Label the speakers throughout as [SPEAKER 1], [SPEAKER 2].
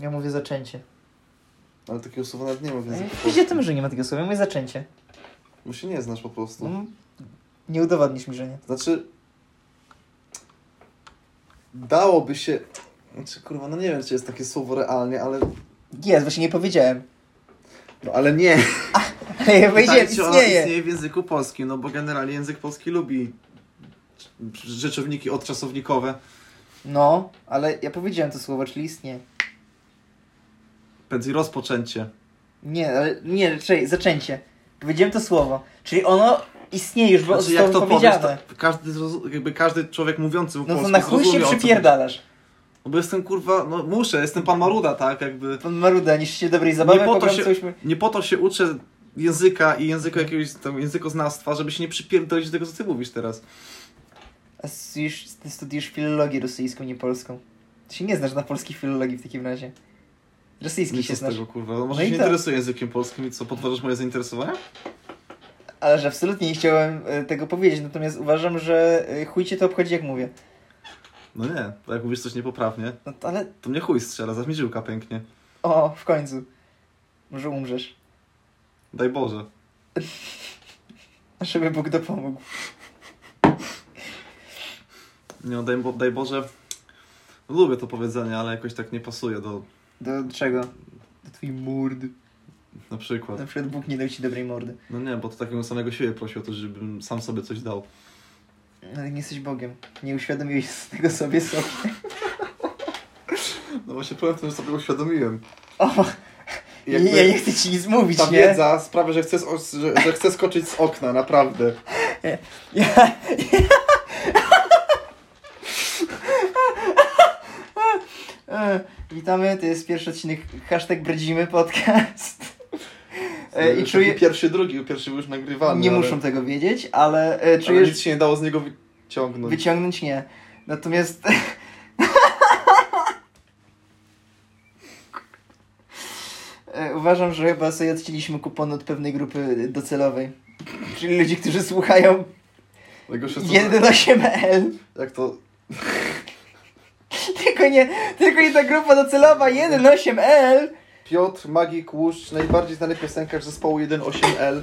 [SPEAKER 1] Ja mówię zaczęcie.
[SPEAKER 2] Ale takiego słowa nawet nie ma w języku
[SPEAKER 1] Wiecie
[SPEAKER 2] polskim.
[SPEAKER 1] tym, że nie ma takiego słowa, ja mówię zaczęcie.
[SPEAKER 2] Bo się nie znasz po prostu.
[SPEAKER 1] No, nie udowodnisz mi, że nie.
[SPEAKER 2] Znaczy... Dałoby się... Znaczy, kurwa, no nie wiem, czy jest takie słowo realnie, ale...
[SPEAKER 1] Jest, właśnie nie powiedziałem.
[SPEAKER 2] No, ale nie.
[SPEAKER 1] Ale ja powiedziałem,
[SPEAKER 2] Pytanie, czy ono
[SPEAKER 1] istnieje.
[SPEAKER 2] istnieje w języku polskim, no bo generalnie język polski lubi rzeczowniki odczasownikowe.
[SPEAKER 1] No, ale ja powiedziałem to słowo, czyli istnieje.
[SPEAKER 2] Prędzej rozpoczęcie.
[SPEAKER 1] Nie, ale nie, raczej zaczęcie. Powiedziałem to słowo, czyli ono istnieje już, bo
[SPEAKER 2] Znaczy,
[SPEAKER 1] zostało
[SPEAKER 2] jak to powiesz,
[SPEAKER 1] powiedziane.
[SPEAKER 2] to każdy, zrozum- jakby każdy człowiek mówiący po
[SPEAKER 1] No to
[SPEAKER 2] polsku
[SPEAKER 1] na chuj się
[SPEAKER 2] zrozumie, o co
[SPEAKER 1] przypierdalasz.
[SPEAKER 2] chodzi. No bo jestem kurwa, no muszę, jestem pan Maruda, tak jakby.
[SPEAKER 1] Pan Maruda, niż się dobrej zabawy
[SPEAKER 2] Nie po to się-
[SPEAKER 1] pogrążyliśmy.
[SPEAKER 2] Nie po to się uczę języka i języka jakiegoś tam językoznawstwa, żeby się nie przypierdolić do tego, co ty mówisz teraz.
[SPEAKER 1] A studiujesz, ty studiujesz filologię rosyjską, nie polską. Ty się nie znasz na polskiej filologii w takim razie. Rosyjski
[SPEAKER 2] Nie
[SPEAKER 1] się
[SPEAKER 2] co z
[SPEAKER 1] znasz.
[SPEAKER 2] tego kurwa, no może
[SPEAKER 1] No i
[SPEAKER 2] się nie
[SPEAKER 1] tak.
[SPEAKER 2] interesuję językiem polskim i co, podważasz moje zainteresowania?
[SPEAKER 1] Ale że absolutnie nie chciałem e, tego powiedzieć, natomiast uważam, że e, chuj cię to obchodzi jak mówię.
[SPEAKER 2] No nie, bo jak mówisz coś niepoprawnie,
[SPEAKER 1] No to, ale
[SPEAKER 2] to mnie chuj strzela, zaś mi żyłka pęknie.
[SPEAKER 1] o, w końcu. Może umrzesz.
[SPEAKER 2] Daj Boże.
[SPEAKER 1] Żeby Bóg dopomógł.
[SPEAKER 2] Nie, no, daj, bo, daj Boże. Lubię to powiedzenie, ale jakoś tak nie pasuje do
[SPEAKER 1] Do czego? Do twojej mordy.
[SPEAKER 2] na przykład.
[SPEAKER 1] Na przykład Bóg nie dał ci dobrej mordy.
[SPEAKER 2] No nie, bo to takiego samego siebie prosił o to, żebym sam sobie coś dał.
[SPEAKER 1] Ale nie jesteś Bogiem. Nie uświadomiłeś tego sobie sobie.
[SPEAKER 2] No właśnie powiem w tym, że sobie uświadomiłem.
[SPEAKER 1] O,
[SPEAKER 2] I
[SPEAKER 1] ja nie chcę ci nic mówić,
[SPEAKER 2] ta
[SPEAKER 1] nie?
[SPEAKER 2] wiedza sprawia, że chcę, z- że, że chcę skoczyć z okna, naprawdę.
[SPEAKER 1] Ja, E, Witamy, to jest pierwszy odcinek hashtag Bredzimy podcast. E, I
[SPEAKER 2] Taki
[SPEAKER 1] czuję,
[SPEAKER 2] Pierwszy, drugi, pierwszy był już nagrywany.
[SPEAKER 1] nie
[SPEAKER 2] ale,
[SPEAKER 1] muszą tego wiedzieć, ale e,
[SPEAKER 2] ale
[SPEAKER 1] czujesz,
[SPEAKER 2] nic się nie dało z niego
[SPEAKER 1] No.
[SPEAKER 2] wyciągnąć.
[SPEAKER 1] wyciągnąć nie. Natomiast... E, Uważam, że chyba sobie odcięliśmy kupon od pewnej grupy docelowej. Czyli ludzi, którzy słuchają
[SPEAKER 2] Najgorsze jest to, że-
[SPEAKER 1] 1.8L.
[SPEAKER 2] jak to...
[SPEAKER 1] Tylko nie, tylko nie ta grupa docelowa 1.8L.
[SPEAKER 2] Piotr, Magik, Łuszcz, najbardziej znany piosenkarz zespołu 1.8L.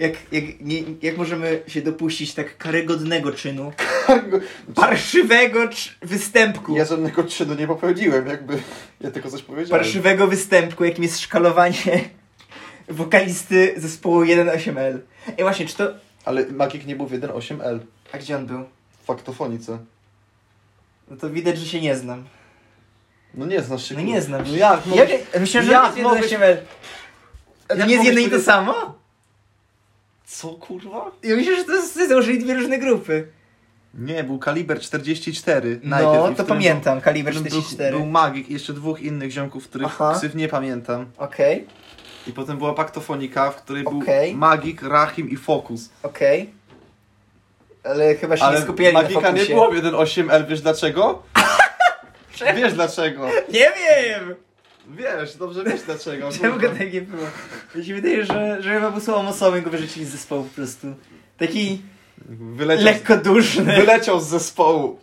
[SPEAKER 1] Jak, jak, nie, jak możemy się dopuścić tak karygodnego czynu?
[SPEAKER 2] Tango.
[SPEAKER 1] Parszywego cz- występku.
[SPEAKER 2] Ja żadnego czynu nie popełniłem, jakby. Ja tylko coś powiedziałem.
[SPEAKER 1] Parszywego występku, jakim jest szkalowanie wokalisty zespołu 1.8L. Ej właśnie, czy to...
[SPEAKER 2] Ale Magik nie był w 1.8L.
[SPEAKER 1] A gdzie on był?
[SPEAKER 2] W faktofonice.
[SPEAKER 1] No to widać, że się nie znam.
[SPEAKER 2] No nie znasz się.
[SPEAKER 1] No
[SPEAKER 2] kurwa.
[SPEAKER 1] nie znam się.
[SPEAKER 2] No jak? No,
[SPEAKER 1] Jak, myślę, że
[SPEAKER 2] jak
[SPEAKER 1] jak
[SPEAKER 2] mogłeś-
[SPEAKER 1] jest 1.8L.
[SPEAKER 2] jak
[SPEAKER 1] To nie jest
[SPEAKER 2] mogłeś
[SPEAKER 1] jedno i to
[SPEAKER 2] powiedzieć-
[SPEAKER 1] samo?
[SPEAKER 2] Co kurwa?
[SPEAKER 1] Ja myślę, że to jest, założyli dwie różne grupy.
[SPEAKER 2] Nie, był kaliber 44. najpierw i w
[SPEAKER 1] No, to
[SPEAKER 2] którym-
[SPEAKER 1] pamiętam,
[SPEAKER 2] w
[SPEAKER 1] kaliber
[SPEAKER 2] którym był-
[SPEAKER 1] 44.
[SPEAKER 2] Był Magik i jeszcze dwóch innych ziomków, których
[SPEAKER 1] Aha.
[SPEAKER 2] ksyw nie pamiętam.
[SPEAKER 1] Okej.
[SPEAKER 2] I potem była paktofonika, w której
[SPEAKER 1] Okej.
[SPEAKER 2] był Magik, Rahim i Fokus.
[SPEAKER 1] Okej. Ale chyba się nie
[SPEAKER 2] Ale
[SPEAKER 1] skupiali na
[SPEAKER 2] Magika
[SPEAKER 1] fokusie.
[SPEAKER 2] nie było w 1.8L, wiesz dlaczego? wiesz dlaczego?
[SPEAKER 1] Nie wiem!
[SPEAKER 2] Wiesz, dobrze wiesz dlaczego.
[SPEAKER 1] Czemu go
[SPEAKER 2] kurwa.
[SPEAKER 1] tak nie było? Mi się wydaje, że, że chyba był słabą osobą i go wyrzucili z zespołu po prostu. Taki
[SPEAKER 2] Wyleciał z
[SPEAKER 1] lekko duszny.
[SPEAKER 2] Wyleciał z zespołu.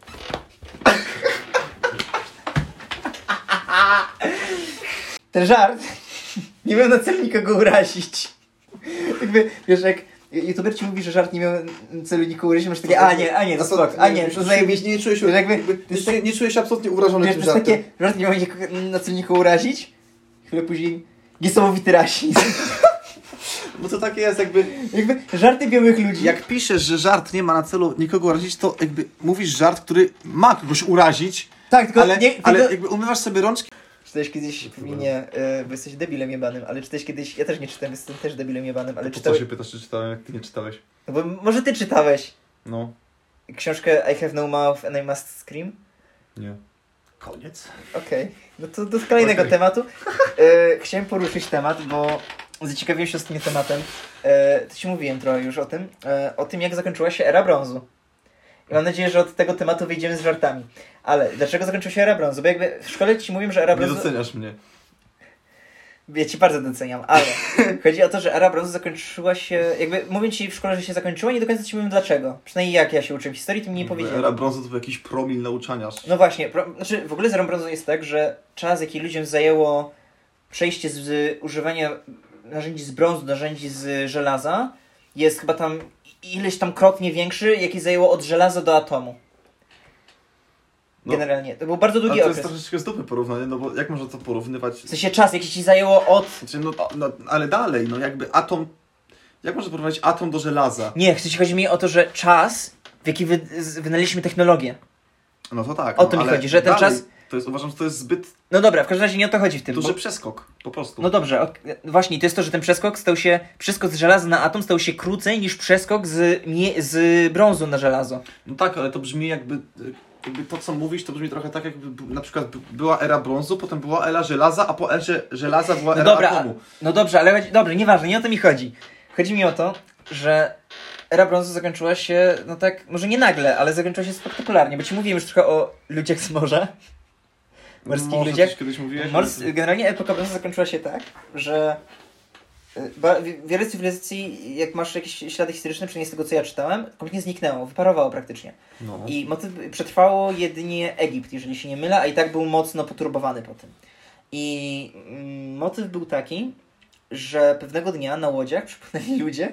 [SPEAKER 1] Ten żart nie miał na celu nikogo urazić. Jakby, wiesz, jak youtuber ci mówi, że żart nie miał na celu nikogo urazić, masz takie, a nie, a nie, to spoko, a nie, to zajebiście.
[SPEAKER 2] No nie czuję się,
[SPEAKER 1] Wiesz, jakby, to
[SPEAKER 2] nie,
[SPEAKER 1] jest
[SPEAKER 2] czuję, nie czuję się absolutnie urażony
[SPEAKER 1] Wiesz,
[SPEAKER 2] tym
[SPEAKER 1] to jest
[SPEAKER 2] żartem.
[SPEAKER 1] takie, żart nie miał nikogo- na celu nikogo urazić, chwilę później niesamowity rasizm.
[SPEAKER 2] Bo to takie jest jakby...
[SPEAKER 1] Jakby żarty białych ludzi.
[SPEAKER 2] Jak piszesz, że żart nie ma na celu nikogo urazić, to jakby mówisz żart, który ma kogoś urazić,
[SPEAKER 1] Tak, tylko
[SPEAKER 2] ale,
[SPEAKER 1] nie, tylko...
[SPEAKER 2] ale jakby umywasz sobie rączki.
[SPEAKER 1] Czytałeś kiedyś w minie, y, bo jesteś debilem jebanym, ale czytałeś kiedyś, ja też nie czytałem, jestem też debilem jebanym, ale czytałeś,
[SPEAKER 2] pytasz, czy czytałem, jak ty nie czytałeś?
[SPEAKER 1] no bo może ty czytałeś
[SPEAKER 2] No,
[SPEAKER 1] książkę I have no mouth and I must scream?
[SPEAKER 2] nie. Koniec.
[SPEAKER 1] Okej, no to do kolejnego
[SPEAKER 2] Okej.
[SPEAKER 1] tematu. Y, chciałem poruszyć temat, bo zaciekawiłem się ostatnio tematem, y, to ci mówiłem trochę już o tym, y, o tym jak zakończyła się era brązu. I mam nadzieję, że od tego tematu wyjdziemy z żartami. Ale dlaczego zakończyła się era brązu? Bo jakby w szkole ci mówią, że era
[SPEAKER 2] Nie
[SPEAKER 1] brązu...
[SPEAKER 2] doceniasz mnie.
[SPEAKER 1] Ja ci bardzo doceniam, ale chodzi o to, że era brązu zakończyła się. Jakby mówię ci w szkole, że się zakończyła, nie do końca ci powiem dlaczego. Przynajmniej jak ja się uczyłem historii, ty mi nie powiedziałeś.
[SPEAKER 2] Era brązu to był jakiś promil nauczaniarz.
[SPEAKER 1] No właśnie, pro... znaczy w ogóle z erą brązu jest tak, że czas, jaki ludziom zajęło przejście z, z używania narzędzi z brązu do narzędzi z żelaza, jest chyba tam ileś tam krotnie większy, jaki zajęło od żelaza do atomu.
[SPEAKER 2] No.
[SPEAKER 1] Generalnie. To był bardzo
[SPEAKER 2] Ale
[SPEAKER 1] długi
[SPEAKER 2] to
[SPEAKER 1] okres.
[SPEAKER 2] jest troszeczkę z dupy porównanie, no bo jak można to porównywać?
[SPEAKER 1] W sensie czas, jaki ci zajęło od
[SPEAKER 2] Znaczy, no, no, ale dalej, no jakby atom... Jak można porównać atom do żelaza?
[SPEAKER 1] Nie, chcecie, chodzi mi o to, że czas, w jaki wy, z- wynaleźliśmy technologię.
[SPEAKER 2] No to tak.
[SPEAKER 1] O
[SPEAKER 2] no,
[SPEAKER 1] to mi
[SPEAKER 2] ale
[SPEAKER 1] chodzi, że ten
[SPEAKER 2] dalej
[SPEAKER 1] czas-
[SPEAKER 2] To jest, uważam, że to jest zbyt
[SPEAKER 1] No dobra, w każdym razie nie o to chodzi w tym.
[SPEAKER 2] duży
[SPEAKER 1] Bo,
[SPEAKER 2] przeskok, po prostu.
[SPEAKER 1] no dobrze, ok, właśnie, to jest to, że ten przeskok stał się, przeskok z żelaza na atom stał się krócej niż przeskok z, mie- z brązu na żelazo.
[SPEAKER 2] No tak, ale to brzmi jakby, jakby to co mówisz, to brzmi trochę tak jakby b- na przykład b- była era brązu, potem była era żelaza, a po erze żelaza była
[SPEAKER 1] No
[SPEAKER 2] era
[SPEAKER 1] dobra,
[SPEAKER 2] atomu.
[SPEAKER 1] No dobrze, ale chodzi, dobrze, nieważne, nie o to mi chodzi. Chodzi mi o to, że era brązu zakończyła się, no tak, może nie nagle, ale zakończyła się spektakularnie, bo ci mówiłem już trochę o ludziach z morza. Morskich
[SPEAKER 2] Może
[SPEAKER 1] ludziach.
[SPEAKER 2] coś kiedyś mówiłeś?
[SPEAKER 1] Mors,
[SPEAKER 2] ale-
[SPEAKER 1] generalnie epoka brązu zakończyła się tak, że y, ba, wi- wiele cywilizacji, jak masz jakieś ślady historyczne, przynajmniej z tego co ja czytałem, kompletnie zniknęło, wyparowało praktycznie.
[SPEAKER 2] No.
[SPEAKER 1] I motyw przetrwało jedynie Egipt, jeżeli się nie mylę, a i tak był mocno poturbowany po tym. I mm, motyw był taki, że pewnego dnia na łodziach przypłynęli ludzie,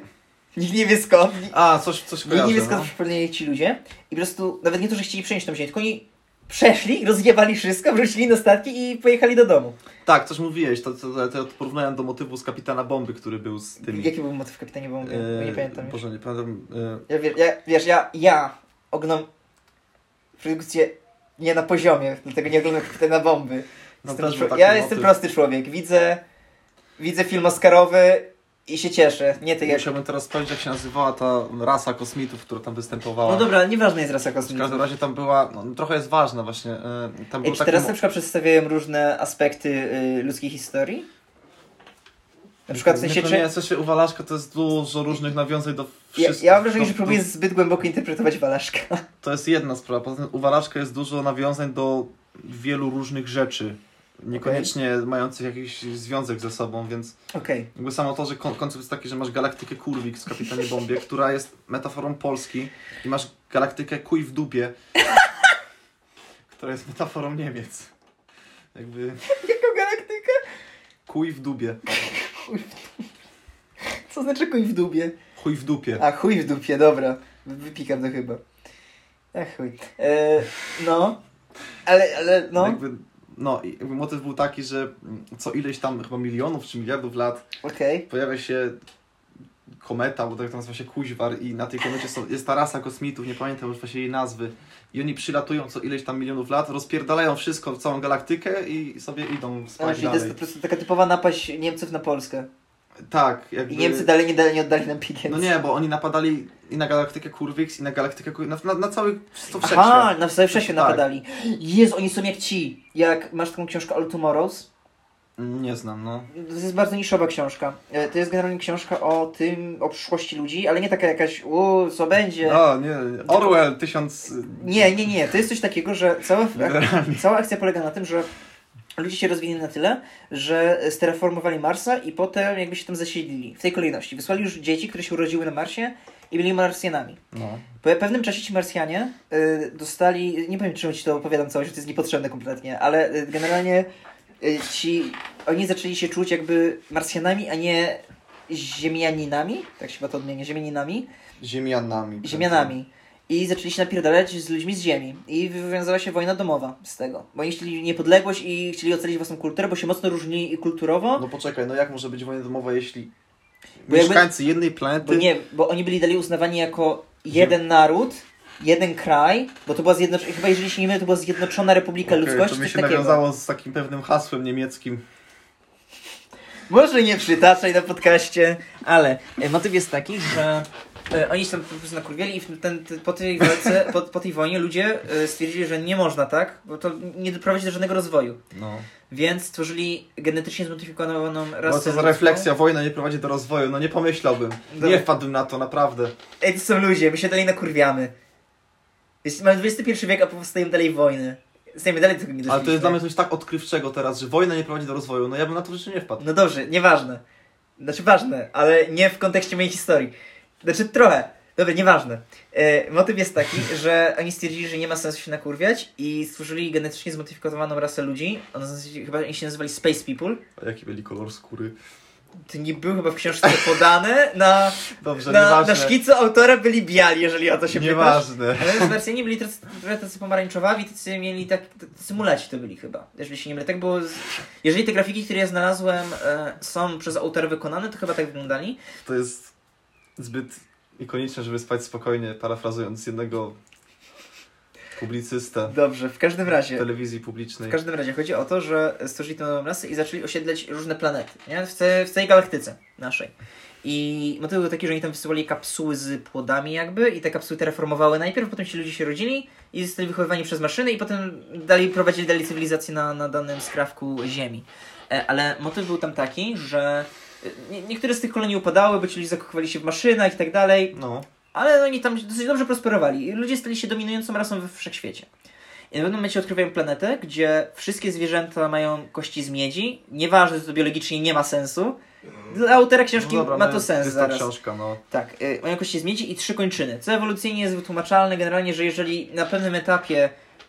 [SPEAKER 1] nikt nie wie skąd, nikt,
[SPEAKER 2] A, coś, coś
[SPEAKER 1] nikt nie wie
[SPEAKER 2] kojarzę,
[SPEAKER 1] skąd
[SPEAKER 2] no.
[SPEAKER 1] przypłynęli ci ludzie i po prostu, nawet nie to, że chcieli przenieść tą ziemię, tylko oni przeszli, rozjebali wszystko, wrócili na statki i pojechali do domu.
[SPEAKER 2] Tak, coś mówiłeś, to, to, to porównałem do motywu z Kapitana Bomby, który był z tymi...
[SPEAKER 1] Jaki był motyw kapitanie Bomby? Bo nie
[SPEAKER 2] e,
[SPEAKER 1] pamiętam już.
[SPEAKER 2] Boże, nie pamiętam... e,
[SPEAKER 1] Ja, wie- ja, wiesz, ja, ja oglądam produkcję nie na poziomie, dlatego nie oglądam kapitana bomby.
[SPEAKER 2] No
[SPEAKER 1] Jestem
[SPEAKER 2] też był
[SPEAKER 1] człowie-
[SPEAKER 2] taki
[SPEAKER 1] ja
[SPEAKER 2] motyw.
[SPEAKER 1] jestem prosty człowiek. Widzę, widzę film Oscarowy i się cieszę. Nie ty tak jak...
[SPEAKER 2] Musiałbym teraz sprawdzić, jak się nazywała ta rasa kosmitów, która tam występowała.
[SPEAKER 1] No dobra, nieważne jest rasa
[SPEAKER 2] W
[SPEAKER 1] kosmiczna.
[SPEAKER 2] każdym razie tam była, no, trochę jest ważna właśnie, e, tam był
[SPEAKER 1] Ej, czy
[SPEAKER 2] taki...
[SPEAKER 1] teraz
[SPEAKER 2] mo-
[SPEAKER 1] na przykład przedstawiałem różne aspekty y, ludzkiej historii? Na przykład w sensie,
[SPEAKER 2] nie,
[SPEAKER 1] czy...
[SPEAKER 2] nie, w sensie uwalaszka to jest dużo różnych nawiązań do
[SPEAKER 1] Ja,
[SPEAKER 2] wszystkich.
[SPEAKER 1] ja mam wrażenie,
[SPEAKER 2] to,
[SPEAKER 1] że próbuję zbyt głęboko interpretować Walaszka.
[SPEAKER 2] To jest jedna sprawa. Poza tym uwalaszka jest dużo nawiązań do wielu różnych rzeczy. Niekoniecznie mających jakiś związek ze sobą, więc
[SPEAKER 1] Okej.
[SPEAKER 2] jakby samo to, że kon- koncept jest taki, że masz galaktykę kurwik z Kapitanie Bombie, która jest metaforą Polski i masz galaktykę kuj w dupie, która jest metaforą Niemiec. Jakby
[SPEAKER 1] Jaką galaktykę?
[SPEAKER 2] kuj w dubie,
[SPEAKER 1] Co znaczy koń w dubie?
[SPEAKER 2] chuj w dupie.
[SPEAKER 1] A chuj w dupie, dobra. Wy- Wypikam to chyba. Ach chuj. E, no. Ale, ale
[SPEAKER 2] No.
[SPEAKER 1] no.
[SPEAKER 2] Jakby, no, i jakby motyw był taki, że mm, co ileś tam chyba milionów czy miliardów lat
[SPEAKER 1] Okej.
[SPEAKER 2] pojawia się kometa, bo tak to nazywa się Kuźwar i na tej komecie są, jest ta rasa kosmitów, nie pamiętam już właśnie jej nazwy i oni przylatują co ileś tam milionów lat, rozpierdalają wszystko, całą galaktykę i sobie idą
[SPEAKER 1] Okay.
[SPEAKER 2] spać
[SPEAKER 1] Czyli to jest
[SPEAKER 2] dalej.
[SPEAKER 1] po prostu taka typowa napaść Niemców na Polskę.
[SPEAKER 2] Tak, jakby...
[SPEAKER 1] I Niemcy dalej nie, dalej nie oddali nam pieniędzy.
[SPEAKER 2] No nie, bo oni napadali i na galaktykę Kurwix, i na galaktykę... Kuj- Na, na, na cały... wszystko
[SPEAKER 1] Aha,
[SPEAKER 2] wszechświat.
[SPEAKER 1] na całym się
[SPEAKER 2] Tak.
[SPEAKER 1] napadali. Jezu, oni są jak ci. Jak masz taką książkę All Tomorrows,
[SPEAKER 2] Nie znam, no.
[SPEAKER 1] To jest bardzo niszowa książka. E, To jest generalnie książka o tym, o przyszłości ludzi, ale nie taka jakaś, uuu, co będzie.
[SPEAKER 2] O, No, nie, Orwell, tysiąc...
[SPEAKER 1] Nie, nie, nie. To jest coś takiego, że
[SPEAKER 2] No.
[SPEAKER 1] cała,
[SPEAKER 2] Generalnie.
[SPEAKER 1] cała akcja polega na tym, że ludzie się rozwinęli na tyle, że stereformowali Marsa i potem jakby się tam zasiedlili. W tej kolejności. Wysłali już dzieci, które się urodziły na Marsie i byli Marsjanami.
[SPEAKER 2] No.
[SPEAKER 1] Po pewnym czasie ci Marsjanie y, dostali, nie powiem czemu ci to opowiadam całość, bo to jest niepotrzebne kompletnie, ale y, generalnie y, ci, oni zaczęli się czuć jakby Marsjanami, a nie ziemianinami, tak się chyba to odmienia, ziemianinami,
[SPEAKER 2] Ziemianami.
[SPEAKER 1] ziemianami. I zaczęli się napierdalać z ludźmi z ziemi. I wywiązała się wojna domowa z tego. Bo oni chcieli niepodległość i chcieli ocalić własną kulturę, bo się mocno różnili kulturowo.
[SPEAKER 2] No poczekaj, no jak może być wojna domowa, jeśli
[SPEAKER 1] Bo jakby-
[SPEAKER 2] mieszkańcy jednej
[SPEAKER 1] Bo
[SPEAKER 2] planety...
[SPEAKER 1] nie, bo oni byli dalej uznawani jako jeden naród, jeden kraj, bo to była zjednoczona, chyba jeżeli się nie mylę, to była Zjednoczona Republika
[SPEAKER 2] Okej,
[SPEAKER 1] Ludzkości,
[SPEAKER 2] to mi
[SPEAKER 1] coś
[SPEAKER 2] się
[SPEAKER 1] takiego.
[SPEAKER 2] nawiązało z takim pewnym hasłem niemieckim.
[SPEAKER 1] Może nie przytaczaj na podcaście, ale e, motyw jest taki, że e, oni się tam po prostu nakurwiali i w- ten, ten, po, tej walce, po, po tej wojnie ludzie e, stwierdzili, że nie można tak, bo to nie doprowadzi do żadnego rozwoju.
[SPEAKER 2] No.
[SPEAKER 1] Więc stworzyli genetycznie zmodyfikowaną rasę
[SPEAKER 2] Bo co za
[SPEAKER 1] ludzką.
[SPEAKER 2] refleksja, wojna nie prowadzi do rozwoju, no nie pomyślałbym.
[SPEAKER 1] Dobra.
[SPEAKER 2] Nie wpadłbym na to, naprawdę.
[SPEAKER 1] Ej, to są ludzie, my się dalej nakurwiamy. Jest, mamy XXI wiek, a powstają dalej wojny. Zdajmy dalej tego nie
[SPEAKER 2] Ale to
[SPEAKER 1] doszliśmy.
[SPEAKER 2] jest dla mnie coś tak odkrywczego teraz, że wojna nie prowadzi do rozwoju. No ja bym na to rzeczy nie wpadł.
[SPEAKER 1] No dobrze, nieważne. Znaczy ważne, ale nie w kontekście mojej historii. Znaczy trochę. Dobra, nieważne. E, motyw jest taki, że oni stwierdzili, że nie ma sensu się nakurwiać i stworzyli genetycznie zmodyfikowaną rasę ludzi. Ona nazy- chyba oni się nazywali Space People.
[SPEAKER 2] A jaki mieli kolor skóry?
[SPEAKER 1] To nie było chyba w książce podane. Na,
[SPEAKER 2] Dobrze,
[SPEAKER 1] na,
[SPEAKER 2] nieważne.
[SPEAKER 1] na szkicu autora byli biali, jeżeli o to się pytasz.
[SPEAKER 2] Nieważne.
[SPEAKER 1] Ale w Marsjanie byli trochę, trochę tacy pomarańczowawi, tacy mieli tak, tacy mulaci to byli chyba, jeżeli się nie mylę. Tak było, z... jeżeli te grafiki, które ja znalazłem e, są przez autora wykonane, to chyba tak wyglądali.
[SPEAKER 2] To jest zbyt ikoniczne, żeby spać spokojnie, parafrazując jednego publicystę
[SPEAKER 1] Dobrze, w każdym razie,
[SPEAKER 2] telewizji
[SPEAKER 1] w
[SPEAKER 2] publicznej.
[SPEAKER 1] każdym razie chodzi o to, że stworzyli tę nową rasę i zaczęli osiedlać różne planety, nie? W, ce, w całej galaktyce naszej. I motyw był taki, że oni tam wysyłali kapsuły z płodami jakby i te kapsuły terraformowały najpierw, potem ci ludzie się rodzili i zostali wychowywani przez maszyny i potem dalej prowadzili dalej cywilizację na, na danym skrawku ziemi. E, Ale motyw był tam taki, że e, nie, niektóre z tych kolonii upadały, bo ci ludzie zakochywali się w maszynach i tak dalej.
[SPEAKER 2] No,
[SPEAKER 1] Ale oni tam dosyć dobrze prosperowali. I Ludzie stali się dominującą rasą we wszechświecie. I na pewnym momencie odkrywają planetę, gdzie wszystkie zwierzęta mają kości z miedzi. Nieważne, że to biologicznie nie ma sensu. Dla autora książki
[SPEAKER 2] no dobra,
[SPEAKER 1] ma
[SPEAKER 2] no
[SPEAKER 1] to sens
[SPEAKER 2] Jest
[SPEAKER 1] zaraz.
[SPEAKER 2] to książka, no.
[SPEAKER 1] Tak, y, mają kości z miedzi i trzy kończyny. Co ewolucyjnie jest wytłumaczalne generalnie, że jeżeli na pewnym etapie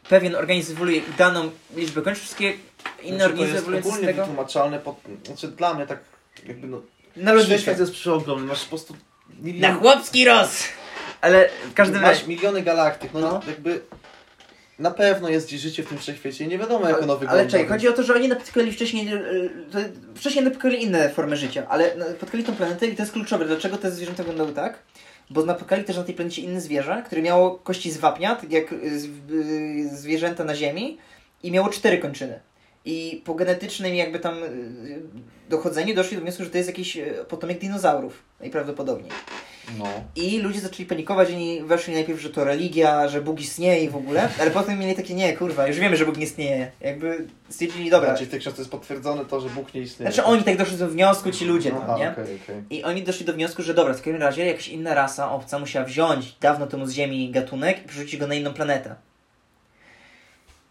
[SPEAKER 1] pewien organizm ewoluuje i daną liczbę kończy, wszystkie inne
[SPEAKER 2] Znaczy,
[SPEAKER 1] organizmy
[SPEAKER 2] to jest
[SPEAKER 1] ewoluują z
[SPEAKER 2] ogólnie
[SPEAKER 1] tego.
[SPEAKER 2] wytłumaczalne, pod, znaczy dla mnie tak jakby no...
[SPEAKER 1] Na
[SPEAKER 2] Świat
[SPEAKER 1] logikę.
[SPEAKER 2] jest przeogromny, masz po prostu
[SPEAKER 1] Na
[SPEAKER 2] milion,
[SPEAKER 1] chłopski roz! Ale w każdym
[SPEAKER 2] masz
[SPEAKER 1] razie...
[SPEAKER 2] miliony galaktyk, no,
[SPEAKER 1] No.
[SPEAKER 2] jakby na pewno jest gdzieś życie w tym wszechświecie i nie wiadomo jak ono
[SPEAKER 1] Ale,
[SPEAKER 2] wygląda.
[SPEAKER 1] ale czekaj, chodzi o to, że oni napotkali wcześniej, e, e, to- wcześniej napotkali inne formy życia, ale napotkali tą planetę i to jest kluczowe. Dlaczego te zwierzęta wyglądały tak? Bo napotkali też na tej planecie inne zwierzę, które miało kości z wapnia, tak jak e, z, e, zwierzęta na Ziemi i miało cztery kończyny. I po genetycznym jakby tam e, dochodzeniu doszli do wniosku, że to jest jakiś e, potomek dinozaurów, najprawdopodobniej.
[SPEAKER 2] No.
[SPEAKER 1] I ludzie zaczęli panikować, oni weszli najpierw, że to religia, że Bóg istnieje i w ogóle, ale potem mieli takie, nie, kurwa, już wiemy, że Bóg nie istnieje. Jakby stwierdzili, dobra.
[SPEAKER 2] Znaczy w tej książce jest potwierdzone to, że Bóg nie istnieje.
[SPEAKER 1] Znaczy oni tak doszli do wniosku, ci ludzie
[SPEAKER 2] Aha,
[SPEAKER 1] tam, nie?
[SPEAKER 2] okej, okej.
[SPEAKER 1] I oni doszli do wniosku, że dobra, w takim razie jakaś inna rasa obca musiała wziąć dawno temu z Ziemi gatunek i przerzucić go na inną planetę.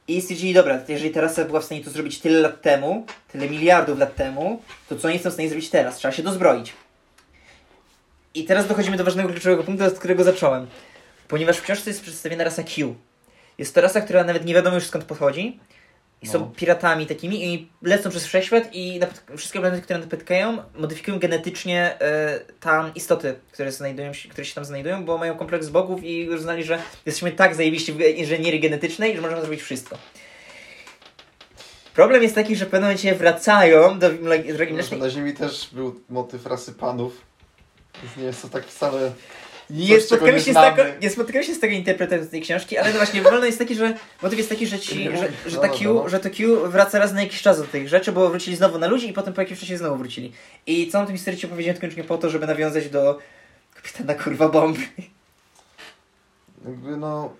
[SPEAKER 1] I stwierdzili, dobra, jeżeli ta rasa była w stanie to zrobić tyle lat temu, tyle miliardów lat temu, to co oni są w stanie zrobić teraz? Trzeba się dozbroić. I teraz dochodzimy do ważnego kluczowego punktu, od którego zacząłem. Ponieważ w książce jest przedstawiona rasa Q. Jest to rasa, która nawet nie wiadomo już skąd pochodzi. I są
[SPEAKER 2] No.
[SPEAKER 1] piratami takimi i lecą przez wszechświat i napotk- wszystkie planety, które napotkają, modyfikują genetycznie e, tam istoty, które, znajdują się, które się tam znajdują, bo mają kompleks bogów i uznali, że jesteśmy tak zajebiści w inżynierii genetycznej, że możemy zrobić wszystko. Problem jest taki, że w pewnym momencie wracają do mle- drogi
[SPEAKER 2] Może
[SPEAKER 1] mlecznej.
[SPEAKER 2] Na Ziemi też był motyw rasy panów. Więc nie jest to tak same...
[SPEAKER 1] Nie
[SPEAKER 2] coś, czego
[SPEAKER 1] spotkałem,
[SPEAKER 2] nie
[SPEAKER 1] się z taką,
[SPEAKER 2] znamy.
[SPEAKER 1] nie spotkałem się z taką interpretacją tej książki, ale no właśnie, wolno jest taki, że motyw jest taki, że, ci,
[SPEAKER 2] Nie,
[SPEAKER 1] że, że,
[SPEAKER 2] no
[SPEAKER 1] ta
[SPEAKER 2] dobra,
[SPEAKER 1] Q,
[SPEAKER 2] no.
[SPEAKER 1] że to Q wraca raz na jakiś czas do tych rzeczy, bo wrócili znowu na ludzi i potem po jakimś czasie znowu wrócili. I całą tę historię ci opowiedziałem tylko i wyłącznie po to, żeby nawiązać do kapitana kurwa bomb.
[SPEAKER 2] Jakby no...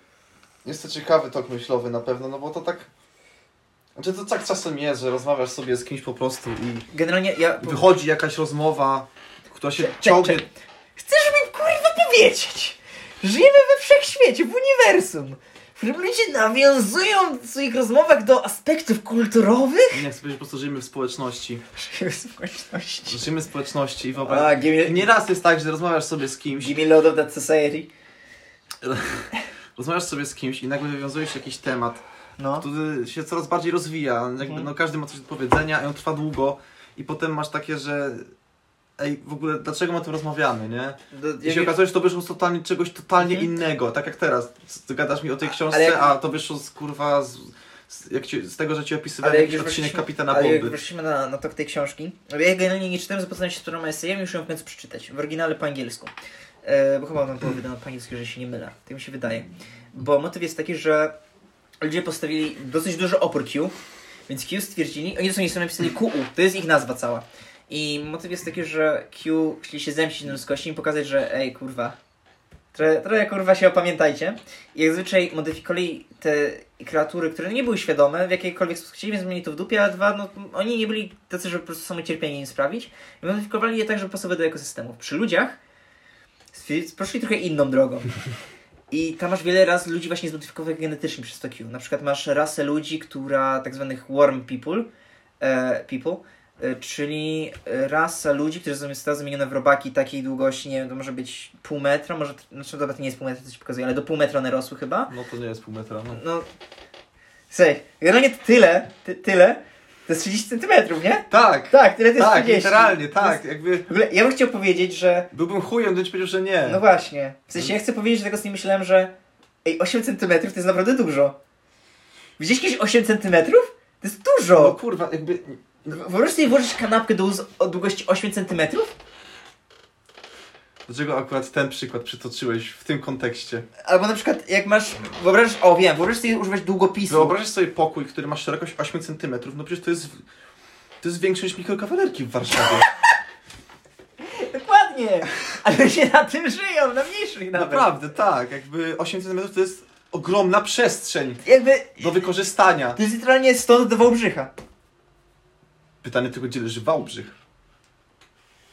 [SPEAKER 2] Jest to ciekawy tok myślowy na pewno, no bo to tak... Znaczy to tak czasem jest, że rozmawiasz sobie z kimś po prostu i
[SPEAKER 1] Generalnie ja...
[SPEAKER 2] wychodzi jakaś rozmowa, która się
[SPEAKER 1] Czek,
[SPEAKER 2] ciągnie...
[SPEAKER 1] czek. Chcesz mi kurwa powiedzieć? Żyjemy we wszechświecie, w uniwersum. w którym Ludzie nawiązują w swoich rozmowach do aspektów kulturowych?
[SPEAKER 2] Nie, chcę powiedzieć po prostu żyjemy w społeczności.
[SPEAKER 1] Żyjemy w społeczności.
[SPEAKER 2] Żyjemy w społeczności i wyobraź...
[SPEAKER 1] A, give me,
[SPEAKER 2] Nieraz jest tak, że rozmawiasz sobie z kimś,
[SPEAKER 1] give me load of that society.
[SPEAKER 2] rozmawiasz sobie z kimś i nagle wywiązujesz jakiś temat,
[SPEAKER 1] No.
[SPEAKER 2] który się coraz bardziej rozwija. Jakby,
[SPEAKER 1] Mhm.
[SPEAKER 2] no, każdy ma coś do powiedzenia, i on trwa długo i potem masz takie, że ej, w ogóle dlaczego my o tym rozmawiamy, nie? I się okazuje, że to wyszło z totalnie, czegoś totalnie
[SPEAKER 1] Mhm.
[SPEAKER 2] innego, tak jak teraz. Z- Gadasz mi o tej książce,
[SPEAKER 1] Ale jak-
[SPEAKER 2] a to wyszło z kurwa, z, z, jak ci, z tego, że ci opisywałem
[SPEAKER 1] Ale jak
[SPEAKER 2] jakiś
[SPEAKER 1] już
[SPEAKER 2] odcinek
[SPEAKER 1] wróciliśmy,
[SPEAKER 2] Kapitana
[SPEAKER 1] ale jak
[SPEAKER 2] Bomby.
[SPEAKER 1] wrócimy na, na tok tej książki, bo ja generalnie nie czytałem, zapoznałem się z którą esejem i już ją w końcu przeczytać, w oryginale po angielsku. E, bo chyba mam było wydane po angielsku, że się nie mylę, tak mi się wydaje. Bo motyw jest taki, że ludzie postawili dosyć dużo opór Q, więc Q stwierdzili, oni sobie sobie napisali QU, to jest ich nazwa cała. I motyw jest taki, że Q chcieli się zemścić na ludzkości i pokazać, że ej kurwa, trochę, trochę kurwa się opamiętajcie. I jak zwyczaj modyfikowali te kreatury, które no nie były świadome w jakiejkolwiek sposób chcieli, więc mieli to w dupie, a dwa, no oni nie byli tacy, żeby po prostu samocierpienie im sprawić. I modyfikowali je tak, żeby pasowały do ekosystemów. Przy ludziach stwier- poszli trochę inną drogą. I tam masz wiele raz ludzi właśnie zmodyfikowanych genetycznie przez to Q. Na przykład masz rasę ludzi, która tak zwanych worm people, e, people e, czyli e, rasa ludzi, którzy są- została zamieniona w robaki takiej długości, nie wiem, to może być pół metra, może, znaczy dobra, to nie jest pół metra, to ci pokazuje, ale do pół metra one rosły chyba.
[SPEAKER 2] No to nie jest pół metra, no.
[SPEAKER 1] No, słuchaj, generalnie to tyle, ty, tyle, to jest 30 centymetrów, nie?
[SPEAKER 2] Tak, tak,
[SPEAKER 1] Tak, tyle to jest
[SPEAKER 2] tak
[SPEAKER 1] 30.
[SPEAKER 2] literalnie,
[SPEAKER 1] To
[SPEAKER 2] tak.
[SPEAKER 1] jest-
[SPEAKER 2] Jakby
[SPEAKER 1] W ogóle ja bym chciał powiedzieć, że
[SPEAKER 2] byłbym chujem, gdybyś powiedział, że nie.
[SPEAKER 1] No właśnie. W sensie ja chcę powiedzieć, że tego z nim myślałem, że ej, 8 cm to jest naprawdę dużo. Widzisz kiedyś 8 cm? To jest
[SPEAKER 2] no
[SPEAKER 1] dużo.
[SPEAKER 2] kurwa, jakby...
[SPEAKER 1] W- Wyobraź sobie włożyć kanapkę do ust o długości 8 cm?
[SPEAKER 2] Dlaczego akurat ten przykład przytoczyłeś w tym kontekście?
[SPEAKER 1] Albo na przykład jak masz, wyobraź, o wiem, wyobraź sobie używać długopisu.
[SPEAKER 2] Wyobrażasz sobie pokój, który ma szerokość 8 cm, no przecież to jest... To jest większe niż mikrokawalerki w Warszawie.
[SPEAKER 1] Dokładnie. Ale się na tym żyją, na mniejszych nawet.
[SPEAKER 2] Naprawdę, tak. Jakby 8 cm to jest ogromna przestrzeń
[SPEAKER 1] Jakby,
[SPEAKER 2] do wykorzystania.
[SPEAKER 1] to jest literalnie stąd do Wałbrzycha.
[SPEAKER 2] Pytanie tylko, gdzie leży Wałbrzych?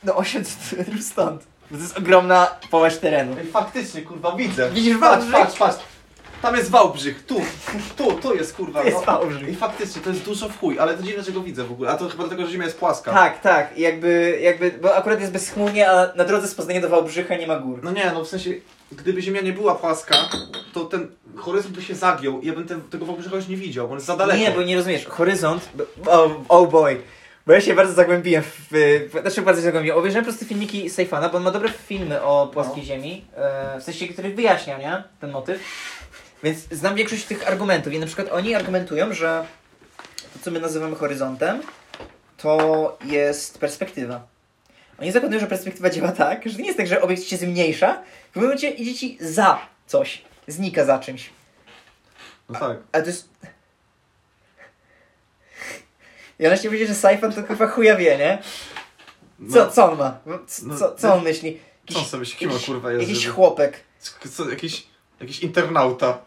[SPEAKER 1] No 8 cm stąd. Bo to jest ogromna połaż terenu.
[SPEAKER 2] Ej, faktycznie, kurwa, widzę.
[SPEAKER 1] Widzisz
[SPEAKER 2] Patrz,
[SPEAKER 1] Wałbrzych?
[SPEAKER 2] patrz, patrz. Tam jest Wałbrzych, tu, tu, tu jest kurwa.
[SPEAKER 1] To jest
[SPEAKER 2] no.
[SPEAKER 1] Wałbrzych.
[SPEAKER 2] I faktycznie, to jest dużo w chuj, ale to dziwne, że go widzę w ogóle. A to chyba dlatego, że ziemia jest płaska.
[SPEAKER 1] Tak, tak, I jakby, jakby, bo akurat jest bezchmurnie, a na drodze z Poznania do Wałbrzycha nie ma gór.
[SPEAKER 2] No nie, no w sensie, gdyby ziemia nie była płaska, to ten horyzont by się zagiął i ja bym te, tego Wałbrzycha już nie widział, bo on jest za daleko.
[SPEAKER 1] Nie, bo nie rozumiesz, horyzont, bo- oh, oh boy, bo ja się bardzo zagłębiłem w, w znaczy bardzo się zagłębiłem, obejrzałem po prostu filmiki Sejfana, bo on ma dobre filmy o płaskiej
[SPEAKER 2] No.
[SPEAKER 1] ziemi, e, w sensie, których wyjaśnia, nie, ten motyw, więc znam większość tych argumentów i na przykład oni argumentują, że to, co my nazywamy horyzontem, to jest perspektywa. Oni zakładają, że perspektywa działa tak, że to nie jest tak, że obiekt się zmniejsza, w pewnym momencie idzie ci za coś, znika za czymś.
[SPEAKER 2] No tak.
[SPEAKER 1] A to jest... Ja na się powiedzieć, że Saifan to chyba chuja wie, nie?
[SPEAKER 2] No,
[SPEAKER 1] Co, co on ma?
[SPEAKER 2] No,
[SPEAKER 1] Co, co, co on myśli?
[SPEAKER 2] Co on sobie kim on,
[SPEAKER 1] jakiś-
[SPEAKER 2] kurwa jest?
[SPEAKER 1] Jakiś
[SPEAKER 2] żeby-
[SPEAKER 1] chłopek.
[SPEAKER 2] Co- Co, jakiś, jakiś internauta.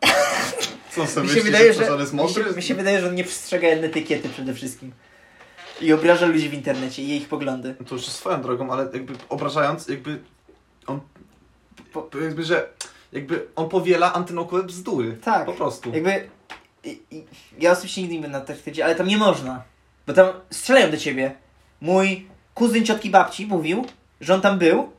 [SPEAKER 2] Co on sobie
[SPEAKER 1] Mi się
[SPEAKER 2] myśli,
[SPEAKER 1] wydaje,
[SPEAKER 2] że,
[SPEAKER 1] że,
[SPEAKER 2] on jest
[SPEAKER 1] mi
[SPEAKER 2] mądry?
[SPEAKER 1] się, mi się wydaje, że on nie przestrzega etykiety przede wszystkim. I obraża ludzi w internecie i ich poglądy.
[SPEAKER 2] No To już swoją drogą, ale jakby obrażając, jakby on, po, jakby, że jakby on powiela antynaukowe bzdury.
[SPEAKER 1] Tak.
[SPEAKER 2] Po prostu.
[SPEAKER 1] Jakby... I, i, ja osobiście nigdy nie będę na traktacie, ale tam nie można. Bo tam strzelają do ciebie. Mój kuzyn ciotki babci mówił, że on tam był.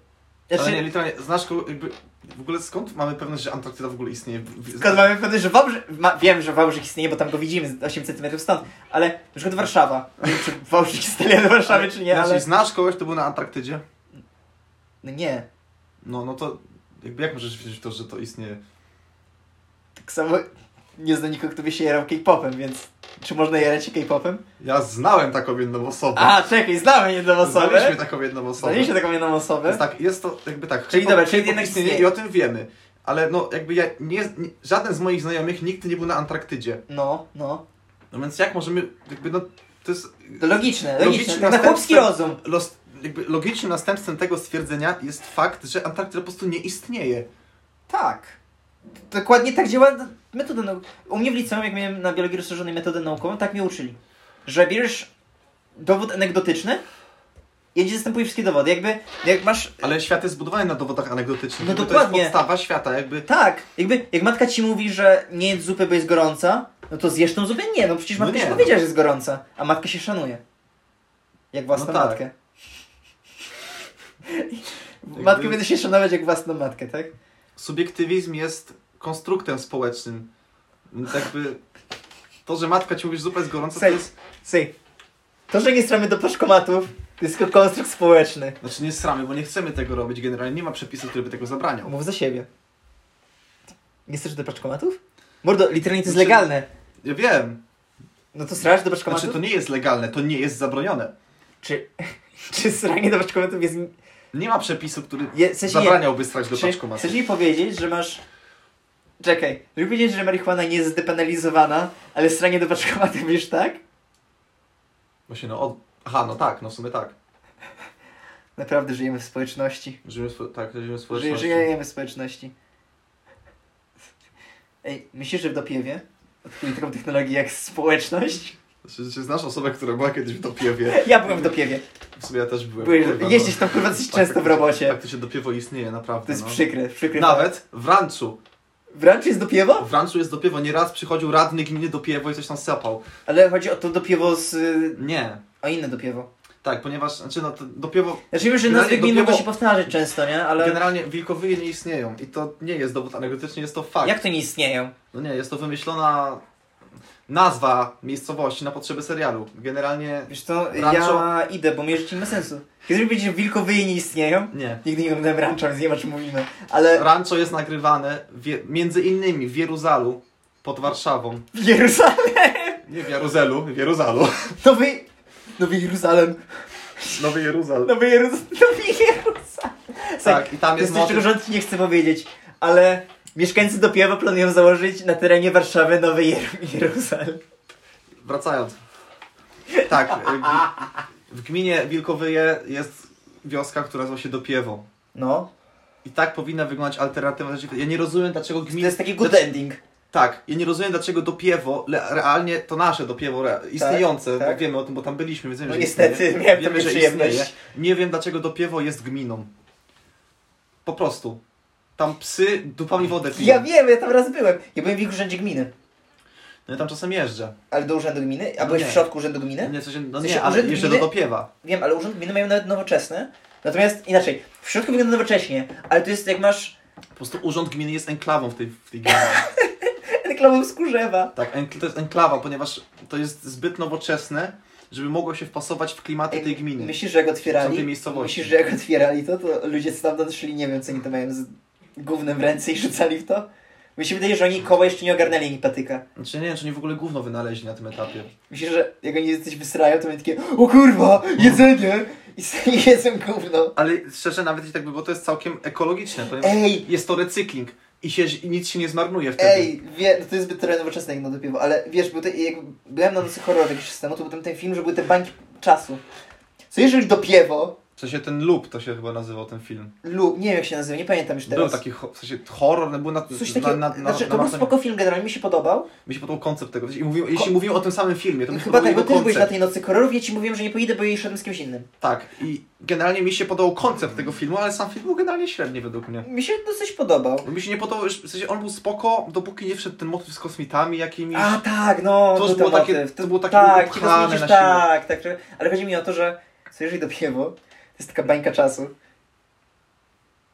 [SPEAKER 2] Ale nie,
[SPEAKER 1] Znaczy,
[SPEAKER 2] literalnie, znasz kogo, jakby, w ogóle skąd mamy pewność, że Antarktyda w ogóle istnieje? W- w-
[SPEAKER 1] Skąd mamy pewność, że Wałbrzych... Ma, wiem, że Wałbrzych istnieje, bo tam go widzimy z 8 cm stąd, ale na przykład Warszawa. Nie wiem, czy Wałbrzych jest dalej od Warszawy, czy nie,
[SPEAKER 2] Znaczy,
[SPEAKER 1] ale...
[SPEAKER 2] znasz kogoś, kto był na Antarktydzie?
[SPEAKER 1] No nie.
[SPEAKER 2] No, no to jakby jak możesz wiedzieć w to, że to istnieje?
[SPEAKER 1] Tak samo nie znam nikogo, kto by się jarał K-popem, więc... Czy można jarać się K-popem?
[SPEAKER 2] Ja znałem taką jedną osobę.
[SPEAKER 1] A, czekaj, znamy jedną
[SPEAKER 2] Znaliśmy
[SPEAKER 1] osobę.
[SPEAKER 2] taką jedną osobę.
[SPEAKER 1] Znaliśmy taką jedną
[SPEAKER 2] Jest
[SPEAKER 1] osobę.
[SPEAKER 2] tak, jest to jakby tak.
[SPEAKER 1] Czyli
[SPEAKER 2] hip-hop-
[SPEAKER 1] dobra, czyli
[SPEAKER 2] hip-hop
[SPEAKER 1] jednak
[SPEAKER 2] istnieje
[SPEAKER 1] istnieje.
[SPEAKER 2] i o tym wiemy. Ale no jakby ja nie, nie, żaden z moich znajomych nigdy nie był na Antarktydzie.
[SPEAKER 1] No, no.
[SPEAKER 2] No więc jak możemy, jakby no, to jest...
[SPEAKER 1] To logiczne, logiczne. To na
[SPEAKER 2] następstwem-
[SPEAKER 1] chłopski rozum.
[SPEAKER 2] Los, jakby logicznym następstwem tego stwierdzenia jest fakt, że Antarktyda po prostu nie istnieje.
[SPEAKER 1] Tak. Dokładnie tak działa metoda naukowa. U mnie w liceum, jak miałem na biologii rozszerzonej metodę naukową, tak mnie uczyli. Że bierzesz dowód anegdotyczny i ci zastępuje wszystkie dowody. Jakby, jak masz...
[SPEAKER 2] Ale świat jest zbudowany na dowodach anegdotycznych.
[SPEAKER 1] No
[SPEAKER 2] jakby To
[SPEAKER 1] dokładnie.
[SPEAKER 2] jest podstawa świata, jakby...
[SPEAKER 1] Tak, jakby, jak matka ci mówi, że nie jedz zupy, bo jest gorąca, no to zjesz tą zupę? Nie, no przecież
[SPEAKER 2] No
[SPEAKER 1] matka
[SPEAKER 2] nie,
[SPEAKER 1] ci
[SPEAKER 2] no.
[SPEAKER 1] powiedziała, że jest gorąca. A matka się szanuje. Jak własną
[SPEAKER 2] No tak.
[SPEAKER 1] matkę. Matkę będę się szanować jak własną matkę, tak?
[SPEAKER 2] Subiektywizm jest konstruktem społecznym. Więc jakby... To, że matka ci mówi, że zupa jest gorąca, to
[SPEAKER 1] Sej.
[SPEAKER 2] jest...
[SPEAKER 1] Sej. To, że nie stramy do paszkomatów, to jest tylko konstrukt społeczny.
[SPEAKER 2] Znaczy nie sramy, bo nie chcemy tego robić generalnie. Nie ma przepisu, który by tego zabraniał.
[SPEAKER 1] Mów za siebie. Nie chcesz do paczkomatów? Mordo, literalnie to jest
[SPEAKER 2] Znaczy-
[SPEAKER 1] legalne.
[SPEAKER 2] Ja wiem.
[SPEAKER 1] No to srasz do
[SPEAKER 2] Znaczy
[SPEAKER 1] paczkomatów?
[SPEAKER 2] to nie jest legalne, to nie jest zabronione.
[SPEAKER 1] Czy, czy sranie do paczkomatów jest...
[SPEAKER 2] Nie ma przepisu, który
[SPEAKER 1] Je- w sensie nie.
[SPEAKER 2] zabraniałby strać do
[SPEAKER 1] Czy,
[SPEAKER 2] paczkomatu.
[SPEAKER 1] chcesz mi powiedzieć, że masz... Czekaj, żeby powiedzieć, że marihuana nie jest zdepenalizowana, ale sranie do paczkomatów wiesz tak?
[SPEAKER 2] Właśnie no, od... Aha, no tak, no w sumie tak.
[SPEAKER 1] Naprawdę żyjemy w społeczności.
[SPEAKER 2] Żyjemy, spo... tak, żyjemy w
[SPEAKER 1] Ży,
[SPEAKER 2] społeczności.
[SPEAKER 1] żyjemy w społeczności. Ej, myślisz, że w dopiewie odkryli taką technologię jak społeczność?
[SPEAKER 2] Czy, czy znasz osobę, która była kiedyś w dopiewie?
[SPEAKER 1] Ja byłem w dopiewie.
[SPEAKER 2] W sumie ja też byłem.
[SPEAKER 1] Byłeś,
[SPEAKER 2] kurwa, no.
[SPEAKER 1] jeździsz tam kurwa dosyć często w robocie.
[SPEAKER 2] Tak, to się dopiewo istnieje, naprawdę.
[SPEAKER 1] To jest
[SPEAKER 2] no.
[SPEAKER 1] przykre, przykre.
[SPEAKER 2] Nawet w ranczu.
[SPEAKER 1] Wręcz jest do piewa?
[SPEAKER 2] W ranczu jest dopiewo. Nieraz przychodził radny gminy dopiewo i coś tam sapał.
[SPEAKER 1] Ale chodzi o to do piewo z... y,
[SPEAKER 2] Nie.
[SPEAKER 1] o inne do piewo.
[SPEAKER 2] Tak, ponieważ, znaczy no to dopiewo...
[SPEAKER 1] Znaczy wiem, że
[SPEAKER 2] Generalnie
[SPEAKER 1] nazwy
[SPEAKER 2] do
[SPEAKER 1] gmin
[SPEAKER 2] piewo-
[SPEAKER 1] mogą się powtarzać często, nie? Ale
[SPEAKER 2] Generalnie wilkowyje nie istnieją i to nie jest dowód anegdotyczny, jest to fakt.
[SPEAKER 1] jak to nie istnieją?
[SPEAKER 2] No nie, jest to wymyślona nazwa miejscowości na potrzeby serialu. Generalnie
[SPEAKER 1] Wiesz co, ja
[SPEAKER 2] Rancho-
[SPEAKER 1] idę, bo mnie życie nie ma sensu. Jeżeli będzie, że wilkowyje nie istnieją,
[SPEAKER 2] nie.
[SPEAKER 1] nigdy nie oglądałem rancza, więc nie wiem o czym mówimy, ale
[SPEAKER 2] Rancho jest nagrywane wie, między innymi w Jeruzalu pod Warszawą.
[SPEAKER 1] w Jeruzalem,
[SPEAKER 2] Nie w Jaruzelu, w Jeruzalu.
[SPEAKER 1] Nowy... Nowy Jeruzalem,
[SPEAKER 2] Nowy Jeruzal.
[SPEAKER 1] Nowy Jeruzalem, Nowy Jeruzalem.
[SPEAKER 2] Tak, i tam
[SPEAKER 1] jest
[SPEAKER 2] jest
[SPEAKER 1] coś, czego
[SPEAKER 2] motyw.
[SPEAKER 1] rząd nie chce powiedzieć, ale mieszkańcy Dopiewa planują założyć na terenie Warszawy Nowy Jer- Jeruzalem.
[SPEAKER 2] Wracając. Tak, y, gmi- w gminie Wilkowyje jest wioska, która nazywa się Dopiewo.
[SPEAKER 1] No,
[SPEAKER 2] I tak powinna wyglądać alternatywa. rzeczywistości. Ja nie rozumiem, dlaczego
[SPEAKER 1] to
[SPEAKER 2] gminy...
[SPEAKER 1] jest taki good
[SPEAKER 2] Znaczy-
[SPEAKER 1] ending.
[SPEAKER 2] Tak, ja nie rozumiem dlaczego dopiewo, le, realnie to nasze dopiewo re, istniejące, bo
[SPEAKER 1] tak.
[SPEAKER 2] wiemy o tym, bo tam byliśmy, więc wiemy,
[SPEAKER 1] No
[SPEAKER 2] że
[SPEAKER 1] niestety,
[SPEAKER 2] istnieje.
[SPEAKER 1] miałem
[SPEAKER 2] wiemy,
[SPEAKER 1] taką
[SPEAKER 2] że
[SPEAKER 1] przyjemność.
[SPEAKER 2] istnieje. Nie wiem dlaczego dopiewo jest gminą. Po prostu. Tam psy dupami wodę piją.
[SPEAKER 1] Ja wiem, ja tam raz byłem. Ja byłem w ich urzędzie gminy.
[SPEAKER 2] No ja tam czasem jeżdżę.
[SPEAKER 1] Ale do urzędu gminy? A
[SPEAKER 2] No
[SPEAKER 1] byłeś
[SPEAKER 2] nie.
[SPEAKER 1] w środku urzędu gminy?
[SPEAKER 2] Nie, w sensie, no
[SPEAKER 1] W sensie
[SPEAKER 2] nie, ale
[SPEAKER 1] urzęd
[SPEAKER 2] jeszcze do
[SPEAKER 1] gminy-
[SPEAKER 2] dopiewa.
[SPEAKER 1] Wiem, ale urząd gminy mają nawet nowoczesny. Natomiast inaczej, w środku wygląda nowocześnie, ale to jest jak masz
[SPEAKER 2] Po prostu urząd gminy jest enklawą w tej, w tej gminie.
[SPEAKER 1] reklamę z Kurzewa.
[SPEAKER 2] tak, enkl, to jest enklawa, ponieważ to jest zbyt nowoczesne, żeby mogło się wpasować w klimaty tej gminy.
[SPEAKER 1] Myślisz, że jak
[SPEAKER 2] Są tej
[SPEAKER 1] otwierali?
[SPEAKER 2] miejscowości.
[SPEAKER 1] Myślisz, że jak otwierali to, to ludzie stamtąd szli, nie wiem co oni to mają z gównem w ręce i rzucali w to? Mi się wydaje, że oni koła jeszcze nie ogarnęli ani patyka.
[SPEAKER 2] Znaczy nie wiem, czy oni w ogóle gówno wynaleźli na tym etapie.
[SPEAKER 1] Myślisz, że jak oni coś wysrają, to mają takie O kurwa, jedzenie! I sobie jedzą gówno.
[SPEAKER 2] Ale szczerze, nawet jeśli tak by było, to jest całkiem ekologiczne, ponieważ
[SPEAKER 1] Ej,
[SPEAKER 2] jest to recykling i, się, i nic się nie zmarnuje wtedy.
[SPEAKER 1] Ej, wie, no to jest zbyt trochę nowoczesne jak na to piwo, ale wiesz, był te, jak byłem na nocy horror jakiś czas temu, to był ten, ten film, że były te bańki czasu. Co jeżeli do piewo,
[SPEAKER 2] W sensie ten lub to się chyba nazywał ten film.
[SPEAKER 1] lub nie wiem jak się nazywa, nie pamiętam już teraz.
[SPEAKER 2] Był taki ho- w sensie horror, no, był na,
[SPEAKER 1] Coś
[SPEAKER 2] na,
[SPEAKER 1] takiego,
[SPEAKER 2] na, na,
[SPEAKER 1] znaczy,
[SPEAKER 2] na
[SPEAKER 1] to był
[SPEAKER 2] masę-
[SPEAKER 1] spoko film generalnie, mi się podobał.
[SPEAKER 2] Mi się podobał koncept tego. Jeśli mówimy, jeśli mówimy o tym samym filmie, to mi się
[SPEAKER 1] Chyba tak,
[SPEAKER 2] podobał
[SPEAKER 1] bo
[SPEAKER 2] jego
[SPEAKER 1] ty też byłeś na
[SPEAKER 2] koncept.
[SPEAKER 1] tej nocy horrorów, ja ci mówiłem, że nie pojedę, bo jej szedłem z kimś innym.
[SPEAKER 2] Tak, i generalnie mi się podobał koncept tego filmu, ale sam film był generalnie średni według mnie.
[SPEAKER 1] Mi się dosyć podobał.
[SPEAKER 2] Bo Mi się nie podobał, w sensie on był spoko, dopóki nie wszedł ten motyw z kosmitami jakimiś.
[SPEAKER 1] A tak, no,
[SPEAKER 2] To już
[SPEAKER 1] był
[SPEAKER 2] było
[SPEAKER 1] ten
[SPEAKER 2] takie-
[SPEAKER 1] motyw.
[SPEAKER 2] to było takie
[SPEAKER 1] tak, ci
[SPEAKER 2] upchane
[SPEAKER 1] kosmici,
[SPEAKER 2] na siłę.
[SPEAKER 1] tak, tak, że- ale chodzi mi o to, że co jeżeli do piewo, to jest taka bańka czasu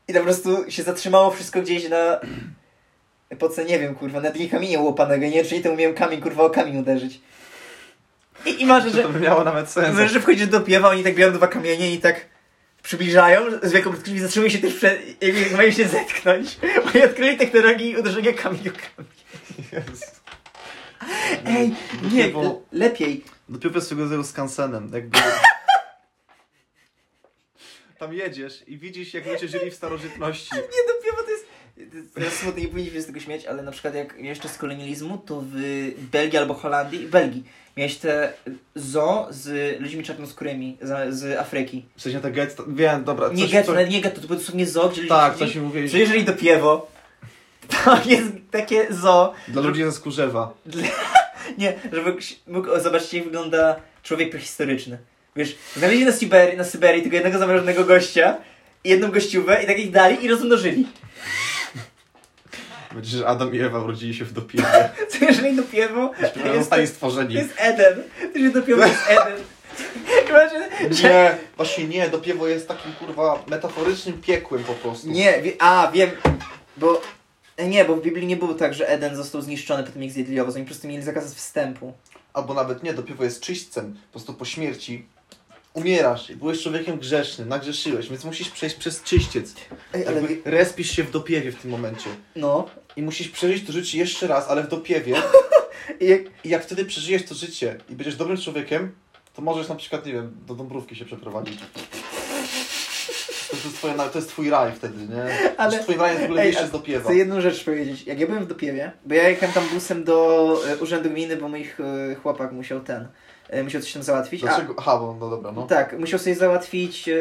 [SPEAKER 1] i to po prostu się zatrzymało wszystko gdzieś na epoce, nie wiem, kurwa, na dnie kamienia łopanego, nie, czyli to umiałem kamień, kurwa, o kamień uderzyć. I, i masz,
[SPEAKER 2] Czy to
[SPEAKER 1] że,
[SPEAKER 2] by miało nawet sens?
[SPEAKER 1] masz, że wchodzisz do piewa, oni tak biorą dwa kamienie i tak przybliżają z wielką prędkością i zatrzymują się też przed, jakby mają się zetknąć, oni odkryli technologię uderzenia kamienia o kamień.
[SPEAKER 2] Jezu.
[SPEAKER 1] Ej, nie,
[SPEAKER 2] Dopiewo-
[SPEAKER 1] le- lepiej.
[SPEAKER 2] Dopiero jest swego rodzaju skansenem, jakby... Tam jedziesz i widzisz, jak ludzie żyli w starożytności.
[SPEAKER 1] Nie, do piewa to jest... to jest Smutne, nie powinniśmy z tego śmiać, ale na przykład jak jeszcze z kolonializmu, to w Belgii albo Holandii, Belgii, miałeś te zoo z ludźmi czarnoskórymi z, z Afryki.
[SPEAKER 2] W sensie te get... Wiem, dobra.
[SPEAKER 1] Nie
[SPEAKER 2] coś-
[SPEAKER 1] getto,
[SPEAKER 2] coś-
[SPEAKER 1] nawet nie getto, to były dosłownie zoo, gdzie
[SPEAKER 2] Tak,
[SPEAKER 1] ludzie...
[SPEAKER 2] coś mi mówiłeś.
[SPEAKER 1] Że jeżeli do piewo, to jest takie zoo,
[SPEAKER 2] Dla ludzi ze Skórzewa.
[SPEAKER 1] nie, żeby ktoś mógł zobaczyć jak wygląda człowiek prehistoryczny. Wiesz, znaleźli na Syberii, na Syberii tego jednego zamrożonego gościa, i jedną gościówę i tak ich dali i rozmnożyli.
[SPEAKER 2] Będzie, że Adam i Ewa urodzili się w dopiewie.
[SPEAKER 1] Co jeżeli do piewo... jest-
[SPEAKER 2] Zostali stworzeni.
[SPEAKER 1] To jest Eden. To się dopiero jest Eden. Chyba, że... że...
[SPEAKER 2] Nie, właśnie nie, dopiewo jest takim kurwa metaforycznym piekłem po prostu.
[SPEAKER 1] Nie, wie... a wiem, bo... e, Nie, bo w Biblii nie było tak, że Eden został zniszczony po tym jak zjedli owoc. Oni po prostu mieli zakaz wstępu.
[SPEAKER 2] Albo nawet nie, dopiewo jest czyśćcem. Po prostu po śmierci umierasz i byłeś człowiekiem grzesznym, nagrzeszyłeś, więc musisz przejść przez czyściec.
[SPEAKER 1] Ej, ale...
[SPEAKER 2] Ale respisz się w dopiewie w tym momencie.
[SPEAKER 1] No.
[SPEAKER 2] I musisz przeżyć to życie jeszcze raz, ale w dopiewie.
[SPEAKER 1] I jak...
[SPEAKER 2] I jak wtedy przeżyjesz to życie i będziesz dobrym człowiekiem, to możesz na przykład, nie wiem, do Dąbrówki się przeprowadzić. To jest, twoje, to jest twój raj wtedy, nie? Znaczy,
[SPEAKER 1] Ale-
[SPEAKER 2] Ale... Twoim rajem w ogóle
[SPEAKER 1] Ej,
[SPEAKER 2] jeszcze
[SPEAKER 1] a
[SPEAKER 2] z dopiewa.
[SPEAKER 1] Chcę jedną rzecz powiedzieć. Jak ja byłem w Dopiewie, bo ja jechałem tam busem do e, urzędu gminy, bo moich e, chłopak musiał ten... E, musiał coś tam załatwić.
[SPEAKER 2] Dlaczego? Aha, bo, no dobra,
[SPEAKER 1] A,
[SPEAKER 2] no.
[SPEAKER 1] tak, musiał sobie załatwić e,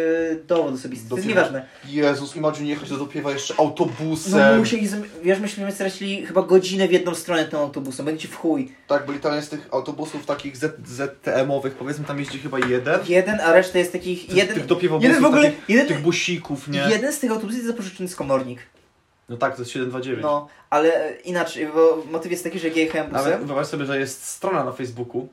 [SPEAKER 1] dowód osobisty. To jest
[SPEAKER 2] Dopiewa.
[SPEAKER 1] nieważne.
[SPEAKER 2] Jezus, imagine jechać do dopiewa jeszcze
[SPEAKER 1] No
[SPEAKER 2] autobusem.
[SPEAKER 1] musieli, zam- wiesz, myśmy stracili chyba godzinę w jedną stronę tą autobusem, będzie w chuj.
[SPEAKER 2] Tak, bo literalnie z tych autobusów takich Z, ZTM-owych, powiedzmy, tam jeździ chyba jeden.
[SPEAKER 1] Jeden, a reszta jest takich...
[SPEAKER 2] Tych,
[SPEAKER 1] jeden,
[SPEAKER 2] tych dopiewowozów,
[SPEAKER 1] jeden w ogóle...
[SPEAKER 2] takich,
[SPEAKER 1] Jeden,
[SPEAKER 2] tych busików, nie?
[SPEAKER 1] jeden z tych autobusów jest zapożyczony z komornik.
[SPEAKER 2] No tak, to jest 729.
[SPEAKER 1] No, ale e, inaczej, bo motyw jest taki, że jak jechałem
[SPEAKER 2] Nawet
[SPEAKER 1] busem,
[SPEAKER 2] wyobraź sobie, że jest strona na Facebooku.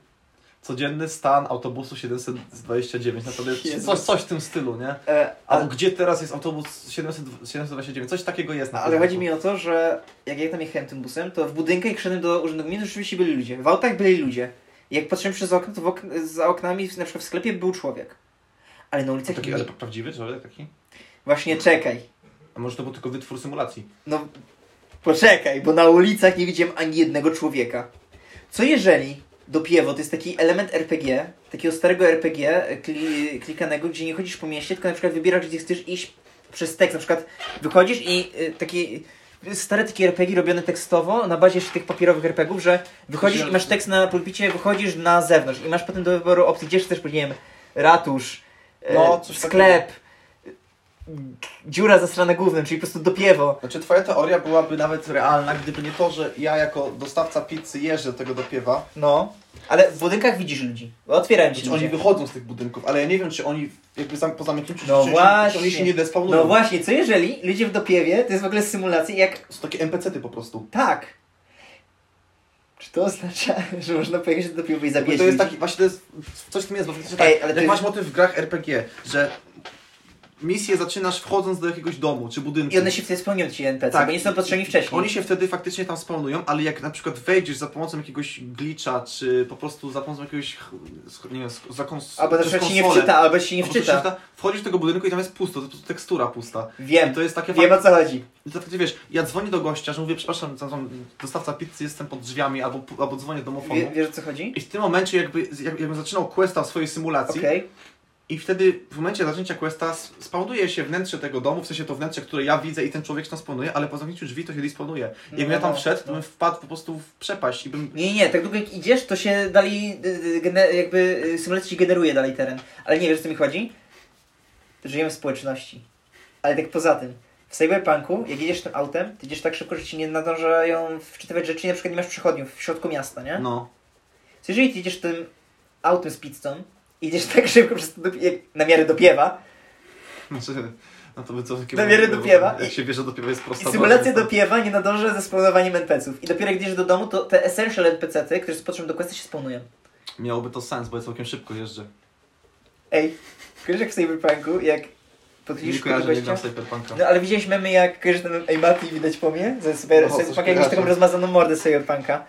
[SPEAKER 2] Codzienny stan autobusu 729. Naprawdę
[SPEAKER 1] Jezu.
[SPEAKER 2] coś, coś w tym stylu, nie?
[SPEAKER 1] e,
[SPEAKER 2] A
[SPEAKER 1] ale,
[SPEAKER 2] gdzie teraz jest autobus 700, 729? Coś takiego jest na
[SPEAKER 1] ale chodzi mi o to, że jak ja tam jechałem tym busem, to w budynkach jak szedłem do urzędu gminy, to rzeczywiście byli ludzie. W autach byli ludzie. Jak patrzyłem przez okno, to w okn- za oknami, na przykład w sklepie był człowiek. Ale na ulicach
[SPEAKER 2] No Taki,
[SPEAKER 1] nie.
[SPEAKER 2] ale prawdziwy człowiek taki?
[SPEAKER 1] Właśnie czekaj.
[SPEAKER 2] A może to był tylko wytwór symulacji?
[SPEAKER 1] No, poczekaj, bo na ulicach nie widziałem ani jednego człowieka. Co jeżeli dopiewo to jest taki element RPG, takiego starego RPG e, kli, klikanego, gdzie nie chodzisz po mieście, tylko na przykład wybierasz, gdzie chcesz iść przez tekst. Na przykład wychodzisz i y, taki stare takie RPG robione tekstowo na bazie jeszcze tych papierowych RPGów, że wychodzisz i masz tekst na pulpicie, wychodzisz na zewnątrz i masz potem do wyboru opcji, gdzie chcesz, później nie wiem, ratusz,
[SPEAKER 2] No,
[SPEAKER 1] no,
[SPEAKER 2] coś
[SPEAKER 1] sklep, dziura zasrana głównym, czyli po prostu dopiewo.
[SPEAKER 2] Znaczy, twoja teoria byłaby nawet realna, gdyby nie to, że ja jako dostawca pizzy jeżdżę do tego dopiewa.
[SPEAKER 1] No, ale w budynkach widzisz ludzi. No, Otwierają ci
[SPEAKER 2] Znaczy,
[SPEAKER 1] ludzie.
[SPEAKER 2] oni wychodzą z tych budynków, ale ja nie wiem, czy oni jakby zam, po zamknięciu
[SPEAKER 1] No
[SPEAKER 2] czy, czy, czy
[SPEAKER 1] właśnie.
[SPEAKER 2] oni się nie despawnują.
[SPEAKER 1] No właśnie, co jeżeli ludzie w dopiewie, to jest w ogóle symulacja jak
[SPEAKER 2] Są takie NPC-ty po prostu.
[SPEAKER 1] tak. Czy to oznacza, że można pojechać do dopiewu i zabijać
[SPEAKER 2] Jakby No to jest
[SPEAKER 1] ludzi?
[SPEAKER 2] taki, właśnie to jest, coś w tym jest, bo faktycznie tak,
[SPEAKER 1] Ej, ale
[SPEAKER 2] ale
[SPEAKER 1] to
[SPEAKER 2] jak masz
[SPEAKER 1] jest-
[SPEAKER 2] motyw w grach RPG, że misję zaczynasz wchodząc do jakiegoś domu czy budynku.
[SPEAKER 1] I one się wtedy spełnią ci NPC,
[SPEAKER 2] Tak.
[SPEAKER 1] bo nie są potrzebni wcześniej.
[SPEAKER 2] Oni się wtedy faktycznie tam spawnują, ale jak na przykład wejdziesz za pomocą jakiegoś glitcha, czy po prostu za pomocą jakiegoś, ch- sk- nie wiem, sk- za kons-
[SPEAKER 1] Albo na
[SPEAKER 2] przez
[SPEAKER 1] przykład się nie
[SPEAKER 2] konsolę,
[SPEAKER 1] wczyta, albo się nie
[SPEAKER 2] albo coś
[SPEAKER 1] wczyta.
[SPEAKER 2] się wczyta, Wchodzisz do tego budynku i tam jest pusto, to jest po prostu tekstura pusta. I
[SPEAKER 1] Wiem,
[SPEAKER 2] to jest takie
[SPEAKER 1] wiem
[SPEAKER 2] fajne.
[SPEAKER 1] o co chodzi.
[SPEAKER 2] I to takie, wiesz, ja dzwonię do gościa, że mówię, przepraszam, tam, tam dostawca pizzy, jestem pod drzwiami, albo, albo dzwonię do domofonu.
[SPEAKER 1] Wie, wiesz o co chodzi?
[SPEAKER 2] I w tym momencie jakby, jak, jakbym zaczynał questa w swojej symulacji,
[SPEAKER 1] Okej.
[SPEAKER 2] i wtedy w momencie zaczęcia questa s- spawnuje się wnętrze tego domu, w sensie to wnętrze, które ja widzę i ten człowiek się tam spawnuje, ale po zamknięciu drzwi to się disponuje. Jakbym
[SPEAKER 1] No,
[SPEAKER 2] ja tam
[SPEAKER 1] no,
[SPEAKER 2] wszedł,
[SPEAKER 1] no.
[SPEAKER 2] to bym wpadł po prostu w przepaść i bym...
[SPEAKER 1] Nie, nie, tak długo jak idziesz, to się dalej, y, y, gene- jakby y, symulacja ci generuje dalej teren. Ale nie wiesz, o co mi chodzi? Żyjemy w społeczności. Ale tak poza tym, w Cyberpunku, jak jedziesz tym autem, to idziesz tak szybko, że ci nie nadążają wczytywać rzeczy, na przykład nie masz przechodniów w środku miasta, nie?
[SPEAKER 2] No.
[SPEAKER 1] So, jeżeli ty jedziesz tym autem z pizzą, idziesz tak szybko przez to, dopie- jak na miarę dopiewa,
[SPEAKER 2] Znaczy, no to by co takiego...
[SPEAKER 1] Do wiery do piewa.
[SPEAKER 2] Jak się bierze do piewa jest
[SPEAKER 1] i
[SPEAKER 2] prosta...
[SPEAKER 1] symulacja
[SPEAKER 2] droga.
[SPEAKER 1] dopiewa nie nadąża ze spawnowaniem NPC-ów. I dopiero jak idziesz do domu, to te essential NPC-ty, które są potrzebne do questa, się spawnują.
[SPEAKER 2] Miałoby to sens, bo ja całkiem szybko jeżdżę.
[SPEAKER 1] Ej, kojarzysz jak w Cyberpunku, jak podchodzisz
[SPEAKER 2] Nie
[SPEAKER 1] do
[SPEAKER 2] kojarzę, nie gram
[SPEAKER 1] gościa?
[SPEAKER 2] w Cyberpunka.
[SPEAKER 1] No ale widzieliśmy my jak kojarzysz ten Ej Mati widać po mnie? Ze cyber,
[SPEAKER 2] No, coś
[SPEAKER 1] Cyberpunka, jak masz taką
[SPEAKER 2] kojarzę.
[SPEAKER 1] rozmazaną mordę z Cyberpunka.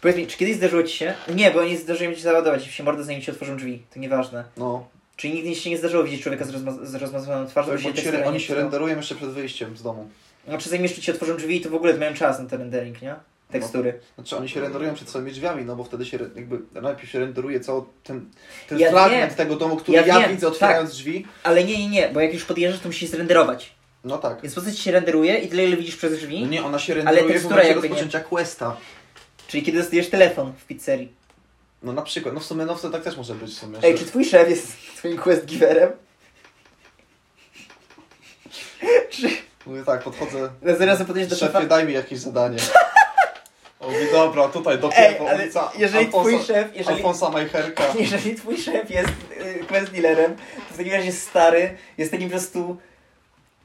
[SPEAKER 1] Powiedz mi, czy kiedyś zdarzyło ci się? Nie, bo nie zdarzyło mi się załadować, i się mordę zanim ci otworzą drzwi, to nieważne.
[SPEAKER 2] No,
[SPEAKER 1] Czyli nigdy ci się nie zdarzyło widzieć człowieka z, rozma- z rozmazaną twarzą,
[SPEAKER 2] tak,
[SPEAKER 1] bo
[SPEAKER 2] bo
[SPEAKER 1] się
[SPEAKER 2] ci
[SPEAKER 1] tekstura
[SPEAKER 2] się,
[SPEAKER 1] nie
[SPEAKER 2] oni się
[SPEAKER 1] wczytał.
[SPEAKER 2] renderują jeszcze przed wyjściem z domu.
[SPEAKER 1] Znaczy zanim jeszcze ci otworzą drzwi, to w ogóle mają czas na ten rendering, nie? Tekstury.
[SPEAKER 2] Znaczy oni się renderują przed swoimi drzwiami, no bo wtedy się re- jakby najpierw się renderuje cały ten, ten
[SPEAKER 1] Ja
[SPEAKER 2] fragment
[SPEAKER 1] wiem.
[SPEAKER 2] tego domu, który
[SPEAKER 1] Ja
[SPEAKER 2] ja,
[SPEAKER 1] wiem, Tak.
[SPEAKER 2] widzę otwierając drzwi.
[SPEAKER 1] Ale nie, nie, nie, bo jak już podjeżdżasz, to musisz zrenderować.
[SPEAKER 2] No tak.
[SPEAKER 1] Więc postać się renderuje i tyle, ile widzisz przez drzwi.
[SPEAKER 2] No nie, ona się
[SPEAKER 1] Ale
[SPEAKER 2] renderuje w
[SPEAKER 1] tekstura
[SPEAKER 2] momencie
[SPEAKER 1] jakby nie-
[SPEAKER 2] rozpoczęcia questa.
[SPEAKER 1] Czyli kiedy dostajesz telefon w pizzerii.
[SPEAKER 2] No na przykład, no w sumie, no w sumie tak też może być w sumie.
[SPEAKER 1] Ej,
[SPEAKER 2] że-
[SPEAKER 1] czy twój szef jest twoim quest giverem? czy
[SPEAKER 2] Mówię tak, podchodzę,
[SPEAKER 1] na No, zaraz podejdziesz do szefa?
[SPEAKER 2] Szefie, daj mi jakieś zadanie. O, mówi, dobra, tutaj do
[SPEAKER 1] Ej,
[SPEAKER 2] piewo,
[SPEAKER 1] ale
[SPEAKER 2] ulica
[SPEAKER 1] jeżeli
[SPEAKER 2] Alfonsa,
[SPEAKER 1] twój szef, jeżeli,
[SPEAKER 2] Alfonsa Majcherka.
[SPEAKER 1] jeżeli twój szef jest y, quest dealerem, to w takim razie stary jest takim po prostu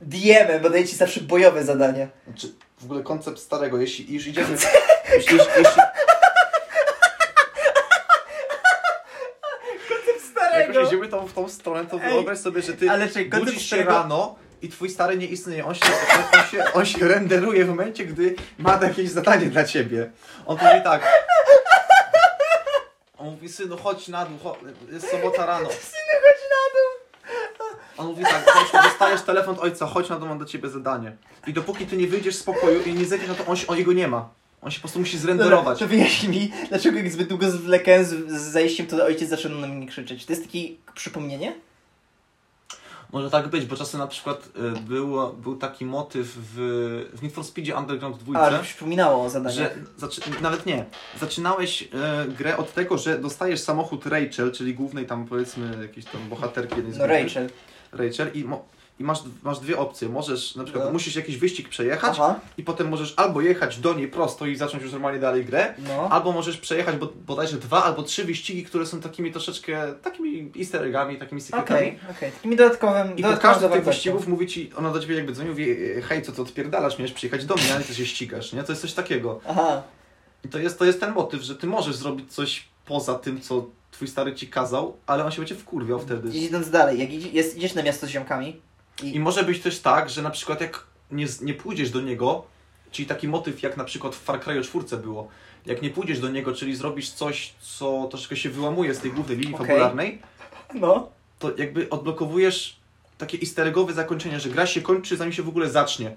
[SPEAKER 1] DM-em, bo daje ci zawsze bojowe zadania.
[SPEAKER 2] Znaczy, w ogóle koncept starego, jeśli już idziemy... jeśli, jeśli, jeśli, jak już idziemy tą, w tą stronę, to
[SPEAKER 1] Ej,
[SPEAKER 2] wyobraź sobie, że ty
[SPEAKER 1] ale czy koncept
[SPEAKER 2] budzisz się
[SPEAKER 1] starego-
[SPEAKER 2] rano i twój stary nie istnieje. On się, on, on, się, on się renderuje w momencie, gdy ma jakieś zadanie dla ciebie. On mówi tak... On mówi, synu, chodź na dół, chodź, jest sobota rano.
[SPEAKER 1] Syny, chodź na dół!
[SPEAKER 2] On mówi tak, chodź, dostajesz telefon od ojca, chodź na dom, mam do ciebie zadanie. I dopóki ty nie wyjdziesz z pokoju i nie zejdziesz na to, on, się, on jego nie ma. On się po prostu musi
[SPEAKER 1] Dobra,
[SPEAKER 2] zrenderować.
[SPEAKER 1] to wyjaśnij mi, dlaczego jak zbyt długo zwlekałem z, z zajściem, to ojciec zaczął na mnie krzyczeć. To jest takie przypomnienie?
[SPEAKER 2] Może tak być, bo czasem na przykład y, było, był taki motyw w, w Need for Speedzie Underground 2,
[SPEAKER 1] A, że przypominało o zadaniu.
[SPEAKER 2] że zaczy, nawet nie, zaczynałeś e, grę od tego, że dostajesz samochód Rachel, czyli głównej tam powiedzmy jakiejś tam bohaterki jednej z
[SPEAKER 1] No
[SPEAKER 2] głównych.
[SPEAKER 1] Rachel.
[SPEAKER 2] Rachel i, mo- i masz, masz dwie opcje. Możesz, na przykład
[SPEAKER 1] No.
[SPEAKER 2] musisz jakiś wyścig przejechać
[SPEAKER 1] Aha,
[SPEAKER 2] i potem możesz albo jechać do niej prosto i zacząć już normalnie dalej grę,
[SPEAKER 1] no.
[SPEAKER 2] albo możesz przejechać bo, bodajże dwa albo trzy wyścigi, które są takimi troszeczkę, takimi easter eggami, takimi
[SPEAKER 1] Okej,
[SPEAKER 2] secretami.
[SPEAKER 1] okej. No, Takimi dodatkowym.
[SPEAKER 2] I po
[SPEAKER 1] dodatkową
[SPEAKER 2] każdym z tych
[SPEAKER 1] zawartością.
[SPEAKER 2] wyścigów mówi ci, ona do ciebie jakby dzwoni, mówi, e, hej, co to odpierdalasz, miałeś przyjechać do mnie, a nie ty się ścigasz, nie? To jest coś takiego.
[SPEAKER 1] Aha,
[SPEAKER 2] I to jest, to jest ten motyw, że ty możesz zrobić coś poza tym, co twój stary ci kazał, ale on się będzie wkurwiał wtedy.
[SPEAKER 1] Gdzieś idąc dalej, jak idzie, jest, idziesz na miasto z ziomkami,
[SPEAKER 2] I może być też tak, że na przykład jak nie, z- nie pójdziesz do niego, czyli taki motyw jak na przykład w Far Cry 4 było, jak nie pójdziesz do niego, czyli zrobisz coś, co troszeczkę się wyłamuje z tej głównej linii
[SPEAKER 1] Okej.
[SPEAKER 2] fabularnej,
[SPEAKER 1] no,
[SPEAKER 2] to jakby odblokowujesz takie easter eggowe zakończenie, że gra się kończy, zanim się w ogóle zacznie.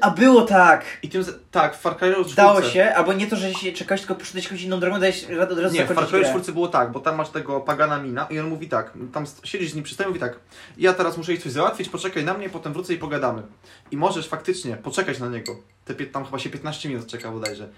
[SPEAKER 1] a było tak!
[SPEAKER 2] I tym, za- tak, w Far Cry 4...
[SPEAKER 1] Dało się, albo nie to, że się czekałeś, tylko poszedłeś jakąś inną drogą, dałeś radę od razu
[SPEAKER 2] Nie, w Far
[SPEAKER 1] zakończyć
[SPEAKER 2] Cry
[SPEAKER 1] grę.
[SPEAKER 2] 4 było tak, bo tam masz tego pagana mina i on mówi tak, tam st- siedzisz z nim przy stole i mówi tak, ja teraz muszę iść coś załatwić, poczekaj na mnie, potem wrócę i pogadamy. I możesz faktycznie poczekać na niego. Te pię- tam chyba się 15 minut czeka bodajże.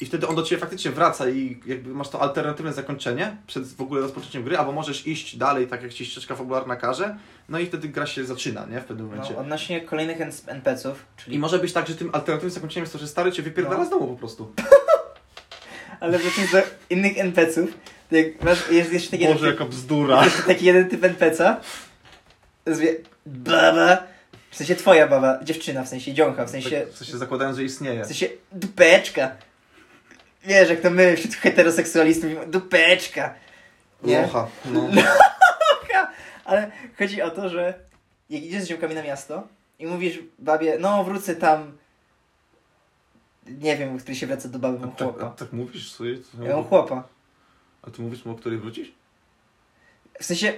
[SPEAKER 2] I wtedy on do ciebie faktycznie wraca i jakby masz to alternatywne zakończenie przed w ogóle rozpoczęciem gry, albo możesz iść dalej, tak jak ci ścieżka fabularna każe, no i wtedy gra się zaczyna, nie? W pewnym momencie.
[SPEAKER 1] No, odnośnie kolejnych NS- NPC-ów,
[SPEAKER 2] I
[SPEAKER 1] czyli...
[SPEAKER 2] może być tak, że tym alternatywnym zakończeniem jest to, że stary cię wypierdala
[SPEAKER 1] No.
[SPEAKER 2] z domu po prostu.
[SPEAKER 1] Ale wrócąc do innych NPC-ów, to jak masz, jest jeszcze taki,
[SPEAKER 2] Boże,
[SPEAKER 1] jeden,
[SPEAKER 2] jaka bzdura.
[SPEAKER 1] typ, taki jeden typ NPC-a, nazwie baba, w sensie twoja baba, dziewczyna, w sensie dzionka, w sensie,
[SPEAKER 2] Tak, W sensie zakładając, że istnieje.
[SPEAKER 1] w sensie dupeczka. Wiesz, jak to my wśród heteroseksualistów mówimy, dupeczka. Nie?
[SPEAKER 2] Locha. No.
[SPEAKER 1] Ale chodzi o to, że jak idziesz z ziomkami na miasto i mówisz babie, no wrócę tam, nie wiem, który się wraca do baby, mam
[SPEAKER 2] Tak, a
[SPEAKER 1] chłopa.
[SPEAKER 2] tak mówisz sobie? To
[SPEAKER 1] Ja mam chłopa.
[SPEAKER 2] A ty mówisz mu, o której wrócisz?
[SPEAKER 1] W sensie.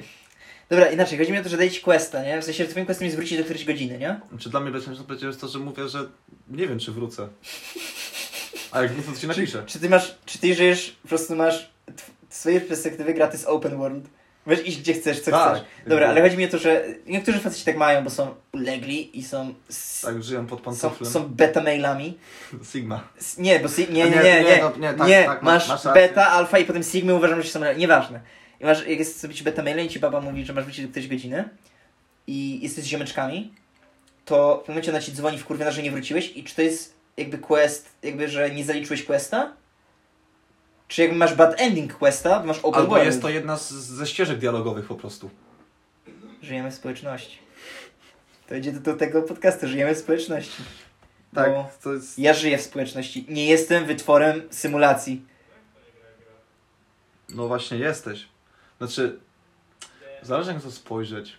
[SPEAKER 1] Dobra, inaczej, chodzi mi o to, że daje ci questa, nie? W sensie, że twoim questem jest wrócić do którejś godziny, nie?
[SPEAKER 2] Czy dla mnie bezpieczne będzie jest to, że mówię, że nie wiem, czy wrócę. A jak wrócę, to ci napiszę.
[SPEAKER 1] Czy ty masz, czy ty żyjesz, po prostu masz tw- z swojej perspektywy gra, to jest open world. Możesz iść gdzie chcesz, co
[SPEAKER 2] Tak.
[SPEAKER 1] chcesz. Dobra, ale chodzi mi o to, że niektórzy faceci tak mają, bo są ulegli i są, s-
[SPEAKER 2] Tak, żyją pod
[SPEAKER 1] są,
[SPEAKER 2] pantoflem.
[SPEAKER 1] są beta mailami.
[SPEAKER 2] Sigma.
[SPEAKER 1] S- Nie, bo si- nie,
[SPEAKER 2] A
[SPEAKER 1] nie,
[SPEAKER 2] nie,
[SPEAKER 1] nie, nie,
[SPEAKER 2] nie, no, nie, tak, tak,
[SPEAKER 1] masz,
[SPEAKER 2] masz- masz
[SPEAKER 1] beta,
[SPEAKER 2] rację.
[SPEAKER 1] alfa i potem sigmy uważam, że są realne. nieważne. I masz, jak jest sobie ci beta mailem i ci baba mówi, że masz wrócić do którejś godziny i jesteś z ziomeczkami, to w pewnym momencie ona ci dzwoni w kurwie, że nie wróciłeś i czy to jest jakby quest, jakby, że nie zaliczyłeś questa? Czy jakby masz bad ending questa, bo masz open
[SPEAKER 2] Albo
[SPEAKER 1] world.
[SPEAKER 2] jest to jedna z, ze ścieżek dialogowych po prostu.
[SPEAKER 1] Żyjemy w społeczności. To idzie do, do tego podcastu, żyjemy w społeczności.
[SPEAKER 2] Tak,
[SPEAKER 1] Bo
[SPEAKER 2] to jest...
[SPEAKER 1] ja żyję w społeczności, nie jestem wytworem symulacji.
[SPEAKER 2] No właśnie, jesteś. Znaczy, zależy jak to spojrzeć.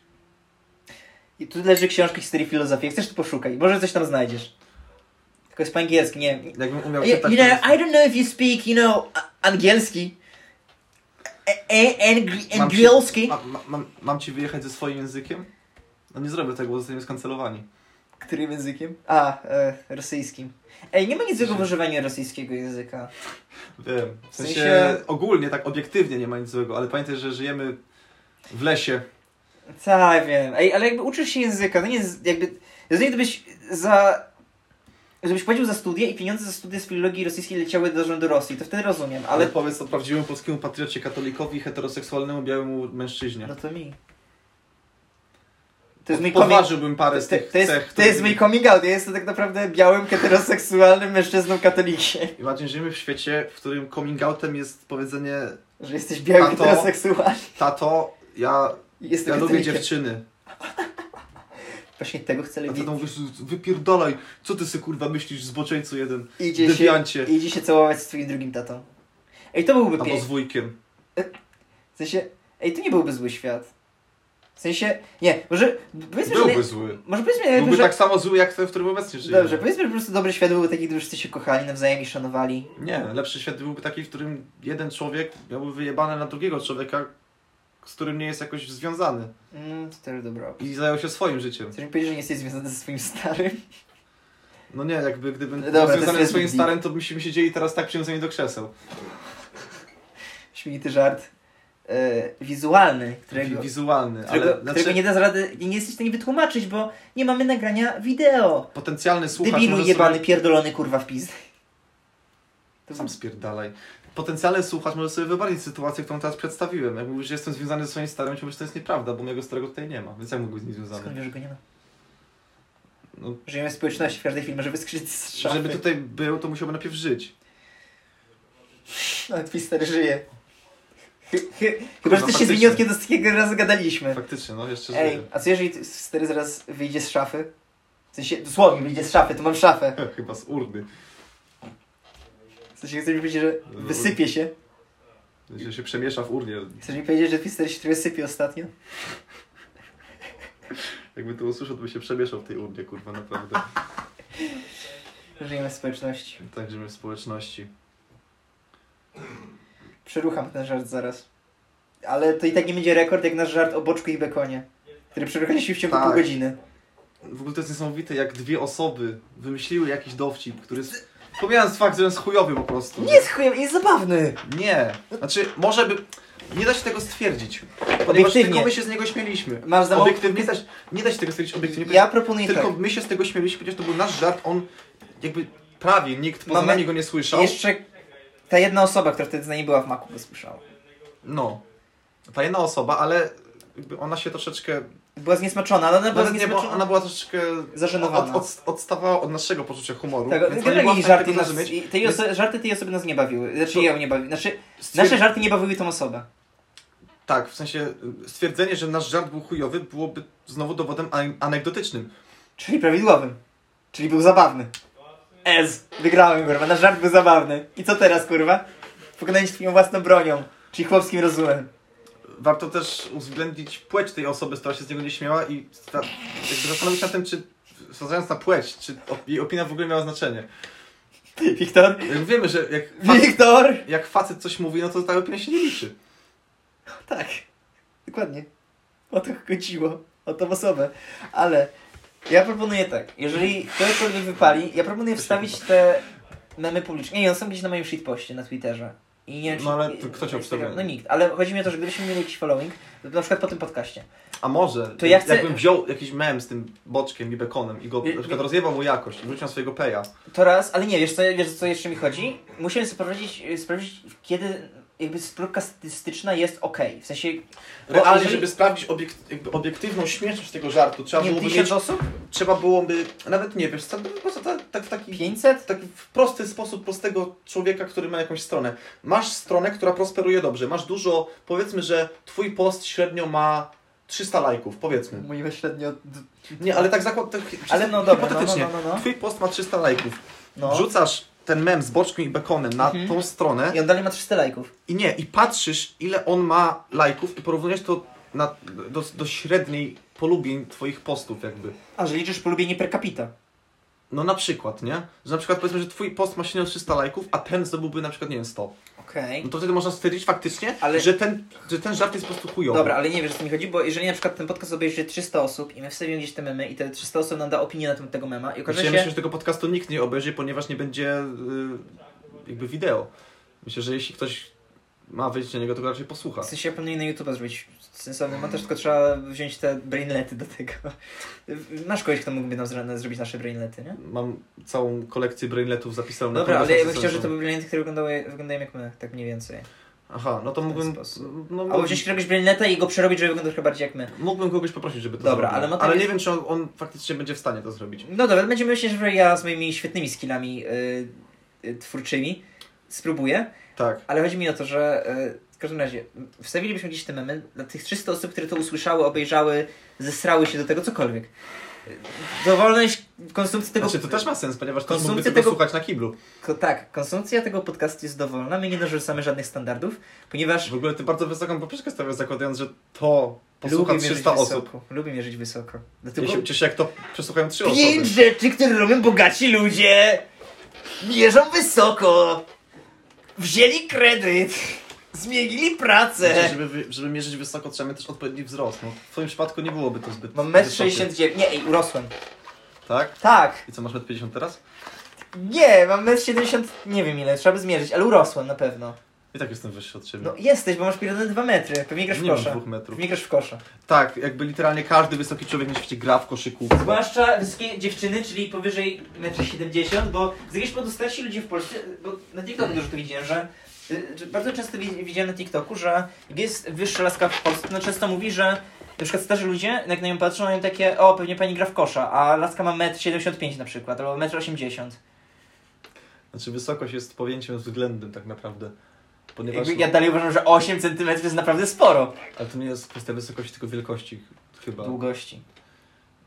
[SPEAKER 1] I tu leży książka historii filozofii. Jak chcesz, to poszukaj. Może coś tam znajdziesz. Tylko jest po angielsku, nie wiem.
[SPEAKER 2] Jakbym umiał
[SPEAKER 1] You,
[SPEAKER 2] czytać...
[SPEAKER 1] you
[SPEAKER 2] to
[SPEAKER 1] know,
[SPEAKER 2] jest-
[SPEAKER 1] I don't know if you speak, you know, a- angielski. E- e- angli-
[SPEAKER 2] Mam się-
[SPEAKER 1] Angielski.
[SPEAKER 2] Ma, ma, mam, mam ci wyjechać ze swoim językiem? No nie zrobię tego, bo zostaniemy skancelowani.
[SPEAKER 1] Którym językiem? A, e, rosyjskim. Ej, nie ma nic złego w używaniu rosyjskiego języka.
[SPEAKER 2] Wiem. W sensie,
[SPEAKER 1] sensie-
[SPEAKER 2] ogólnie, tak obiektywnie nie ma nic złego, ale pamiętaj, że żyjemy w lesie.
[SPEAKER 1] Tak, wiem. Ej, ale jakby uczysz się języka, to nie jest jakby... Rozumiem, gdybyś za... Gdybyś płacił za studia i pieniądze za studia z filologii rosyjskiej leciały do rządu Rosji, to wtedy rozumiem,
[SPEAKER 2] Ale
[SPEAKER 1] ale...
[SPEAKER 2] powiedz to prawdziwemu polskiemu patriocie, katolikowi, heteroseksualnemu, białemu mężczyźnie.
[SPEAKER 1] No to mi. To
[SPEAKER 2] To
[SPEAKER 1] jest mój coming,
[SPEAKER 2] Poważyłbym parę z
[SPEAKER 1] to,
[SPEAKER 2] tych
[SPEAKER 1] to jest,
[SPEAKER 2] cech.
[SPEAKER 1] to
[SPEAKER 2] które-
[SPEAKER 1] jest mój coming out. Ja jestem tak naprawdę białym, heteroseksualnym mężczyzną katolikiem.
[SPEAKER 2] Imagine, żyjemy w świecie, w którym coming outem jest powiedzenie
[SPEAKER 1] Że jesteś białym,
[SPEAKER 2] A to-
[SPEAKER 1] heteroseksualnym.
[SPEAKER 2] tato, ja,
[SPEAKER 1] Jestem
[SPEAKER 2] ja lubię
[SPEAKER 1] katolikiem.
[SPEAKER 2] dziewczyny.
[SPEAKER 1] Właśnie tego chcę
[SPEAKER 2] A
[SPEAKER 1] lepiej.
[SPEAKER 2] tato mówisz, wypierdolaj, co ty se kurwa myślisz, zboczeńcu jeden,
[SPEAKER 1] Idzie się,
[SPEAKER 2] dewiancie.
[SPEAKER 1] idzie się całować z twoim drugim tatą. Ej, to byłby
[SPEAKER 2] Albo z
[SPEAKER 1] piękny.
[SPEAKER 2] wujkiem.
[SPEAKER 1] W sensie, ej, to nie byłby zły świat. W sensie, nie, może powiedzmy, że...
[SPEAKER 2] Byłby
[SPEAKER 1] Nie,
[SPEAKER 2] zły.
[SPEAKER 1] może powiedzmy,
[SPEAKER 2] Byłby
[SPEAKER 1] jakby, że...
[SPEAKER 2] tak samo zły, jak ten, w którym obecnie żyjemy.
[SPEAKER 1] Dobrze, powiedzmy, że po prostu dobry świat byłby taki, gdyby wszyscy się kochali, nawzajem i szanowali.
[SPEAKER 2] Nie, lepszy świat byłby taki, w którym jeden człowiek miałby wyjebane na drugiego człowieka, z którym nie jest jakoś związany
[SPEAKER 1] Mm, to też dobra opcja.
[SPEAKER 2] i zajął się swoim życiem.
[SPEAKER 1] Chcesz mi powiedzieć, że nie jesteś związany ze swoim starym?
[SPEAKER 2] No nie, jakby gdybym
[SPEAKER 1] No dobra,
[SPEAKER 2] był
[SPEAKER 1] to
[SPEAKER 2] związany
[SPEAKER 1] jest
[SPEAKER 2] ze swoim
[SPEAKER 1] zbyt
[SPEAKER 2] starym, to byśmy siedzieli teraz tak przywiązani do krzeseł.
[SPEAKER 1] Śmienity żart e, wizualny, którego,
[SPEAKER 2] Wi- Wizualny,
[SPEAKER 1] którego,
[SPEAKER 2] ale
[SPEAKER 1] którego
[SPEAKER 2] znaczy,
[SPEAKER 1] nie da rady, nie jesteś w stanie wytłumaczyć, bo nie mamy nagrania wideo.
[SPEAKER 2] potencjalny słuchacz
[SPEAKER 1] Debilu
[SPEAKER 2] może
[SPEAKER 1] jebany,
[SPEAKER 2] sobie...
[SPEAKER 1] pierdolony, kurwa w pizdę. To
[SPEAKER 2] Sam
[SPEAKER 1] był-
[SPEAKER 2] spierdalaj. Potencjalny słuchacz może sobie wyobrazić sytuację, którą teraz przedstawiłem. Jak mówisz, że jestem związany ze swoim starym, to mówisz, że to jest nieprawda, bo mojego starego tutaj nie ma, więc ja mógł być z nim związany.
[SPEAKER 1] Skąd wiesz, że go nie ma?
[SPEAKER 2] no,
[SPEAKER 1] Żyjemy w społeczności, w każdej filmie, żeby skrzyć z szafy.
[SPEAKER 2] żeby tutaj był, to musiałby najpierw żyć.
[SPEAKER 1] No, Twister żyje. Chy- chy- Chyba, że ty się
[SPEAKER 2] faktycznie.
[SPEAKER 1] zmieni od kiedy ostatniego razu gadaliśmy.
[SPEAKER 2] Faktycznie, no jeszcze
[SPEAKER 1] Ej,
[SPEAKER 2] żyje.
[SPEAKER 1] a co jeżeli Twister zaraz wyjdzie z szafy? W sensie, dosłownie wyjdzie z szafy, to mam szafę.
[SPEAKER 2] Chyba z urny.
[SPEAKER 1] W sensie, chcesz mi powiedzieć, że wysypie się?
[SPEAKER 2] Że się przemiesza w urnie.
[SPEAKER 1] Chcesz mi powiedzieć, że Twister się trochę sypie ostatnio?
[SPEAKER 2] Jakby to usłyszał, to by się przemieszał w tej urnie, kurwa, naprawdę.
[SPEAKER 1] Żyjemy w społeczności.
[SPEAKER 2] Tak, żyjemy w społeczności.
[SPEAKER 1] Przerucham ten żart zaraz. Ale to i tak nie będzie rekord jak nasz żart o boczku i bekonie, który przeruchaliśmy w ciągu
[SPEAKER 2] Tak.
[SPEAKER 1] pół godziny.
[SPEAKER 2] W ogóle to jest niesamowite, jak dwie osoby wymyśliły jakiś dowcip, który jest... Pomijając fakt, że on jest chujowy po prostu.
[SPEAKER 1] Nie jest chujem, jest zabawny!
[SPEAKER 2] Nie. Znaczy, może by... Nie da się tego stwierdzić. Ponieważ
[SPEAKER 1] Obiektywnie.
[SPEAKER 2] tylko my się z niego śmieliśmy.
[SPEAKER 1] Masz za mało-
[SPEAKER 2] Obiektywnie też. Nie da się tego stwierdzić obiektywnie.
[SPEAKER 1] Ja proponuję
[SPEAKER 2] Tylko
[SPEAKER 1] tak.
[SPEAKER 2] my się z tego śmieliśmy, ponieważ to był nasz żart, on jakby prawie nikt poza
[SPEAKER 1] Mamy-
[SPEAKER 2] nami go nie słyszał.
[SPEAKER 1] Jeszcze ta jedna osoba, która wtedy z nami była w maku, go słyszała.
[SPEAKER 2] No. Ta jedna osoba, ale jakby ona się troszeczkę...
[SPEAKER 1] Była zniesmaczona, ale ona była
[SPEAKER 2] Nawet nie, bo
[SPEAKER 1] zniesmaczona.
[SPEAKER 2] ona była troszeczkę...
[SPEAKER 1] Zażenowana.
[SPEAKER 2] Od, od, odstawała od naszego poczucia humoru.
[SPEAKER 1] Tak,
[SPEAKER 2] więc ona nie była w
[SPEAKER 1] generalnie
[SPEAKER 2] stanie
[SPEAKER 1] żarty,
[SPEAKER 2] tego
[SPEAKER 1] nas,
[SPEAKER 2] zrozumieć.
[SPEAKER 1] i tej
[SPEAKER 2] Więc
[SPEAKER 1] oso- żarty tej osoby nas nie bawiły. Znaczy,
[SPEAKER 2] To-
[SPEAKER 1] ją nie bawiły. Znaczy,
[SPEAKER 2] stwierd-
[SPEAKER 1] nasze żarty nie bawiły tą osobę.
[SPEAKER 2] Tak, w sensie y, stwierdzenie, że nasz żart był chujowy byłoby znowu dowodem an- anegdotycznym.
[SPEAKER 1] Czyli prawidłowym. Czyli był zabawny. Ez. Wygrałem, kurwa. Nasz żart był zabawny. I co teraz, kurwa? Pokonanie się twoją własną bronią. Czyli chłopskim rozumem.
[SPEAKER 2] Warto też uwzględnić płeć tej osoby, która się z niego nie śmiała i sta- jakby zastanowić się nad tym, czy wskazując na płeć, czy op- jej opinia w ogóle miała znaczenie.
[SPEAKER 1] Wiktor?
[SPEAKER 2] Jak wiemy, że jak, fac-
[SPEAKER 1] Wiktor!
[SPEAKER 2] jak facet coś mówi, no to ta opinia się nie liczy.
[SPEAKER 1] Tak. Dokładnie. O to chodziło. O tą osobę. Ale ja proponuję tak. Jeżeli ktokolwiek wypali, ja proponuję wstawić te memy publicznie. Nie, one są gdzieś na moim shitpoście na Twitterze. I nie wiem, czy-
[SPEAKER 2] No ale to kto cię
[SPEAKER 1] Instagram.
[SPEAKER 2] obserwuje?
[SPEAKER 1] No nikt. Ale chodzi mi o to, że gdybyśmy mieli jakiś following, to na przykład po tym podcaście.
[SPEAKER 2] A może,
[SPEAKER 1] To ja chcę- Y,
[SPEAKER 2] jakbym wziął jakiś mem z tym boczkiem i bekonem i go
[SPEAKER 1] Nie-
[SPEAKER 2] na przykład
[SPEAKER 1] nie-
[SPEAKER 2] rozjebał mu jakość i wrzucił na swojego peja.
[SPEAKER 1] To raz, ale nie, wiesz co, wiesz co jeszcze mi chodzi? Musimy sprawdzić, y, sprawdzić kiedy jakby próbka statystyczna jest okej. W sensie, Bo
[SPEAKER 2] Realnie,
[SPEAKER 1] jeżeli-
[SPEAKER 2] żeby sprawdzić obiekt, jakby obiektywną śmieszność tego żartu, trzeba
[SPEAKER 1] nie wiem,
[SPEAKER 2] byłoby
[SPEAKER 1] 1000
[SPEAKER 2] mieć
[SPEAKER 1] osób?
[SPEAKER 2] trzeba byłoby, nawet nie wiesz, co, po prostu tak, tak w taki
[SPEAKER 1] 500?
[SPEAKER 2] tak w prosty sposób prostego człowieka, który ma jakąś stronę. Masz stronę, która prosperuje dobrze, masz dużo, powiedzmy, że twój post średnio ma 300 lajków, powiedzmy.
[SPEAKER 1] Mówimy średnio...
[SPEAKER 2] Nie, ale tak zakład, tak,
[SPEAKER 1] Ale no dobra,
[SPEAKER 2] hipotetycznie.
[SPEAKER 1] no, no, no, no.
[SPEAKER 2] Twój post ma 300 lajków,
[SPEAKER 1] No.
[SPEAKER 2] wrzucasz ten mem z boczkiem i bekonem na
[SPEAKER 1] Mhm.
[SPEAKER 2] tą stronę
[SPEAKER 1] I on dalej ma 300 lajków.
[SPEAKER 2] i nie, i patrzysz ile on ma lajków i porównujesz to na, do, do średniej polubień twoich postów jakby.
[SPEAKER 1] A, że liczysz polubienie per capita.
[SPEAKER 2] No na przykład, nie? Że na przykład powiedzmy, że twój post ma średnio 300 lajków, a ten zdobyłby na przykład, nie wiem, 100.
[SPEAKER 1] Okej.
[SPEAKER 2] No to wtedy można stwierdzić faktycznie,
[SPEAKER 1] Ale-
[SPEAKER 2] że, ten, że ten żart jest po prostu chujowy.
[SPEAKER 1] Dobra, ale nie wiesz, o co mi chodzi, bo jeżeli na przykład ten podcast obejrzy 300 osób i my wstawimy gdzieś te memy i te 300 osób nam da opinię na temat tego mema i
[SPEAKER 2] Znaczy,
[SPEAKER 1] okaże
[SPEAKER 2] ja
[SPEAKER 1] się...
[SPEAKER 2] myślę, że tego podcastu nikt nie obejrzy, ponieważ nie będzie y, jakby wideo. Myślę, że jeśli ktoś ma wyjść na niego, to go raczej posłucha.
[SPEAKER 1] W sensie ja planuję na YouTube zrobić sensowny montaż, tylko trzeba wziąć te brainlety do tego. Masz kogoś, kto mógłby nam zra- zrobić nasze brainlety, nie?
[SPEAKER 2] Mam całą kolekcję brainletów zapisaną
[SPEAKER 1] Dobra, ale ja bym
[SPEAKER 2] konwersację
[SPEAKER 1] chciał, że
[SPEAKER 2] z-
[SPEAKER 1] to były brainlety, które wyglądały, wyglądają jak my, tak mniej więcej.
[SPEAKER 2] Aha, no to
[SPEAKER 1] ten
[SPEAKER 2] mógłbym...
[SPEAKER 1] sposób.
[SPEAKER 2] No,
[SPEAKER 1] Albo wziąć któregoś brainleta i go przerobić, żeby wyglądał trochę bardziej jak my.
[SPEAKER 2] mógłbym kogoś poprosić, żeby to
[SPEAKER 1] Dobra,
[SPEAKER 2] zrobił.
[SPEAKER 1] ale ma-
[SPEAKER 2] ale nie wiem, czy on, on faktycznie będzie w stanie to zrobić.
[SPEAKER 1] No dobra, będziemy myśleć, że ja z moimi świetnymi skillami yy, yy, twórczymi spróbuję,
[SPEAKER 2] Tak.
[SPEAKER 1] ale chodzi mi o to, że yy, w każdym razie m, wstawilibyśmy gdzieś te memy dla tych 300 osób, które to usłyszały, obejrzały, zesrały się do tego, cokolwiek. Yy, Dowolność konsumpcji tego...
[SPEAKER 2] Znaczy, to też ma sens, ponieważ ktoś
[SPEAKER 1] Konsumpcja
[SPEAKER 2] mógłby tego
[SPEAKER 1] tego-
[SPEAKER 2] słuchać na kiblu.
[SPEAKER 1] Ko- tak, konsumpcja tego podcastu jest dowolna, my nie narzucamy żadnych standardów, ponieważ
[SPEAKER 2] W ogóle ty bardzo wysoką poprzeczkę stawiasz, zakładając, że to posłucha
[SPEAKER 1] lubię mierzyć
[SPEAKER 2] 300 osób.
[SPEAKER 1] wysoko. Lubię mierzyć wysoko.
[SPEAKER 2] Ja
[SPEAKER 1] Dlatego
[SPEAKER 2] się cieszę, jak to przesłuchają 3
[SPEAKER 1] pięć
[SPEAKER 2] osoby.
[SPEAKER 1] rzeczy, które robią bogaci ludzie! Mierzą wysoko! Wzięli kredyt! Zmienili
[SPEAKER 2] Znaczy,
[SPEAKER 1] pracę!
[SPEAKER 2] żeby, wy- żeby mierzyć wysoko, trzeba mieć też odpowiedni wzrost. No, w twoim przypadku nie byłoby to zbyt
[SPEAKER 1] Mam 1,69
[SPEAKER 2] wysokie.
[SPEAKER 1] 69. Nie, ej, urosłem.
[SPEAKER 2] Tak?
[SPEAKER 1] Tak!
[SPEAKER 2] I co, masz 1,50 teraz?
[SPEAKER 1] Nie, mam 1,70 70. Nie wiem ile, trzeba by zmierzyć, ale urosłem na pewno.
[SPEAKER 2] I tak jestem wyższy od ciebie.
[SPEAKER 1] No jesteś, bo masz pierdolone 2 metry. Pewnie grasz w
[SPEAKER 2] nie mam
[SPEAKER 1] kosza.
[SPEAKER 2] dwóch metrów.
[SPEAKER 1] Pewnie grasz w kosza.
[SPEAKER 2] Tak, jakby literalnie każdy wysoki człowiek na świecie gra w koszykówkę.
[SPEAKER 1] Zwłaszcza wysokie dziewczyny, czyli powyżej 1,70 m, bo z jakiegoś powodu starsi ludzie w Polsce, bo na TikToku dużo to widziałem, że y, że bardzo często wi- widziałem na TikToku, że jak jest wyższa laska w Polsce, no często mówi, że na przykład starzy ludzie, jak na nią patrzą, mają takie, o, pewnie pani gra w kosza, a laska ma 1,75 m na przykład, albo 1,80 m.
[SPEAKER 2] Znaczy wysokość jest pojęciem względnym tak naprawdę. Ponieważ, no,
[SPEAKER 1] Jakby ja dalej uważam, że 8 cm jest naprawdę sporo
[SPEAKER 2] Ale to nie jest kwestia wysokości, tylko wielkości chyba.
[SPEAKER 1] długości.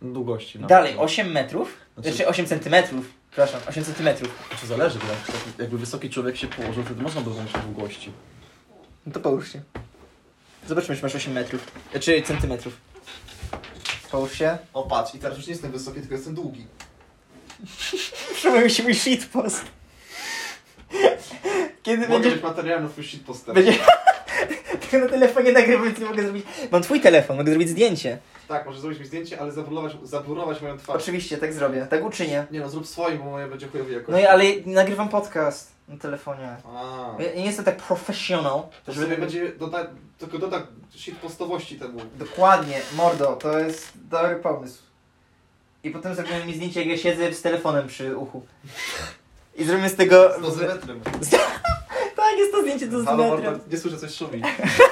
[SPEAKER 2] Długości. no.
[SPEAKER 1] Dalej, 8 metrów,
[SPEAKER 2] Znaczy-
[SPEAKER 1] znaczy 8 centymetrów, przepraszam, 8 centymetrów.
[SPEAKER 2] To zależy, bo jak, tak jakby wysoki człowiek się położył, wtedy można by wziąć długości.
[SPEAKER 1] No to połóż się. Zobaczmy, czy masz 8 metrów, czy centymetrów. Połóż się.
[SPEAKER 2] O patrz, i teraz już nie jestem wysoki, tylko jestem długi.
[SPEAKER 1] Przypomniał się mój shitpost. Kiedy
[SPEAKER 2] Mogę
[SPEAKER 1] będziesz...
[SPEAKER 2] mieć materiałów już shitposterem.
[SPEAKER 1] Będzie... Tylko na telefonie nagrywam, więc nie mogę zrobić... Mam twój telefon, mogę zrobić zdjęcie.
[SPEAKER 2] Tak, możesz zrobić mi zdjęcie, ale zablurować, zablurować moją twarz.
[SPEAKER 1] Oczywiście, tak zrobię, tak uczynię.
[SPEAKER 2] Nie no, zrób swoim, bo moje będzie chujowy jakoś.
[SPEAKER 1] No i ale nagrywam podcast na telefonie.
[SPEAKER 2] A,
[SPEAKER 1] Ja nie jestem tak professional,
[SPEAKER 2] to
[SPEAKER 1] żeby...
[SPEAKER 2] sobie będzie, doda, tylko doda shitpostowości temu.
[SPEAKER 1] Dokładnie, mordo, to jest dobry pomysł. I potem zrobimy mi zdjęcie, jak ja siedzę z telefonem przy uchu. I zrobimy z tego...
[SPEAKER 2] Z dozymetrem.
[SPEAKER 1] Tak, jest to zdjęcie do
[SPEAKER 2] Halo,
[SPEAKER 1] zmetra.
[SPEAKER 2] Mordo, nie słyszę, coś szumi.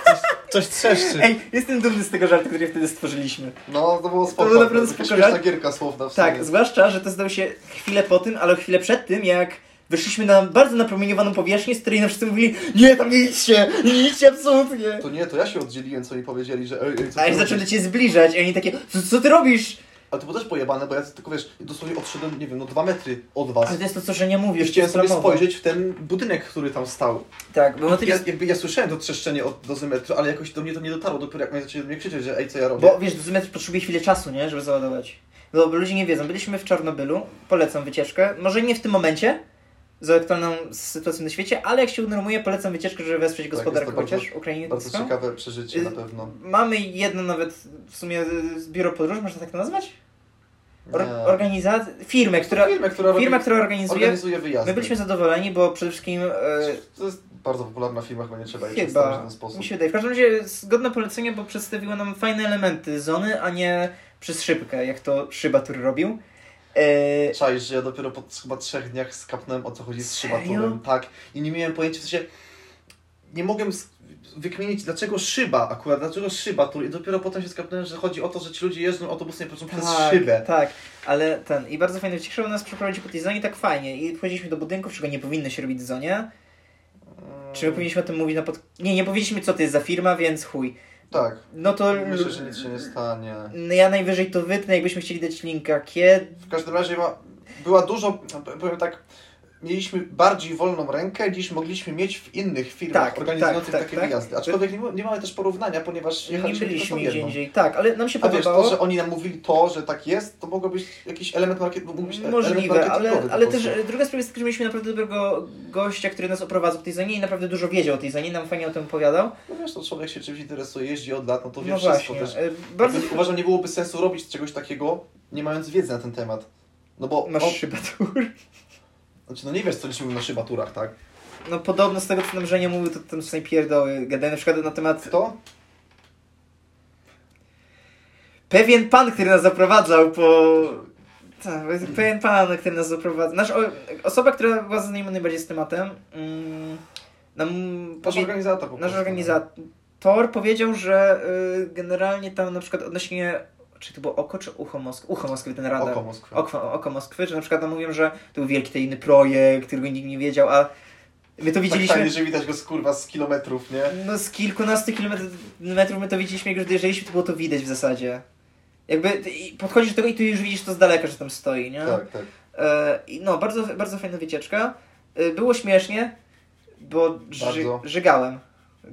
[SPEAKER 2] Coś, coś trzeszczy.
[SPEAKER 1] Ej, jestem dumny z tego żartu, który wtedy stworzyliśmy.
[SPEAKER 2] No, to było spoko.
[SPEAKER 1] To było naprawdę
[SPEAKER 2] taka
[SPEAKER 1] spoko,
[SPEAKER 2] śmieszna
[SPEAKER 1] tak?
[SPEAKER 2] gierka słowna w
[SPEAKER 1] Tak,
[SPEAKER 2] sumie.
[SPEAKER 1] zwłaszcza, że to stało się chwilę po tym, ale chwilę przed tym, jak wyszliśmy na bardzo napromieniowaną powierzchnię, z której nam wszyscy mówili Nie, tam nie idźcie! Nie idźcie absolutnie!
[SPEAKER 2] To nie, to ja się oddzieliłem, co mi powiedzieli, że ej, ej, co
[SPEAKER 1] A
[SPEAKER 2] ty
[SPEAKER 1] oni zaczęli
[SPEAKER 2] robisz?
[SPEAKER 1] do ciebie zbliżać i oni takie co, co ty robisz?
[SPEAKER 2] Ale to było też pojebane, bo ja tylko wiesz, dosłownie odszedłem, nie wiem, no dwa metry od was.
[SPEAKER 1] Ale to jest to, co że nie
[SPEAKER 2] I
[SPEAKER 1] mówisz.
[SPEAKER 2] chciałem
[SPEAKER 1] to
[SPEAKER 2] sobie
[SPEAKER 1] jest plamowe.
[SPEAKER 2] spojrzeć w ten budynek, który tam stał.
[SPEAKER 1] Tak, bo motyw
[SPEAKER 2] Ja,
[SPEAKER 1] jest...
[SPEAKER 2] jakby ja słyszałem to trzeszczenie od dozymetru, ale jakoś do mnie to nie dotarło, dopiero jak oni zaczęli do mnie krzyczeć, że ej, co ja robię.
[SPEAKER 1] Bo wiesz, dozymetr potrzebuje chwilę czasu, nie? Żeby załadować. No, bo ludzie nie wiedzą. Byliśmy w Czarnobylu, polecam wycieczkę. Może nie w tym momencie, z aktualną sytuacją na świecie, ale jak się unormuje, polecam wycieczkę, żeby wesprzeć
[SPEAKER 2] Tak, jest to
[SPEAKER 1] gospodarkę
[SPEAKER 2] bardzo-
[SPEAKER 1] chociaż ukraińską.
[SPEAKER 2] Bardzo ciekawe
[SPEAKER 1] Y,
[SPEAKER 2] przeżycie na pewno.
[SPEAKER 1] Mamy jedno nawet w sumie y, biuro podróży, można tak to nazwać? Or,
[SPEAKER 2] Nie.
[SPEAKER 1] organizację, firmę, która,
[SPEAKER 2] Firmę, która
[SPEAKER 1] firma,
[SPEAKER 2] robi,
[SPEAKER 1] która organizuje.
[SPEAKER 2] organizuje wyjazdy.
[SPEAKER 1] My byliśmy zadowoleni, bo przede wszystkim e,
[SPEAKER 2] To jest bardzo popularna firma, chyba nie trzeba jej przedstawić w
[SPEAKER 1] chyba
[SPEAKER 2] ten sposób.
[SPEAKER 1] mi się wydaje. W każdym razie zgodne polecenie, bo przedstawiło nam fajne elementy zony, a nie przez szybkę, jak to Szyba Tur robił. E,
[SPEAKER 2] Czaj, że ja dopiero po chyba trzech dniach skapnąłem o co chodzi z
[SPEAKER 1] Serio?
[SPEAKER 2] szybaturem, tak. I nie miałem pojęcia, w sensie nie mogłem sk- wykminić dlaczego szyba akurat, dlaczego szybatur i dopiero potem się skapnąłem, że chodzi o to, że ci ludzie jeżdżą autobusem i patrzą przez szybę.
[SPEAKER 1] Tak, ale ten. I bardzo fajnie cieszyło nas przeprowadził po tej zonie tak fajnie. I wchodziliśmy do budynków, czego nie powinno się robić w zonie. Czy my powinniśmy o tym mówić na pod... Nie, nie powiedzieliśmy co to jest za firma, więc chuj.
[SPEAKER 2] Tak,
[SPEAKER 1] No to...
[SPEAKER 2] myślę, że nic się nie stanie.
[SPEAKER 1] No Ja najwyżej to wytnę, jakbyśmy chcieli dać linka, kiedy...
[SPEAKER 2] W każdym razie ma, była dużo, powiem tak, mieliśmy bardziej wolną rękę niż mogliśmy mieć w innych firmach
[SPEAKER 1] Tak,
[SPEAKER 2] organizujących
[SPEAKER 1] tak, tak,
[SPEAKER 2] takie
[SPEAKER 1] tak.
[SPEAKER 2] wyjazdy. Aczkolwiek nie, mu- nie mamy też porównania, ponieważ
[SPEAKER 1] Nie
[SPEAKER 2] jechaliśmy tylko
[SPEAKER 1] byliśmy
[SPEAKER 2] tą
[SPEAKER 1] nigdzie
[SPEAKER 2] jedną.
[SPEAKER 1] indziej. Tak, ale nam się
[SPEAKER 2] A wiesz, to, że
[SPEAKER 1] podobało.
[SPEAKER 2] oni nam mówili to, że tak jest, to mogło być jakiś element no, marketingu.
[SPEAKER 1] Możliwe, ale, ale też e, druga sprawa jest, że mieliśmy naprawdę dobrego gościa, który nas oprowadzał po tej zonie i naprawdę dużo wiedział o tej zonie, nam fajnie o tym opowiadał.
[SPEAKER 2] No wiesz, to człowiek się czymś interesuje, jeździ od lat, no to wie
[SPEAKER 1] No
[SPEAKER 2] wszystko
[SPEAKER 1] właśnie,
[SPEAKER 2] też.
[SPEAKER 1] e, bardzo...
[SPEAKER 2] Więc Uważam, nie byłoby sensu robić czegoś takiego, nie mając wiedzy na ten temat. No bo,
[SPEAKER 1] Masz
[SPEAKER 2] o,
[SPEAKER 1] szybatur.
[SPEAKER 2] znaczy, no nie wiesz, co liczymy na szybaturach, tak?
[SPEAKER 1] No podobno z tego, co nam Żenia mówił, to tam są pierdoły. Gadają na przykład na temat...
[SPEAKER 2] Kto?
[SPEAKER 1] Pewien pan, który nas zaprowadzał po... Tak, pewien pan, który nas zaprowadzał. Nasz, o, osoba, która była znajoma najbardziej z tematem, mm, nam
[SPEAKER 2] Nasz
[SPEAKER 1] powie-
[SPEAKER 2] organizator po
[SPEAKER 1] nasz
[SPEAKER 2] prostu. no.
[SPEAKER 1] organizator powiedział, że y, generalnie tam na przykład odnośnie... Czy to było oko, czy ucho Moskwy? Ucho Moskwy ten radar.
[SPEAKER 2] Oko Moskwy.
[SPEAKER 1] Oko, oko Moskwy, że na przykład tam mówią, że to był wielki, tajny projekt, którego nikt nie wiedział, a my to widzieliśmy...
[SPEAKER 2] Tak fajnie, że widać go z kurwa z kilometrów, nie?
[SPEAKER 1] No z kilkunastu kilometrów my to widzieliśmy, jak już dojeżdżaliśmy, to było to widać w zasadzie. Jakby ty- i podchodzisz do tego i ty już widzisz to z daleka, że tam stoi, nie?
[SPEAKER 2] Tak, tak.
[SPEAKER 1] E, i no, bardzo, bardzo fajna wycieczka. E, było śmiesznie, bo ży,
[SPEAKER 2] Bardzo.
[SPEAKER 1] żygałem.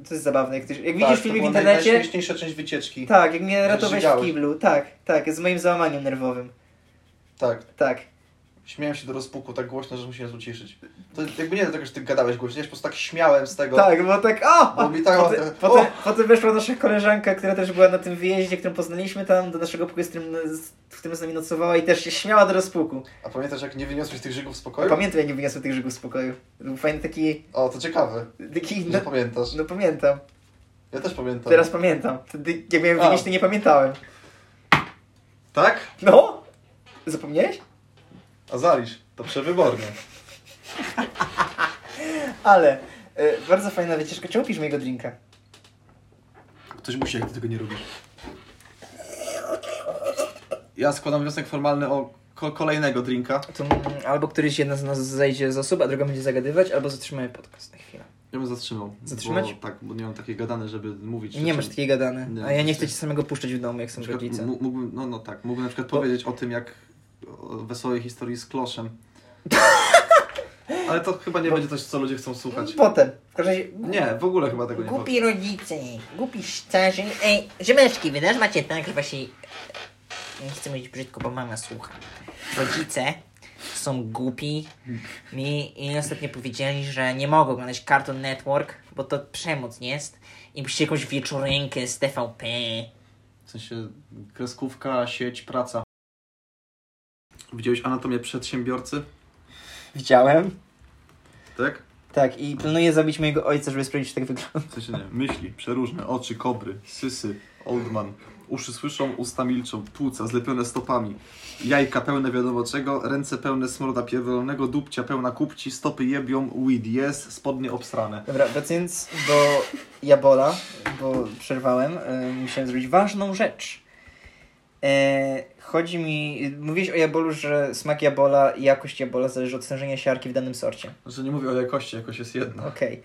[SPEAKER 1] To jest zabawne. Jak, ty, jak
[SPEAKER 2] tak,
[SPEAKER 1] widzisz
[SPEAKER 2] to
[SPEAKER 1] filmy w
[SPEAKER 2] była
[SPEAKER 1] internecie,
[SPEAKER 2] Najśmieszniejsza część wycieczki. Tak.
[SPEAKER 1] tak, jak mnie ratowałeś w
[SPEAKER 2] żygałeś.
[SPEAKER 1] kiblu. Tak, tak, z moim załamaniem nerwowym. Tak.
[SPEAKER 2] Śmiałem się do rozpuku tak głośno, że musiałem uciszyć. To jakby nie do tego, że ty gadałeś głośno, ja się po prostu tak śmiałem z tego.
[SPEAKER 1] Tak, bo tak, o!
[SPEAKER 2] Bo mi tak-
[SPEAKER 1] potem,
[SPEAKER 2] o!
[SPEAKER 1] potem, potem weszła nasza koleżanka, która też była na tym wyjeździe, którą poznaliśmy tam, do naszego pokoju, z którym, z- w którym z nami nocowała i też się śmiała do rozpuku.
[SPEAKER 2] A pamiętasz, jak nie wyniosłeś tych żygów z pokoju?
[SPEAKER 1] Pamiętam, jak nie wyniosłem tych żygów z pokoju. To Był fajny taki...
[SPEAKER 2] o, to ciekawe.
[SPEAKER 1] taki
[SPEAKER 2] Nie
[SPEAKER 1] no,
[SPEAKER 2] pamiętasz.
[SPEAKER 1] no pamiętam.
[SPEAKER 2] Ja też pamiętam.
[SPEAKER 1] Teraz pamiętam. Wtedy, jak miałem
[SPEAKER 2] A.
[SPEAKER 1] wynieść, to nie pamiętałem.
[SPEAKER 2] Tak?
[SPEAKER 1] No! Zapomniałeś?
[SPEAKER 2] A zalisz. To przewyborne.
[SPEAKER 1] Ale... y, bardzo fajna wycieczka. Czemu pijesz mojego drinka?
[SPEAKER 2] Ktoś musi, jak ty tego nie robisz. Ja składam wniosek formalny o ko- kolejnego drinka.
[SPEAKER 1] To, mm, albo któryś jedna z nas zejdzie z osób, a druga będzie zagadywać, albo zatrzymamy podcast na chwilę.
[SPEAKER 2] Ja bym zatrzymał.
[SPEAKER 1] Zatrzymać?
[SPEAKER 2] Bo, tak, bo nie mam takiej gadane, żeby mówić.
[SPEAKER 1] Nie masz takiej gadany.
[SPEAKER 2] Nie,
[SPEAKER 1] a ja nie
[SPEAKER 2] właśnie.
[SPEAKER 1] chcę ci samego puszczać w domu, jak są
[SPEAKER 2] na przykład,
[SPEAKER 1] rodzice.
[SPEAKER 2] m- mógłbym, no, no tak, mógłbym na przykład
[SPEAKER 1] Bo-
[SPEAKER 2] powiedzieć o tym, jak o wesołej historii z kloszem. Ale to chyba nie
[SPEAKER 1] Bo-
[SPEAKER 2] będzie coś, co ludzie chcą słuchać.
[SPEAKER 1] Potem. W każdym razie
[SPEAKER 2] Nie, w ogóle chyba tego nie powiem.
[SPEAKER 1] No, Głupi rodzice, głupi starzy. Ej, ziemeczki, wy też macie tak, że właśnie... Nie chcę mówić brzydko, bo mama słucha. Rodzice są głupi. Mi i ostatnio powiedzieli, że nie mogą oglądać Cartoon Network, bo to przemoc jest. I musicie jakąś wieczorynkę z TVP.
[SPEAKER 2] W sensie kreskówka, sieć, praca. Widziałeś anatomię przedsiębiorcy?
[SPEAKER 1] Widziałem.
[SPEAKER 2] Tak?
[SPEAKER 1] Tak, i planuję zabić mojego ojca, żeby sprawdzić, czy tak wygląda.
[SPEAKER 2] W sensie nie. Myśli, przeróżne, oczy, kobry, sysy, oldman. Uszy słyszą, usta milczą, płuca zlepione stopami, jajka pełne wiadomo czego, ręce pełne smroda pierdolonego, dupcia pełna kupci, stopy jebią, weed jest, spodnie obsrane.
[SPEAKER 1] Dobra, wracając do Jabola, bo przerwałem, y, musiałem zrobić ważną rzecz. E, chodzi mi, mówiłeś o Jabolu, że smak Jabola i jakość Jabola zależy od stężenia siarki w danym sorcie.
[SPEAKER 2] Znaczy nie mówię o jakości, jakość jest jedna.
[SPEAKER 1] Okej.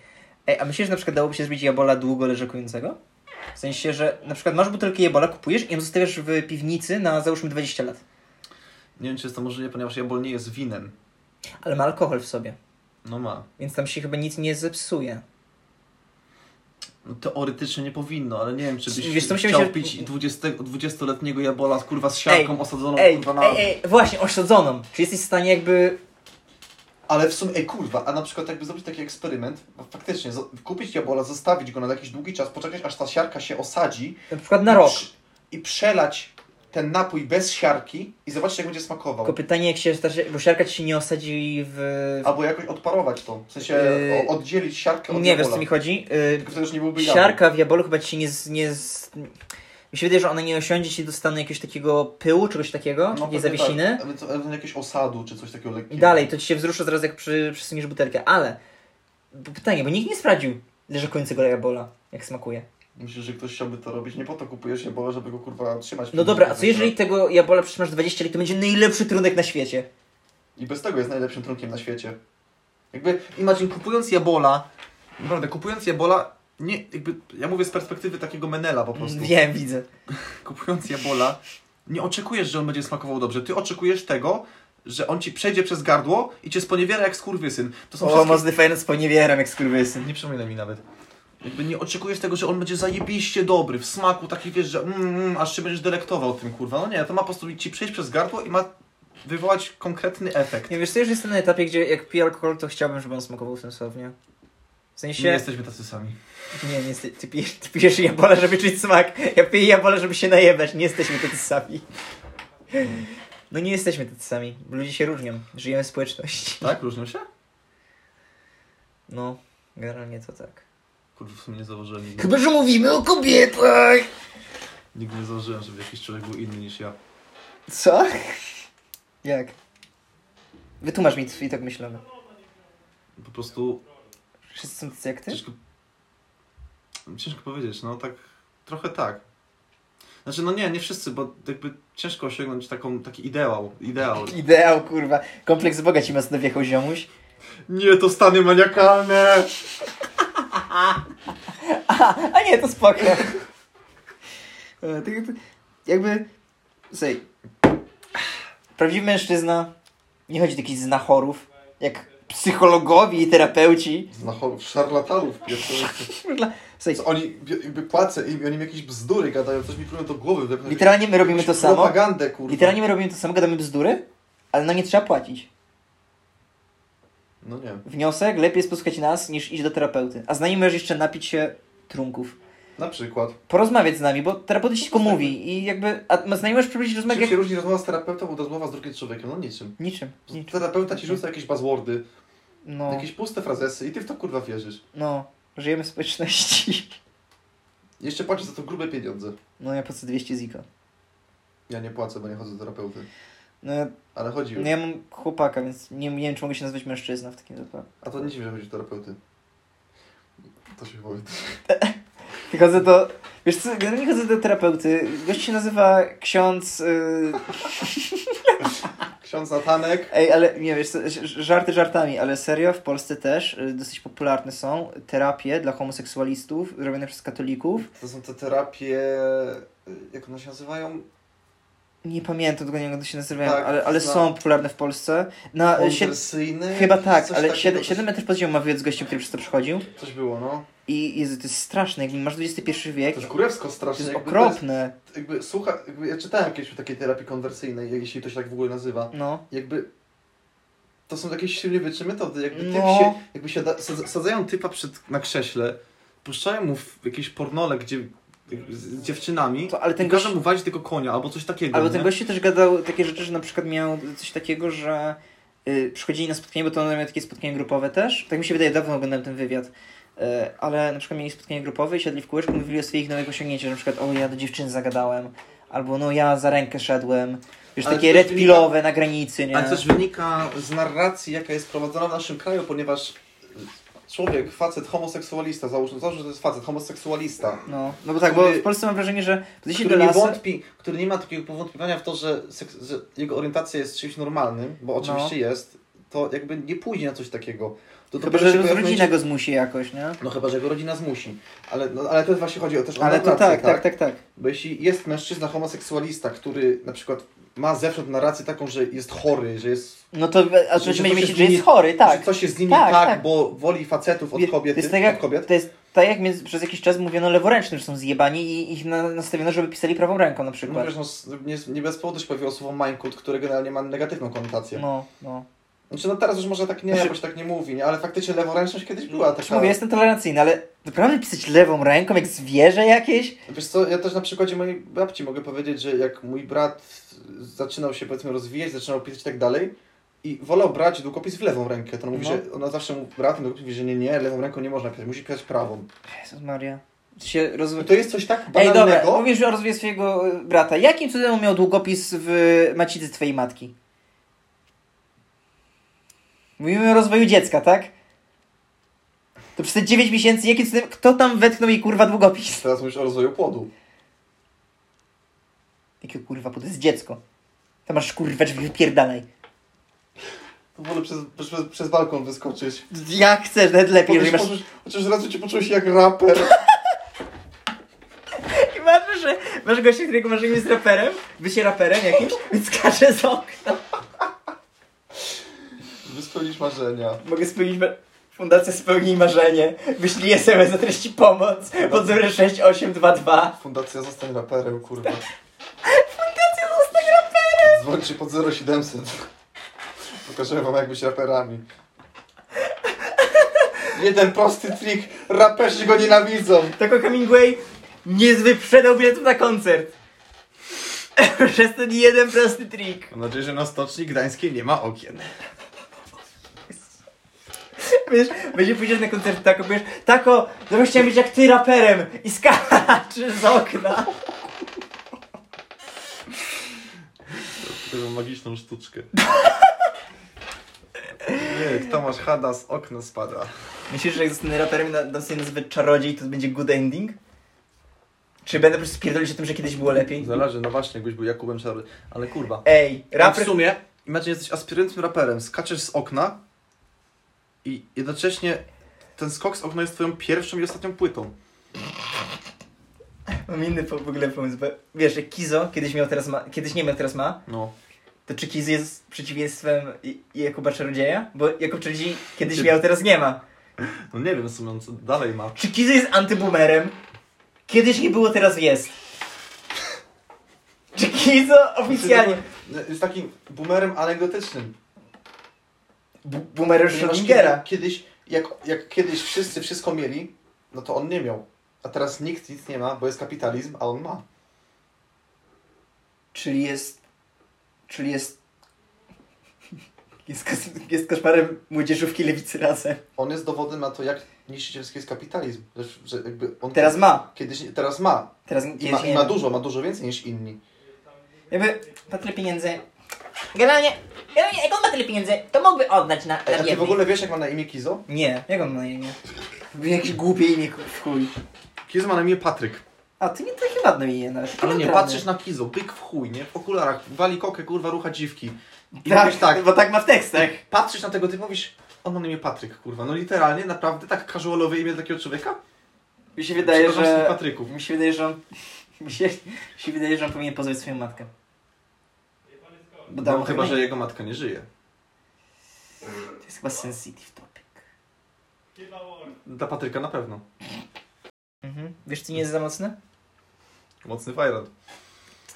[SPEAKER 1] Ej, A myślisz, że na przykład dałoby się zrobić Jabola długo leżakującego? W sensie, że na przykład masz butelkę Jabola, kupujesz i ją zostawiasz w piwnicy na załóżmy 20 lat.
[SPEAKER 2] Nie wiem czy jest to możliwe, ponieważ jabol nie jest winem.
[SPEAKER 1] Ale ma alkohol w sobie,
[SPEAKER 2] No ma.
[SPEAKER 1] więc tam się chyba nic nie zepsuje.
[SPEAKER 2] No, teoretycznie nie powinno, ale nie wiem czy byś
[SPEAKER 1] Wiesz, co musimy
[SPEAKER 2] chciał
[SPEAKER 1] się-
[SPEAKER 2] pić 20, 20-letniego jabola kurwa z siarką
[SPEAKER 1] Ej,
[SPEAKER 2] osadzoną
[SPEAKER 1] Ej,
[SPEAKER 2] kurwa na...
[SPEAKER 1] ej, ej, właśnie, osadzoną. Czy jesteś w stanie jakby
[SPEAKER 2] Ale w sumie, ej kurwa, a na przykład jakby zrobić taki eksperyment, bo faktycznie zo- kupić jabola, zostawić go na jakiś długi czas, poczekać aż ta siarka się osadzi
[SPEAKER 1] na przykład na rok?
[SPEAKER 2] I, przy- i przelać ten napój bez siarki i zobaczyć jak będzie smakował.
[SPEAKER 1] Tylko pytanie, jak się starczy, bo siarka ci się nie osadzi w...
[SPEAKER 2] Albo jakoś odparować to, w sensie
[SPEAKER 1] Yy,
[SPEAKER 2] o- oddzielić siarkę
[SPEAKER 1] nie,
[SPEAKER 2] od
[SPEAKER 1] wiesz
[SPEAKER 2] jabola.
[SPEAKER 1] co mi chodzi? Y,
[SPEAKER 2] Tylko wtedy już nie byłby jabłek.
[SPEAKER 1] siarka w jabolu chyba ci się nie... Z, nie z... Mi się wydaje, że ona nie osiądzie ci dostaną jakiegoś takiego pyłu, czegoś takiego,
[SPEAKER 2] pewnie
[SPEAKER 1] nie zawiesiny.
[SPEAKER 2] Tak, ale to- ale jakiegoś osadu czy coś takiego
[SPEAKER 1] I
[SPEAKER 2] lekkiego.
[SPEAKER 1] dalej, to ci się wzrusza zaraz jak przy, przysuniesz butelkę, ale... bo Pytanie, bo nikt nie sprawdził leżakującego jabola, jak smakuje.
[SPEAKER 2] Myślisz, że ktoś chciałby to robić? Nie po to kupujesz jabola, żeby go kurwa trzymać. w
[SPEAKER 1] No
[SPEAKER 2] piwnicy,
[SPEAKER 1] dobra, a co
[SPEAKER 2] kurwa.
[SPEAKER 1] jeżeli tego jabola przytrzymasz 20 lat, to będzie najlepszy trunek na świecie.
[SPEAKER 2] I bez tego jest najlepszym trunkiem na świecie. Jakby, imagine, kupując jabola, naprawdę, kupując jabola, nie, jakby, ja mówię z perspektywy takiego menela po prostu.
[SPEAKER 1] Wiem, widzę.
[SPEAKER 2] Kupując jabola, nie oczekujesz, że on będzie smakował dobrze. Ty oczekujesz tego, że on ci przejdzie przez gardło i cię sponiewiera jak skurwysyn. To są
[SPEAKER 1] O,
[SPEAKER 2] wszystkie...
[SPEAKER 1] mocny fajny z poniewieram, jak skurwysyn.
[SPEAKER 2] Nie przypominaj mi nawet. Jakby nie oczekujesz tego, że on będzie zajebiście dobry, w smaku, taki wiesz, że mm, mm, aż się będziesz delektował tym, kurwa. No nie, to ma po prostu ci przejść przez gardło i ma wywołać konkretny efekt.
[SPEAKER 1] Nie wiesz, to już jestem na etapie, gdzie jak piję alkohol, to chciałbym, żeby on smakował sensownie. W sensie.
[SPEAKER 2] Nie jesteśmy tacy sami.
[SPEAKER 1] Nie, nie jeste... ty, pijesz, ty pijesz jabola, żeby czuć smak. Ja piję jabola, żeby się najebać. Nie jesteśmy tacy sami. No nie jesteśmy tacy sami. Ludzie się różnią. Żyjemy w społeczności.
[SPEAKER 2] Tak? Różnią się?
[SPEAKER 1] No, generalnie to tak.
[SPEAKER 2] Kurwa, w sumie nie zauważyłem nigdy.
[SPEAKER 1] Chyba, że mówimy o kobietach!
[SPEAKER 2] Nigdy nie zauważyłem, żeby jakiś człowiek był inny niż ja.
[SPEAKER 1] Co? Jak? Wytłumacz mi twój tak myślony.
[SPEAKER 2] Po prostu
[SPEAKER 1] Wszyscy są tacy jak ty?
[SPEAKER 2] ciężko... Ciężko powiedzieć, no tak... Trochę tak. Znaczy, no nie, nie wszyscy, bo jakby ciężko osiągnąć taką, taki ideał. Ideał.
[SPEAKER 1] Ideał, kurwa. Kompleks Boga ci mocno wjechał ziomuś.
[SPEAKER 2] Nie, to stany maniakalne!
[SPEAKER 1] A nie, to spoko. E, tak jakby- Jakby... Słuchaj. Prawdziwy mężczyzna nie chodzi do jakichś znachorów, jak psychologowie i terapeuci.
[SPEAKER 2] Znachorów, szarlatanów, pierdolę.
[SPEAKER 1] Dla- Słuchaj,
[SPEAKER 2] Co Oni, bi- jakby płacę im, i oni mi jakieś bzdury gadają, coś mi płyną do głowy. jakąś-
[SPEAKER 1] literalnie my robimy to
[SPEAKER 2] jakąś
[SPEAKER 1] samo.
[SPEAKER 2] Propagandę, kurwa.
[SPEAKER 1] Literalnie my robimy to samo, gadamy bzdury, ale nam nie trzeba płacić.
[SPEAKER 2] No nie.
[SPEAKER 1] Wniosek, lepiej jest posłuchać nas, niż iść do terapeuty. A z nami możesz jeszcze napić się trunków.
[SPEAKER 2] Na przykład.
[SPEAKER 1] Porozmawiać z nami, bo terapeuta ci tylko mówi i jakby... A z nami możesz przeprowadzić rozmowę
[SPEAKER 2] Czym się
[SPEAKER 1] jak...
[SPEAKER 2] różni rozmowa z terapeutą od rozmowa z drugim człowiekiem? No niczym.
[SPEAKER 1] Niczym, niczym.
[SPEAKER 2] Terapeuta ci rzuca jakieś buzzwordy,
[SPEAKER 1] No.
[SPEAKER 2] jakieś puste frazesy i ty w to kurwa wierzysz.
[SPEAKER 1] No, żyjemy w społeczności.
[SPEAKER 2] Jeszcze płacisz za to grube pieniądze.
[SPEAKER 1] No ja płacę 200 ziko.
[SPEAKER 2] Ja nie płacę, bo nie chodzę do terapeuty.
[SPEAKER 1] No, ja-
[SPEAKER 2] Ale chodzi już.
[SPEAKER 1] no ja mam chłopaka, więc nie, nie wiem, czy mogę się nazwać mężczyzną w takim wypadku.
[SPEAKER 2] A to nie dziwne, że chodzi do terapeuty. To się powie.
[SPEAKER 1] I chodzę do... Wiesz co, generalnie chodzę do terapeuty. Gość się nazywa ksiądz... y,
[SPEAKER 2] Ksiądz Natanek.
[SPEAKER 1] Ej, ale nie wiesz, co, ż- żarty żartami, ale serio, w Polsce też y, dosyć popularne są terapie dla homoseksualistów robione przez katolików.
[SPEAKER 2] To są te terapie, y, jak one się nazywają?
[SPEAKER 1] Nie pamiętam dokładnie, jak one się nazywają,
[SPEAKER 2] Tak,
[SPEAKER 1] ale, ale
[SPEAKER 2] znam.
[SPEAKER 1] są popularne w Polsce. Na, y, sied...
[SPEAKER 2] Konwersyjny?
[SPEAKER 1] Chyba tak,
[SPEAKER 2] Coś
[SPEAKER 1] ale
[SPEAKER 2] takiego,
[SPEAKER 1] 7,
[SPEAKER 2] coś-
[SPEAKER 1] metrów pod ziemią ma wywiad z gościem, który przez to przechodził.
[SPEAKER 2] Coś było, no.
[SPEAKER 1] I Jezu, to jest straszne, jakby masz XXI
[SPEAKER 2] To
[SPEAKER 1] wiek,
[SPEAKER 2] jest kurewsko
[SPEAKER 1] to
[SPEAKER 2] strasznie.
[SPEAKER 1] jest
[SPEAKER 2] jakby
[SPEAKER 1] okropne.
[SPEAKER 2] to jest- Jakby, słucha, jakby, ja czytałem kiedyś o takiej terapii konwersyjnej, jeśli to się tak w ogóle nazywa.
[SPEAKER 1] No.
[SPEAKER 2] Jakby... To są takie silnie wyczy metody. Jakby, typ
[SPEAKER 1] No.
[SPEAKER 2] się, jakby się da, sadza- sadzają typa przed, na krześle, puszczają mu w jakieś pornole, gdzie z z dziewczynami
[SPEAKER 1] To, ale ten
[SPEAKER 2] i każą
[SPEAKER 1] gość-
[SPEAKER 2] mu walić tylko konia albo coś takiego.
[SPEAKER 1] Albo
[SPEAKER 2] nie?
[SPEAKER 1] ten gościu też gadał takie rzeczy, że na przykład miał coś takiego, że y, przychodzili na spotkanie, bo to one miały takie spotkanie grupowe też. Tak mi się wydaje, dawno oglądałem ten wywiad. Y, ale na przykład mieli spotkanie grupowe i siedli w kółeczku, mówili o swoich nowych osiągnięciach, że na przykład o ja do dziewczyny zagadałem, albo no ja za rękę szedłem. Wiesz,
[SPEAKER 2] Ale
[SPEAKER 1] takie
[SPEAKER 2] to
[SPEAKER 1] red
[SPEAKER 2] wynika-
[SPEAKER 1] pillowe na granicy, nie?
[SPEAKER 2] Ale też wynika z narracji, jaka jest prowadzona w naszym kraju, ponieważ człowiek, facet, homoseksualista, załóżmy, załóżmy, że to jest facet, homoseksualista,
[SPEAKER 1] No, no bo tak, bo
[SPEAKER 2] Który-
[SPEAKER 1] w Polsce mam wrażenie, że gdzieś do
[SPEAKER 2] który nie
[SPEAKER 1] lasu...
[SPEAKER 2] wątpi, który nie ma takiego powątpiewania w to, że, seks, że jego orientacja jest czymś normalnym,
[SPEAKER 1] No.
[SPEAKER 2] bo oczywiście jest, to jakby nie pójdzie na coś takiego. To
[SPEAKER 1] Chyba,
[SPEAKER 2] dopiero
[SPEAKER 1] że
[SPEAKER 2] się pojawia w
[SPEAKER 1] rodzina
[SPEAKER 2] momencie-
[SPEAKER 1] go zmusi jakoś, nie?
[SPEAKER 2] No chyba, że go rodzina zmusi. Ale, no, ale to właśnie chodzi o też o
[SPEAKER 1] Ale to
[SPEAKER 2] narrację,
[SPEAKER 1] tak, tak, tak, tak.
[SPEAKER 2] Bo jeśli jest mężczyzna homoseksualista, który na przykład ma zewsząd narrację taką, że jest chory, że jest
[SPEAKER 1] No to, a to
[SPEAKER 2] Że-
[SPEAKER 1] będzie
[SPEAKER 2] że coś
[SPEAKER 1] myśleć,
[SPEAKER 2] jest
[SPEAKER 1] że
[SPEAKER 2] nie-
[SPEAKER 1] jest chory, tak.
[SPEAKER 2] że coś jest z nimi
[SPEAKER 1] Tak,
[SPEAKER 2] tak,
[SPEAKER 1] tak.
[SPEAKER 2] bo woli facetów od
[SPEAKER 1] Wie-
[SPEAKER 2] kobiety,
[SPEAKER 1] To jest tak jak,
[SPEAKER 2] od kobiet.
[SPEAKER 1] To jest tak jak między, przez jakiś czas mówiono leworęcznym, że są zjebani i ich na, nastawiono, żeby pisali prawą ręką na
[SPEAKER 2] No
[SPEAKER 1] przykład.
[SPEAKER 2] wiesz, no, s- nie, nie bez powodu się pojawiło słowo mindcode, które generalnie ma negatywną konotację. No.
[SPEAKER 1] No, no.
[SPEAKER 2] Znaczy, no teraz już może tak nie,
[SPEAKER 1] Znaczy-
[SPEAKER 2] bo się tak nie mówi, nie? ale faktycznie leworęczność kiedyś była
[SPEAKER 1] Znaczy,
[SPEAKER 2] taka.
[SPEAKER 1] mówię, jestem tolerancyjny, ale naprawdę pisać lewą ręką jak zwierzę jakieś?
[SPEAKER 2] Wiesz co, ja też na przykładzie mojej babci mogę powiedzieć, że jak mój brat zaczynał się powiedzmy rozwijać, zaczynał pisać i tak dalej i wolał brać długopis w lewą rękę, to ona mówi,
[SPEAKER 1] No.
[SPEAKER 2] że ona zawsze mu brat długopis mówi, że nie, nie, lewą ręką nie można pisać, musi pisać prawą.
[SPEAKER 1] Jezus Maria. To Się roz...
[SPEAKER 2] No to jest coś tak
[SPEAKER 1] Znaczy- Ej,
[SPEAKER 2] banalnego.
[SPEAKER 1] dobra, mówisz o rozwoju swojego y, brata. Jakim cudem on miał długopis w macicy twojej matki? Mówimy o rozwoju dziecka, tak? To przez te 9 miesięcy, jakim cudem, kto tam wetknął jej kurwa długopis?
[SPEAKER 2] Teraz mówisz o rozwoju płodu.
[SPEAKER 1] Jakie kurwa, bo to jest dziecko. To masz kurwa drzwi wypierdalaj.
[SPEAKER 2] To wolę przez, przez, przez balkon wyskoczyć.
[SPEAKER 1] Jak chcesz, nawet lepiej, jeżeli
[SPEAKER 2] Powiesz,
[SPEAKER 1] masz...
[SPEAKER 2] możesz, chociaż raz cię poczułeś jak raper.
[SPEAKER 1] I masz, że masz gościa, którego masz imię z raperem, bycie raperem jakimś, więc każe z okna.
[SPEAKER 2] Żeby spełnić marzenia.
[SPEAKER 1] Mogę spełnić... Ma- Fundacja spełnij marzenie. Wyślij SMS o treści pomoc pod 06822.
[SPEAKER 2] Fundacja Zostań Raperem, kurwa.
[SPEAKER 1] Fundacja zostań raperem!
[SPEAKER 2] Dzwońcie pod 0700. Pokażę wam jak być raperami. Jeden prosty trik. Raperzy go nienawidzą.
[SPEAKER 1] Taco Hemingway nie wyprzedał biletów na koncert. Przez ten jeden prosty trik.
[SPEAKER 2] Mam nadzieję, że na Stoczni Gdańskiej nie ma okien.
[SPEAKER 1] Wiesz, będzie pójdziesz na koncert Tako, powiesz Tako, to bym chciał być jak ty raperem i skaczesz z okna.
[SPEAKER 2] Taką magiczną sztuczkę. Nie, kto masz hada z okna spada.
[SPEAKER 1] Myślisz, że jak zostanę raperem i na- dostanę nazwę czarodziej, to będzie good ending? Czy będę po prostu spierdolić o tym, że kiedyś było lepiej?
[SPEAKER 2] Zależy, no właśnie, jakbyś był Jakubem Czarny. Ale kurwa.
[SPEAKER 1] Ej,
[SPEAKER 2] Raper... W
[SPEAKER 1] raper...
[SPEAKER 2] sumie, imagine jesteś aspirującym raperem, skaczesz z okna i jednocześnie ten skok z okna jest twoją pierwszą i ostatnią płytą.
[SPEAKER 1] Mam inny po, w ogóle pomysł, bo wiesz, jak Kizo kiedyś miał teraz ma... Kiedyś nie miał, teraz ma,
[SPEAKER 2] No.
[SPEAKER 1] to czy Kizo jest przeciwieństwem I- Jakuba Czarodzieja? Bo Jakub Czarodziej kiedyś
[SPEAKER 2] Kiedy-
[SPEAKER 1] miał, teraz nie ma.
[SPEAKER 2] No nie wiem w sumie, co dalej ma.
[SPEAKER 1] Czy Kizo jest antyboomerem? Kiedyś nie było, teraz jest. Czy Kizo oficjalnie...
[SPEAKER 2] Jest takim boomerem anegdotycznym.
[SPEAKER 1] Bu- Boomerem
[SPEAKER 2] Ponieważ
[SPEAKER 1] Schrödingera.
[SPEAKER 2] kiedy- Kiedyś, jak, jak kiedyś wszyscy wszystko mieli, no to on nie miał. A teraz nikt nic nie ma, bo jest kapitalizm, a on ma.
[SPEAKER 1] Czyli jest. Czyli jest. Jest, kos, jest koszmarem młodzieżówki lewicy razem.
[SPEAKER 2] On jest dowodem na to, jak niszczycielski jest kapitalizm. Że, że jakby on
[SPEAKER 1] Teraz ma.
[SPEAKER 2] Kiedyś, nie- teraz ma.
[SPEAKER 1] Teraz
[SPEAKER 2] I
[SPEAKER 1] kiedyś
[SPEAKER 2] ma,
[SPEAKER 1] nie
[SPEAKER 2] I ma
[SPEAKER 1] miał.
[SPEAKER 2] dużo, ma dużo więcej niż inni.
[SPEAKER 1] Jakby ma tyle pieniędzy. Generalnie, generalnie, jak on ma tyle pieniędzy, to mógłby oddać na, na
[SPEAKER 2] Ej, A ty
[SPEAKER 1] biednych.
[SPEAKER 2] w ogóle wiesz, jak ma na imię Kizo?
[SPEAKER 1] Nie, jak on ma na imię? Jakieś głupie imię ku- w chuj.
[SPEAKER 2] Kizu ma na imię Patryk.
[SPEAKER 1] A ty nie takie ładne imię nawet. takie
[SPEAKER 2] Ale nie,
[SPEAKER 1] neutralne.
[SPEAKER 2] patrzysz na Kizo, byk w chuj, nie? W okularach, wali kokę, kurwa, rucha dziwki. I
[SPEAKER 1] tak,
[SPEAKER 2] mówisz tak,
[SPEAKER 1] bo tak ma w tekstach.
[SPEAKER 2] patrzysz na tego, ty mówisz, on ma na imię Patryk, kurwa. No literalnie, naprawdę, tak casualowe imię takiego człowieka?
[SPEAKER 1] Mi się wydaje,
[SPEAKER 2] Przepraszam, z tych
[SPEAKER 1] że...
[SPEAKER 2] Patryków.
[SPEAKER 1] Mi się wydaje, że on... Mi się, mi się wydaje, że on powinien pozwać swoją matkę. Bo dał
[SPEAKER 2] No, chyba,
[SPEAKER 1] hajs.
[SPEAKER 2] że jego matka nie żyje.
[SPEAKER 1] To jest chyba sensitive topic.
[SPEAKER 2] Dla Patryka na pewno.
[SPEAKER 1] Mhm. Wiesz, co nie jest za mocne?
[SPEAKER 2] Mocny fajrant.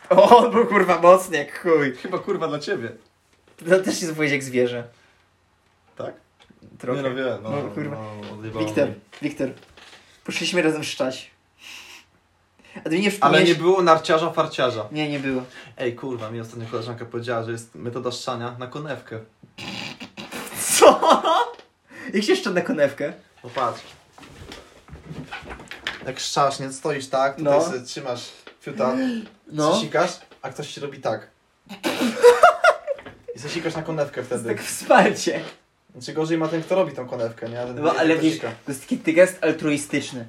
[SPEAKER 1] O, on był kurwa mocny jak chuj.
[SPEAKER 2] Chyba, kurwa, dla ciebie.
[SPEAKER 1] To też się zapowiedź jak zwierzę.
[SPEAKER 2] Tak?
[SPEAKER 1] Trochę.
[SPEAKER 2] Nie no, wiem. No,
[SPEAKER 1] No, kurwa.
[SPEAKER 2] No, odjebało
[SPEAKER 1] Wiktor,
[SPEAKER 2] mnie.
[SPEAKER 1] Wiktor. Poszliśmy razem szczać. A ty mi nie
[SPEAKER 2] Ale nie
[SPEAKER 1] przypomniałeś...
[SPEAKER 2] było narciarza, farciarza.
[SPEAKER 1] Nie, nie było.
[SPEAKER 2] Ej, kurwa, mi ostatnio koleżanka powiedziała, że jest metoda szczania na konewkę.
[SPEAKER 1] Co? Jak się jeszcze na konewkę?
[SPEAKER 2] Popatrz. No Jak szczasz, nie stoisz tak, tutaj
[SPEAKER 1] No.
[SPEAKER 2] sobie trzymasz fiuta,
[SPEAKER 1] No.
[SPEAKER 2] no. sikasz, a ktoś ci robi tak. I sobie sikasz na konewkę
[SPEAKER 1] To jest
[SPEAKER 2] wtedy.
[SPEAKER 1] tak wsparcie.
[SPEAKER 2] Znaczy gorzej ma ten, kto robi tą konewkę, nie? A Ten,
[SPEAKER 1] No,
[SPEAKER 2] ten,
[SPEAKER 1] ale
[SPEAKER 2] kto
[SPEAKER 1] wiesz,
[SPEAKER 2] sika.
[SPEAKER 1] to jest taki ty gest altruistyczny.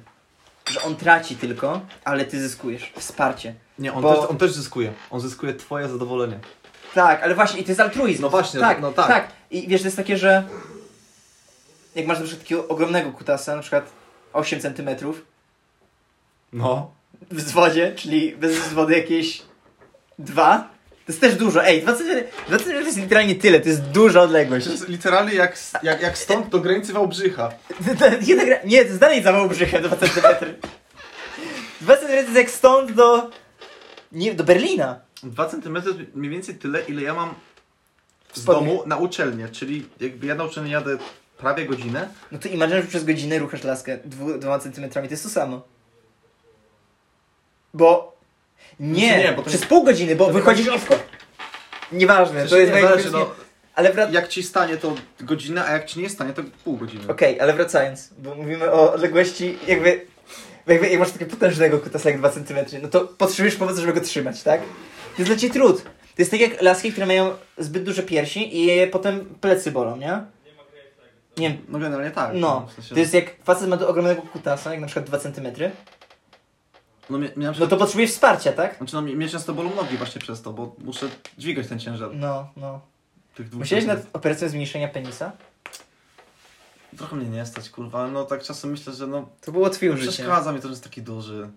[SPEAKER 1] Że on traci tylko, ale ty zyskujesz. Wsparcie.
[SPEAKER 2] Nie, on,
[SPEAKER 1] bo-
[SPEAKER 2] też, on też zyskuje. On zyskuje twoje zadowolenie.
[SPEAKER 1] Tak, ale właśnie, i to jest altruizm.
[SPEAKER 2] No właśnie,
[SPEAKER 1] tak,
[SPEAKER 2] no tak.
[SPEAKER 1] tak. I wiesz, to jest takie, że jak masz na przykład takiego ogromnego kutasa, na przykład 8 cm
[SPEAKER 2] No.
[SPEAKER 1] w zwodzie, czyli bez zwody jakieś 2, to jest też dużo. Ej, 2 cm, 2 cm to jest literalnie tyle, to jest duża odległość.
[SPEAKER 2] To jest literalnie jak, jak, jak stąd do granicy Wałbrzycha.
[SPEAKER 1] Jedna gra... Nie, to jest dalej za mało brzychem, 2 cm. 2 cm to jest jak stąd do... Nie, do Berlina.
[SPEAKER 2] 2 cm mniej więcej tyle, ile ja mam z
[SPEAKER 1] Spodnie.
[SPEAKER 2] domu na uczelnię. Czyli jakby ja na uczelnię jadę prawie godzinę.
[SPEAKER 1] No to imagine, że przez godzinę ruchasz laskę dwu, dwoma centymetrami, to jest to samo. Bo... Nie,
[SPEAKER 2] Znaczy nie, bo to
[SPEAKER 1] przez
[SPEAKER 2] jest-
[SPEAKER 1] pół godziny, bo wychodzisz... Nieważne, to jest...
[SPEAKER 2] nie, zależy,
[SPEAKER 1] jakby-
[SPEAKER 2] no,
[SPEAKER 1] Ale wrac...
[SPEAKER 2] jak ci stanie to godzinę, a jak ci nie stanie to pół godziny.
[SPEAKER 1] Okej, ale wracając, bo mówimy o odległości jakby... bo Jakby, jak masz takiego potężnego kutasa jak 2 centymetry, no to potrzebujesz pomocy, żeby go trzymać, tak? To jest dla ciebie trud. To jest tak jak laski, które mają zbyt duże piersi i je potem plecy bolą, nie? Nie wiem,
[SPEAKER 2] No generalnie tak.
[SPEAKER 1] No,
[SPEAKER 2] w sensie,
[SPEAKER 1] to jest jak facet ma do ogromnego kutasa, jak na przykład 2 cm,
[SPEAKER 2] no, mnie, mnie na
[SPEAKER 1] no
[SPEAKER 2] przykład,
[SPEAKER 1] to potrzebuje wsparcia, tak?
[SPEAKER 2] Znaczy no, mnie, mnie często bolą nogi właśnie przez to, bo muszę dźwigać ten ciężar
[SPEAKER 1] No, no.
[SPEAKER 2] tych dwóch
[SPEAKER 1] Myślałeś nad
[SPEAKER 2] godzin.
[SPEAKER 1] operacją zmniejszenia penisa?
[SPEAKER 2] Trochę mnie nie stać, kurwa, ale no tak czasem myślę, że no
[SPEAKER 1] To było twoje użycie.
[SPEAKER 2] przeszkadza mi to, że jest taki duży.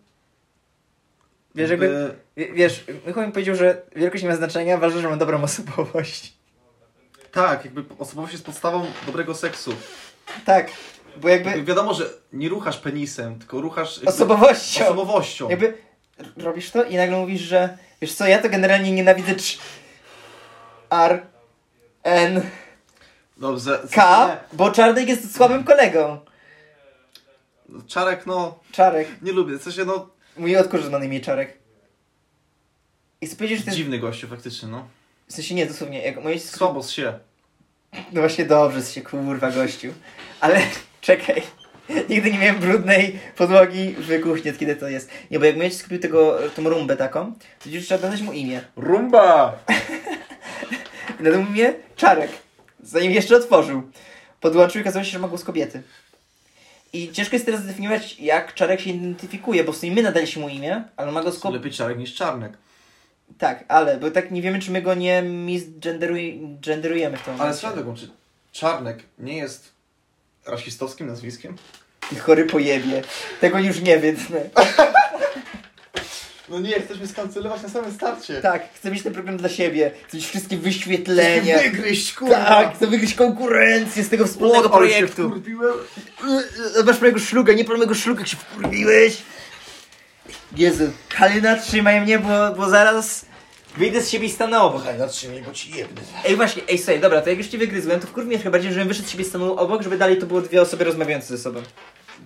[SPEAKER 1] Wiesz, jakby, w- wiesz, Michał mi powiedział, że wielkość nie ma znaczenia, ważne, że mam dobrą osobowość.
[SPEAKER 2] Tak, jakby osobowość jest podstawą dobrego seksu.
[SPEAKER 1] Tak, bo
[SPEAKER 2] Jakby
[SPEAKER 1] jakby
[SPEAKER 2] wiadomo, że nie ruchasz penisem, tylko ruchasz jakby
[SPEAKER 1] osobowością.
[SPEAKER 2] osobowością.
[SPEAKER 1] Jakby r- robisz to i nagle mówisz, że wiesz co, ja to generalnie nienawidzę cz... R... N...
[SPEAKER 2] Dobrze.
[SPEAKER 1] K, bo Czarnek jest słabym kolegą.
[SPEAKER 2] Nie, Czarek, no,
[SPEAKER 1] Czarek.
[SPEAKER 2] nie lubię. W sensie, no,
[SPEAKER 1] Mój odkurz na imię Czarek. I chcę powiedzieć, że to jest
[SPEAKER 2] dziwny gościu faktycznie, no.
[SPEAKER 1] W sensie nie, dosłownie, jak moje
[SPEAKER 2] Słabo z się.
[SPEAKER 1] No właśnie dobrze się kurwa gościu. Ale czekaj. Nigdy nie miałem brudnej podłogi w kuchni, od kiedy to jest. Nie, bo jak mój ojciec kupił tego, tą rumbę taką, to już trzeba dodać mu imię.
[SPEAKER 2] Rumba!
[SPEAKER 1] I Nadał mu imię Czarek. Zanim jeszcze otworzył. Podłączył i okazało się, że ma głos kobiety. I ciężko jest teraz zdefiniować, jak Czarek się identyfikuje, bo w sumie my nadaliśmy mu imię, ale on ma głos kobiety.
[SPEAKER 2] Lepiej Czarek niż Czarnek.
[SPEAKER 1] Tak, ale, bo tak nie wiemy, czy my go nie misgenderujemy w tym
[SPEAKER 2] Ale swoją drogą, czy Czarnek nie jest rasistowskim nazwiskiem?
[SPEAKER 1] Ty chory pojebie. Tego już nie wiem.
[SPEAKER 2] No nie, chcesz mnie skancelować na samym starcie.
[SPEAKER 1] Tak, chcę mieć ten program dla siebie. Chcę mieć wszystkie
[SPEAKER 2] Chcesz mnie
[SPEAKER 1] wyświetlenia.
[SPEAKER 2] wygryźć, kurwa!
[SPEAKER 1] Tak, chcę wygrać konkurencję z tego wspólnego
[SPEAKER 2] Ale się
[SPEAKER 1] projektu.
[SPEAKER 2] wkurwiłem.
[SPEAKER 1] Y, y, Masz mojego szluga, nie pal mojego szluga, jak się wkurwiłeś. Jezu, Halina, trzymaj mnie, bo, bo zaraz wyjdę z siebie i stanę obok.
[SPEAKER 2] Kochaj, zatrzymaj, bo ci jebny.
[SPEAKER 1] Ej, właśnie, ej, słuchaj, dobra, to jak już cię wygryzłem, to wkurwię chyba bardziej, żebym wyszedł z siebie i stanął obok, żeby dalej to było dwie osoby rozmawiające ze sobą.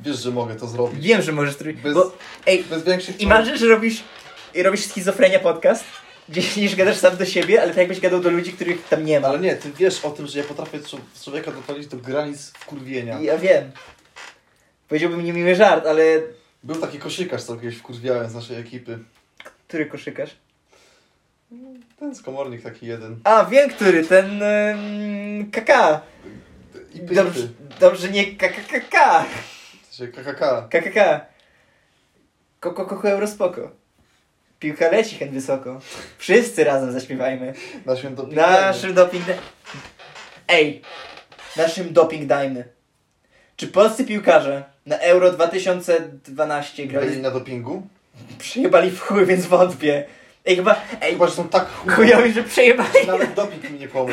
[SPEAKER 2] Wiesz, że mogę to zrobić.
[SPEAKER 1] Wiem, że możesz trój...
[SPEAKER 2] Bez-
[SPEAKER 1] Bo, ej,
[SPEAKER 2] Bez większych...
[SPEAKER 1] I marzysz, że robisz, i robisz schizofrenia podcast, gdzie siedzisz, gadasz sam do siebie, ale tak jakbyś gadał do ludzi, których tam nie ma.
[SPEAKER 2] Ale nie, ty wiesz o tym, że ja potrafię czo- człowieka doprowadzić do granic wkurwienia.
[SPEAKER 1] Ja wiem. Powiedziałbym niemiły żart, ale...
[SPEAKER 2] Był taki koszykarz, co kiedyś wkurwiałem z naszej ekipy.
[SPEAKER 1] Który koszykarz?
[SPEAKER 2] Ten z komornik taki jeden.
[SPEAKER 1] A, wiem który, ten... em, KK.
[SPEAKER 2] I pyty.
[SPEAKER 1] Dobrze, dobrze nie KKKK.
[SPEAKER 2] W sensie KKK.
[SPEAKER 1] KKK. Koko, koko, eurospoko. Piłka leci hen wysoko. Wszyscy razem zaśpiewajmy.
[SPEAKER 2] Na święto
[SPEAKER 1] Naszym doping... da- Ej! Naszym doping dajmy. Czy polscy piłkarze na Euro 2012 grali...
[SPEAKER 2] na dopingu?
[SPEAKER 1] Przejebali w chuj, więc wątpię. Ej, chyba... Ej,
[SPEAKER 2] Chyba, że są tak chuj,
[SPEAKER 1] chujowi, że przejebali...
[SPEAKER 2] że nawet doping mi nie pomógł.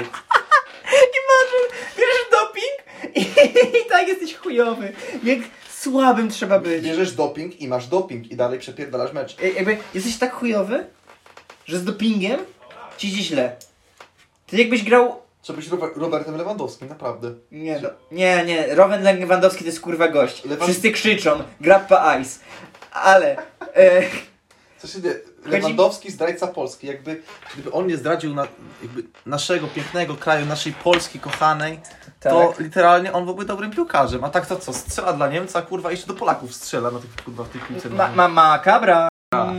[SPEAKER 1] I masz, bierzesz doping i, i tak jesteś chujowy. Jak słabym trzeba być.
[SPEAKER 2] Bierzesz doping i masz doping i dalej przepierdalasz mecz.
[SPEAKER 1] Ej, Jakby jesteś tak chujowy, że z dopingiem ci idzie źle. Ty jakbyś grał...
[SPEAKER 2] Trzeba być Rober- Robertem Lewandowskim, naprawdę.
[SPEAKER 1] Nie, no, nie, nie. Rowan Lewandowski to jest kurwa gość.
[SPEAKER 2] Lewand-
[SPEAKER 1] Wszyscy krzyczą, grappa ice. Ale... E,
[SPEAKER 2] Co się dzieje? Lewandowski zdrajca Polski. Jakby, gdyby on nie zdradził na, jakby naszego pięknego kraju, naszej Polski kochanej, to
[SPEAKER 1] Tak.
[SPEAKER 2] literalnie on byłby dobrym piłkarzem. A tak to co? Strzela dla Niemca, kurwa, i jeszcze do Polaków strzela na tych, kurwa, w tych piłce.
[SPEAKER 1] ma, ma, ma kabra.
[SPEAKER 2] A.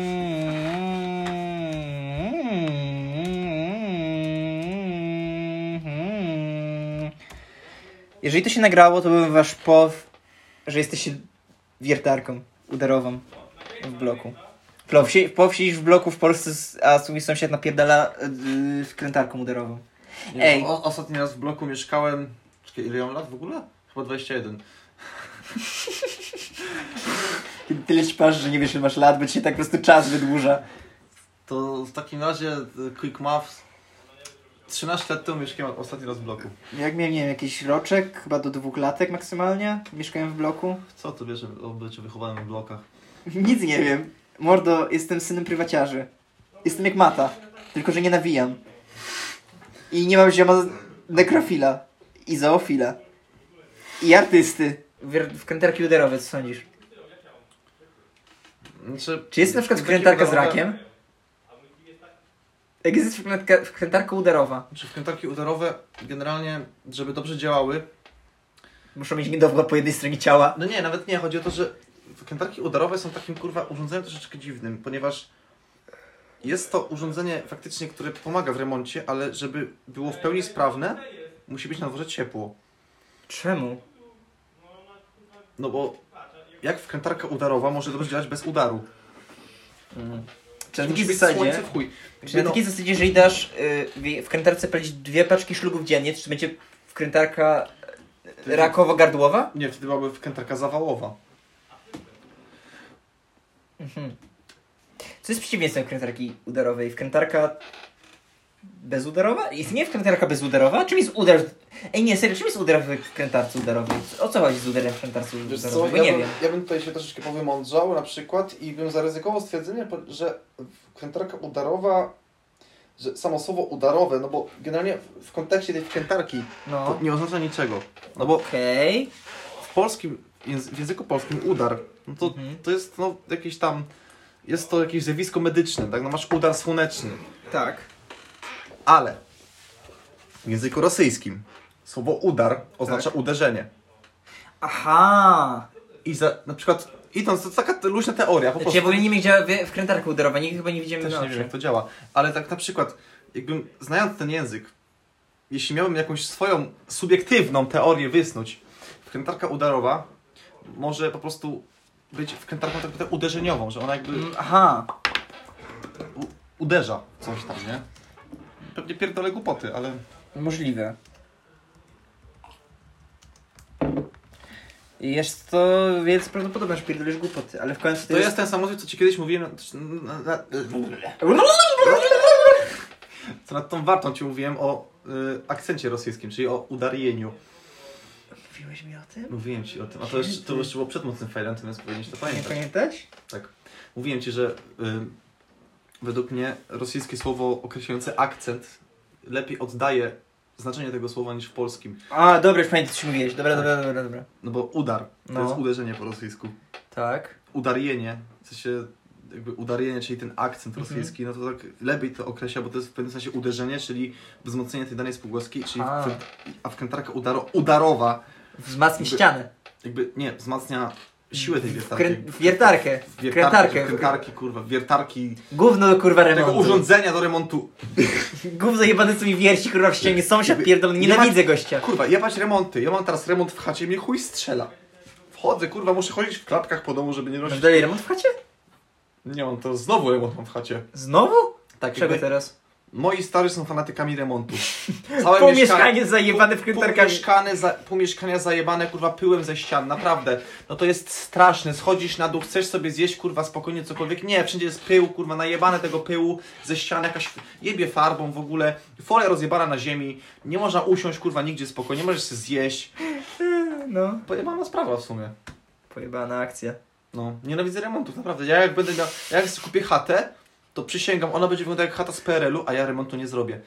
[SPEAKER 1] Jeżeli to się nagrało, to byłem wasz pow, że jesteście wiertarką udarową w bloku. Po wsi, po wsi w bloku w Polsce, s- a mój sąsiad napierdala yy, wkrętarką udarową.
[SPEAKER 2] Nie,
[SPEAKER 1] Ej.
[SPEAKER 2] O, ostatni raz w bloku mieszkałem. Czekaj, ile ja mam lat w ogóle? Chyba 21.
[SPEAKER 1] Kiedy tyle śpasz, że nie wiesz ile masz lat, bo ci się tak po prostu czas wydłuża.
[SPEAKER 2] To w takim razie y, quick math. 13 lat temu mieszkałem ostatni raz w bloku.
[SPEAKER 1] Jak miałem, nie wiem, jakiś roczek, chyba do dwóch latek maksymalnie, mieszkałem w bloku.
[SPEAKER 2] Co to wiesz o byciu wychowanym w blokach?
[SPEAKER 1] Nic nie wiem. Mordo, jestem synem prywaciarzy. Jestem jak mata, tylko że nie nawijam. I nie mam zioma z- nekrofila i zoofila. I artysty. Wkrętarki uderowe, co sądzisz?
[SPEAKER 2] Znaczy,
[SPEAKER 1] Czy jest na przykład
[SPEAKER 2] Taki
[SPEAKER 1] wkrętarka z
[SPEAKER 2] udarowy-
[SPEAKER 1] rakiem? Jak jest wkrętka, wkrętarka uderowa,
[SPEAKER 2] Czy wkrętarki udarowe generalnie, żeby dobrze działały,
[SPEAKER 1] muszą mieć niedowła po jednej stronie ciała.
[SPEAKER 2] No nie, nawet nie. Chodzi o to, że wkrętarki udarowe są takim kurwa urządzeniem troszeczkę dziwnym, ponieważ jest to urządzenie faktycznie, które pomaga w remoncie, ale żeby było w pełni sprawne, musi być na dworze ciepło.
[SPEAKER 1] Czemu?
[SPEAKER 2] No bo jak wkrętarka udarowa może dobrze działać bez udaru?
[SPEAKER 1] Czy na
[SPEAKER 2] musi
[SPEAKER 1] takiej
[SPEAKER 2] być
[SPEAKER 1] zasadzie,
[SPEAKER 2] słońce w chuj.
[SPEAKER 1] czy na
[SPEAKER 2] No,
[SPEAKER 1] takiej zasadzie jeżeli dasz y, wkrętarce palić dwie paczki szlugów dziennie, czy będzie wkrętarka
[SPEAKER 2] wtedy-
[SPEAKER 1] rakowo-gardłowa?
[SPEAKER 2] Nie, wtedy byłaby wkrętarka zawałowa.
[SPEAKER 1] Co jest przeciwieństwem wkrętarki uderowej? Wkrętarka bezuderowa? Istnieje wkrętarka bezuderowa? Czym jest uder... Ej, nie, serio, czym jest uder w wkrętarce uderowej? O co chodzi z uderem w wkrętarce
[SPEAKER 2] Wiesz
[SPEAKER 1] uderowej? Bo
[SPEAKER 2] co, ja,
[SPEAKER 1] nie
[SPEAKER 2] bym,
[SPEAKER 1] wiem.
[SPEAKER 2] ja bym tutaj się troszeczkę powymądrzał na przykład i bym zaryzykował stwierdzenie, po- że wkrętarka udarowa, że samo słowo udarowe, no bo generalnie w- w kontekście tej wkrętarki to
[SPEAKER 1] No.
[SPEAKER 2] nie oznacza niczego. No bo
[SPEAKER 1] Okej.
[SPEAKER 2] w polskim, języ- w języku polskim udar, no to,
[SPEAKER 1] Mhm.
[SPEAKER 2] to jest no jakieś tam, jest to jakieś zjawisko medyczne, tak? No masz udar słoneczny,
[SPEAKER 1] Tak.
[SPEAKER 2] ale w języku rosyjskim słowo udar oznacza uderzenie.
[SPEAKER 1] Aha!
[SPEAKER 2] I za, na przykład idąc, to taka luźna teoria No po
[SPEAKER 1] Znaczy,
[SPEAKER 2] prostu.
[SPEAKER 1] ja w ogóle nie wiem, gdzie działa wy- wkrętarka uderowa, nigdy chyba nie widziałem
[SPEAKER 2] Też
[SPEAKER 1] na
[SPEAKER 2] nie wiem, jak
[SPEAKER 1] oczy.
[SPEAKER 2] to działa. Ale tak na przykład, jakbym znając ten język, jeśli miałbym jakąś swoją subiektywną teorię wysnuć, wkrętarka udarowa może po prostu być wkrętarką tak naprawdę uderzeniową, że ona jakby
[SPEAKER 1] Mm, Aha.
[SPEAKER 2] u- uderza coś tam, nie? Pewnie pierdolę głupoty, ale
[SPEAKER 1] Możliwe. Jest to więc prawdopodobne, że pierdolisz głupoty, ale w końcu to,
[SPEAKER 2] to jest ten samolot, co ci kiedyś mówiłem, na- na-
[SPEAKER 1] No,
[SPEAKER 2] co nad tą wartą ci mówiłem o y, akcencie rosyjskim, czyli o udarieniu.
[SPEAKER 1] Mówiłeś mi o tym?
[SPEAKER 2] Mówiłem ci o tym, a to jeszcze, to jeszcze było przed mocnym fajlantem, więc powinieneś to
[SPEAKER 1] Nie
[SPEAKER 2] pamiętać.
[SPEAKER 1] pamiętać?
[SPEAKER 2] Tak. Mówiłem ci, że y, według mnie rosyjskie słowo określające akcent lepiej oddaje znaczenie tego słowa niż w polskim.
[SPEAKER 1] A, dobra, już pamiętam, co ci mówiłeś. Dobra, dobra, dobra, dobra.
[SPEAKER 2] No bo udar to
[SPEAKER 1] No.
[SPEAKER 2] jest uderzenie po rosyjsku.
[SPEAKER 1] Tak.
[SPEAKER 2] Udarienie, w sensie jakby udarienie, czyli ten akcent
[SPEAKER 1] Mhm.
[SPEAKER 2] rosyjski, no to tak lepiej to określa, bo to jest w pewnym sensie uderzenie, czyli wzmocnienie tej danej spółgłoski, czyli
[SPEAKER 1] A.
[SPEAKER 2] a, a wkrętarka udaro, udarowa
[SPEAKER 1] Wzmacnij ścianę.
[SPEAKER 2] jakby, nie, wzmacnia siłę tej wiertarki.
[SPEAKER 1] Wkrę- wiertarkę.
[SPEAKER 2] Wiertarki,
[SPEAKER 1] Wkrętarkę.
[SPEAKER 2] wkrętarki, kurwa, wiertarki,
[SPEAKER 1] Gówno kurwa
[SPEAKER 2] tego
[SPEAKER 1] remontu.
[SPEAKER 2] urządzenia do remontu
[SPEAKER 1] Gówno jebane co mi wierci kurwa w ścianie. Sąsiad
[SPEAKER 2] Jakby-
[SPEAKER 1] pierdolony,
[SPEAKER 2] nie ma-
[SPEAKER 1] nienawidzę gościa.
[SPEAKER 2] Kurwa, jebać remonty. Ja mam teraz remont w chacie i mnie chuj strzela. Wchodzę, kurwa, muszę chodzić w klapkach po domu, żeby nie
[SPEAKER 1] Masz
[SPEAKER 2] nosić...
[SPEAKER 1] dalej remont w chacie?
[SPEAKER 2] Nie, on to znowu remont mam w chacie.
[SPEAKER 1] Znowu?
[SPEAKER 2] Tak,
[SPEAKER 1] Czego
[SPEAKER 2] jakby-
[SPEAKER 1] teraz?
[SPEAKER 2] Moi starzy są fanatykami remontu. Całe
[SPEAKER 1] Pół
[SPEAKER 2] mieszkanie-
[SPEAKER 1] mieszkanie zajebane w kryterkami.
[SPEAKER 2] Półmieszkane za, półmieszkania zajebane kurwa pyłem ze ścian, naprawdę. No to jest straszne. Schodzisz na dół, chcesz sobie zjeść kurwa spokojnie cokolwiek. Nie, wszędzie jest pył, kurwa, najebane tego pyłu ze ścian, jakaś jebie farbą w ogóle. Folia rozjebana na ziemi. Nie można usiąść kurwa nigdzie spokojnie, nie możesz się zjeść.
[SPEAKER 1] No,
[SPEAKER 2] Pojebana sprawa w sumie.
[SPEAKER 1] pojebana akcja.
[SPEAKER 2] No, nienawidzę remontów, naprawdę. Ja jak będę miał, ja jak kupię chatę, to przysięgam, ona będzie wyglądała jak chata z PRL-u, a ja remontu nie zrobię.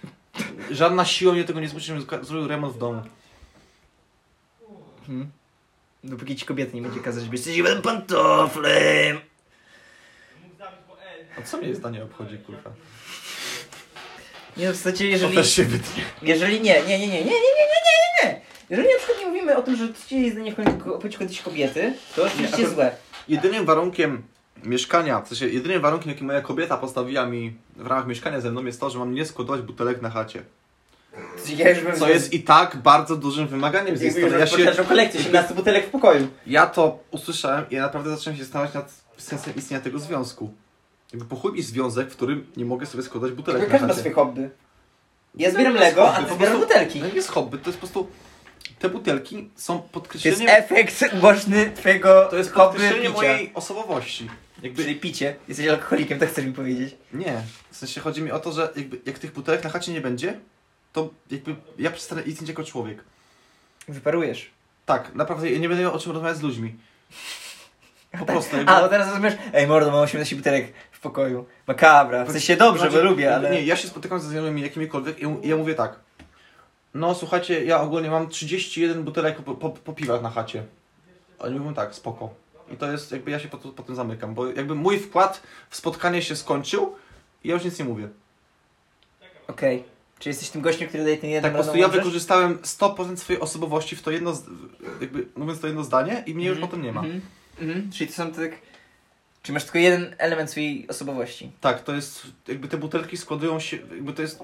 [SPEAKER 2] Żadna siła mnie tego nie zmusi, żebym zga- zrobił remont w domu.
[SPEAKER 1] Mhm. Dopóki ci kobieta nie będzie kazać, byś jesteś pantoflem.
[SPEAKER 2] A co mnie zdanie obchodzi, kurwa?
[SPEAKER 1] Nie, no, w zasadzie,
[SPEAKER 2] To
[SPEAKER 1] jeżeli...
[SPEAKER 2] też się wytnie.
[SPEAKER 1] Jeżeli nie, nie, nie, nie, nie, nie, nie, nie, nie, nie, nie. Jeżeli na przykład nie mówimy o tym, że czyjeś jej zdanie chodzi kiedyś kobiety, to oczywiście
[SPEAKER 2] akurat-
[SPEAKER 1] złe.
[SPEAKER 2] Jedynym warunkiem mieszkania, w sensie jedynym warunkiem, jaki moja kobieta postawiła mi w ramach mieszkania ze mną jest to, że mam nie składować butelek na chacie.
[SPEAKER 1] Ja już bym
[SPEAKER 2] Co jest i tak bardzo dużym wymaganiem z jej
[SPEAKER 1] Jakby
[SPEAKER 2] strony.
[SPEAKER 1] już
[SPEAKER 2] Ja, się,
[SPEAKER 1] rozpoczęłam kolekcję, 17 butelek w pokoju.
[SPEAKER 2] ja to usłyszałem i ja naprawdę zacząłem się zastanawiać nad sensem istnienia tego związku. Jakby po chuj mi związek, w którym nie mogę sobie składać butelek
[SPEAKER 1] Każdy
[SPEAKER 2] na
[SPEAKER 1] ma
[SPEAKER 2] chacie.
[SPEAKER 1] swoje hobby. Ja
[SPEAKER 2] No,
[SPEAKER 1] zbieram
[SPEAKER 2] to jest
[SPEAKER 1] Lego, a
[SPEAKER 2] hobby,
[SPEAKER 1] ty
[SPEAKER 2] po
[SPEAKER 1] zbierasz
[SPEAKER 2] prostu-
[SPEAKER 1] butelki.
[SPEAKER 2] No nie jest hobby, to jest po prostu... Te butelki są
[SPEAKER 1] To jest
[SPEAKER 2] podkreśleniem...
[SPEAKER 1] efekt uboczny twojego
[SPEAKER 2] To jest
[SPEAKER 1] hobby
[SPEAKER 2] podkreślenie
[SPEAKER 1] picia.
[SPEAKER 2] mojej osobowości. Jakby
[SPEAKER 1] Czyli picie. Jesteś alkoholikiem, tak chcesz mi powiedzieć.
[SPEAKER 2] Nie, w sensie chodzi mi o to, że jakby, jak tych butelek na chacie nie będzie, to jakby ja przestanę istnieć jako człowiek.
[SPEAKER 1] Wyparujesz.
[SPEAKER 2] Tak, naprawdę ja nie będę miał o czym rozmawiać z ludźmi. Po prostu. Jakby,
[SPEAKER 1] A, bo teraz rozumiesz, ej mordo, mam 18 butelek w pokoju. Makabra, w sensie dobrze, bo
[SPEAKER 2] Chodzi-
[SPEAKER 1] lubię, ale...
[SPEAKER 2] Znaczy, Nie, ja się spotykam ze znajomymi jakimikolwiek i ja, ja mówię tak. No słuchajcie, ja ogólnie mam 31 butelek po, po, po piwach na chacie. Oni mówią tak, spoko. I to jest, jakby ja się po, po tym zamykam, bo jakby mój wkład w spotkanie się skończył i ja już nic nie mówię.
[SPEAKER 1] Okej. Czy jesteś tym gościem, który daje ten jeden
[SPEAKER 2] Tak, po prostu ja wykorzystałem 100% swojej osobowości w to jedno, z- w- jakby mówiąc to jedno zdanie i mnie już potem nie ma.
[SPEAKER 1] Mhm. Mhm. Czyli to są tak... Czy masz tylko jeden element swojej osobowości?
[SPEAKER 2] Tak, to jest, jakby te butelki składują się, jakby to jest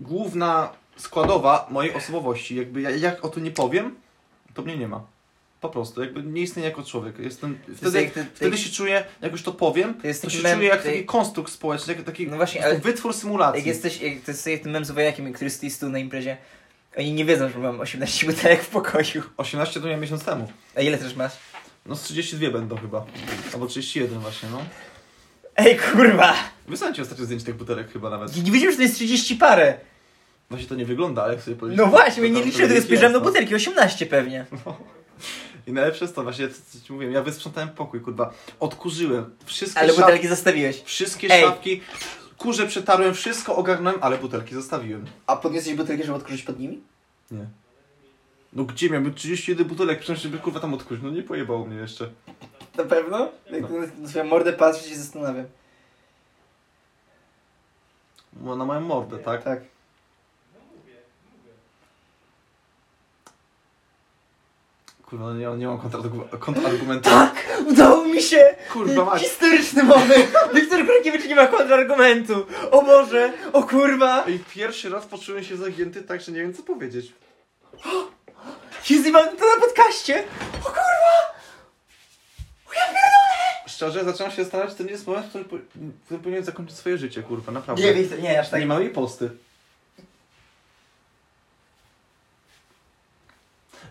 [SPEAKER 2] główna składowa mojej osobowości. Jakby ja, jak o tym nie powiem, to mnie nie ma. Po prostu, jakby nie istnieję jako człowiek. Jestem, wtedy,
[SPEAKER 1] jak ty-
[SPEAKER 2] wtedy
[SPEAKER 1] jak-
[SPEAKER 2] się czuję, jak już to powiem,
[SPEAKER 1] To
[SPEAKER 2] to,
[SPEAKER 1] jest taki
[SPEAKER 2] się
[SPEAKER 1] mem-
[SPEAKER 2] czuję jak
[SPEAKER 1] ty-
[SPEAKER 2] taki konstrukt społeczny, jak taki
[SPEAKER 1] No właśnie,
[SPEAKER 2] po prostu
[SPEAKER 1] ale-
[SPEAKER 2] wytwór symulacji.
[SPEAKER 1] Jak jesteś, jak to jest jak ten mem z wojakiem, który stoi z tyłu na imprezie. Oni nie wiedzą, że mam 18 butelek w pokoju.
[SPEAKER 2] 18 to miałem miesiąc temu.
[SPEAKER 1] A ile też masz?
[SPEAKER 2] No z 32 będą chyba. Albo 31 właśnie, no.
[SPEAKER 1] Ej kurwa!
[SPEAKER 2] Wysłałem ci ostatnio zdjęcie tych butelek chyba nawet.
[SPEAKER 1] Ja nie wiedziałem, że to jest 30 parę.
[SPEAKER 2] Właśnie to nie wygląda, ale jak sobie powiedzieć.
[SPEAKER 1] No właśnie, nie
[SPEAKER 2] liczy
[SPEAKER 1] liczyłem tego, spojrzałem na butelki, 18 pewnie.
[SPEAKER 2] I najlepsze jest to właśnie, co, co ci mówiłem, ja wysprzątałem pokój, kurwa. Odkurzyłem wszystkie
[SPEAKER 1] Ale
[SPEAKER 2] szafki,
[SPEAKER 1] butelki zostawiłeś.
[SPEAKER 2] wszystkie
[SPEAKER 1] Ej.
[SPEAKER 2] szafki, kurze przetarłem, wszystko ogarnąłem, ale butelki zostawiłem.
[SPEAKER 1] A podniosłeś butelki, żeby odkurzyć pod nimi?
[SPEAKER 2] Nie. No gdzie miałem 31 butelek, przecież żeby kurwa tam odkurzyć, no nie pojebało mnie jeszcze.
[SPEAKER 1] Na pewno? Jak na swoją mordę patrzę, się zastanawiam.
[SPEAKER 2] No, Na moją mordę, tak?
[SPEAKER 1] Tak.
[SPEAKER 2] Kurwa, no nie, nie mam kontrargu- kontrargumentu.
[SPEAKER 1] Tak! Udało mi się! Y,
[SPEAKER 2] Kurwa mać.
[SPEAKER 1] Historyczny moment! Wiktor Krakiewicz nie ma kontrargumentu! O Boże! O kurwa!
[SPEAKER 2] I pierwszy raz poczułem się zagięty tak, że nie wiem co powiedzieć.
[SPEAKER 1] Jezu, mam to na podcaście! O kurwa!
[SPEAKER 2] Szczerze, zacząłem się zastanawiać, czy to nie jest moment, w którym, po, w którym powinienem zakończyć swoje życie, kurwa, naprawdę.
[SPEAKER 1] Nie, Wiktor, nie, aż tak.
[SPEAKER 2] Nie mam jej posty.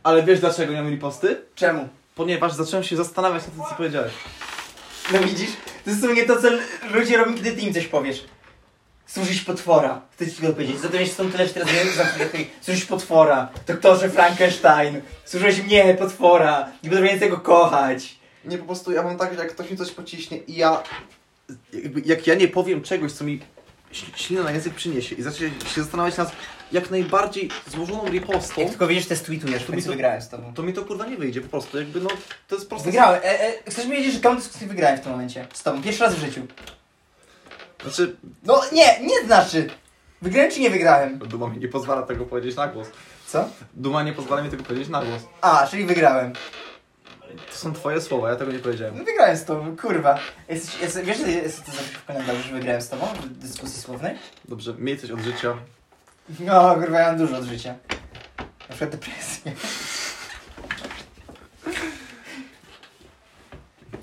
[SPEAKER 2] Ale wiesz dlaczego nie mieli posty?
[SPEAKER 1] Czemu?
[SPEAKER 2] Ponieważ zacząłem się zastanawiać nad tym, co powiedziałeś.
[SPEAKER 1] No widzisz? To jest w sumie to, co l- ludzie robią, kiedy ty im coś powiesz. Służysz potwora. Chcę ci tylko powiedzieć. Zatem jest stąd tyle, że teraz wiem, zamkniętej. Służysz potwora. Doktorze Frankenstein. Służyłeś mnie, potwora. Nie będę więcej tego kochać.
[SPEAKER 2] Nie, po prostu ja mam tak, że jak ktoś mi coś pociśnie i ja... Jakby, jak ja nie powiem czegoś, co mi ś- ślina na język przyniesie i zacząłem się zastanawiać nad jak najbardziej złożoną
[SPEAKER 1] Jak
[SPEAKER 2] ripostą,
[SPEAKER 1] tylko wiesz, że tweetujesz, to
[SPEAKER 2] mi
[SPEAKER 1] mi
[SPEAKER 2] to-
[SPEAKER 1] wygrałem z tobą.
[SPEAKER 2] to mi to kurwa nie wyjdzie po prostu, jakby no... To jest proste...
[SPEAKER 1] Wygrałem. E, e, chcesz mi wiedzieć, że tą dyskusję wygrałem w tym momencie. Z tobą. Pierwszy raz w życiu.
[SPEAKER 2] Znaczy,
[SPEAKER 1] No nie, nie znaczy. Wygrałem czy nie wygrałem?
[SPEAKER 2] Duma mi nie pozwala tego powiedzieć na głos.
[SPEAKER 1] Co?
[SPEAKER 2] Duma nie pozwala mi tego powiedzieć na głos.
[SPEAKER 1] A, czyli wygrałem.
[SPEAKER 2] To są twoje słowa, ja tego nie powiedziałem.
[SPEAKER 1] No wygrałem z tobą, kurwa. Jesteś, jesteś, wiesz, że jesteś to zawsze w kalendarzu, że wygrałem z tobą w dyskusji słownej?
[SPEAKER 2] Dobrze, miej coś od życia.
[SPEAKER 1] No, kurwa, ja mam dużo od życia. Na przykład depresję.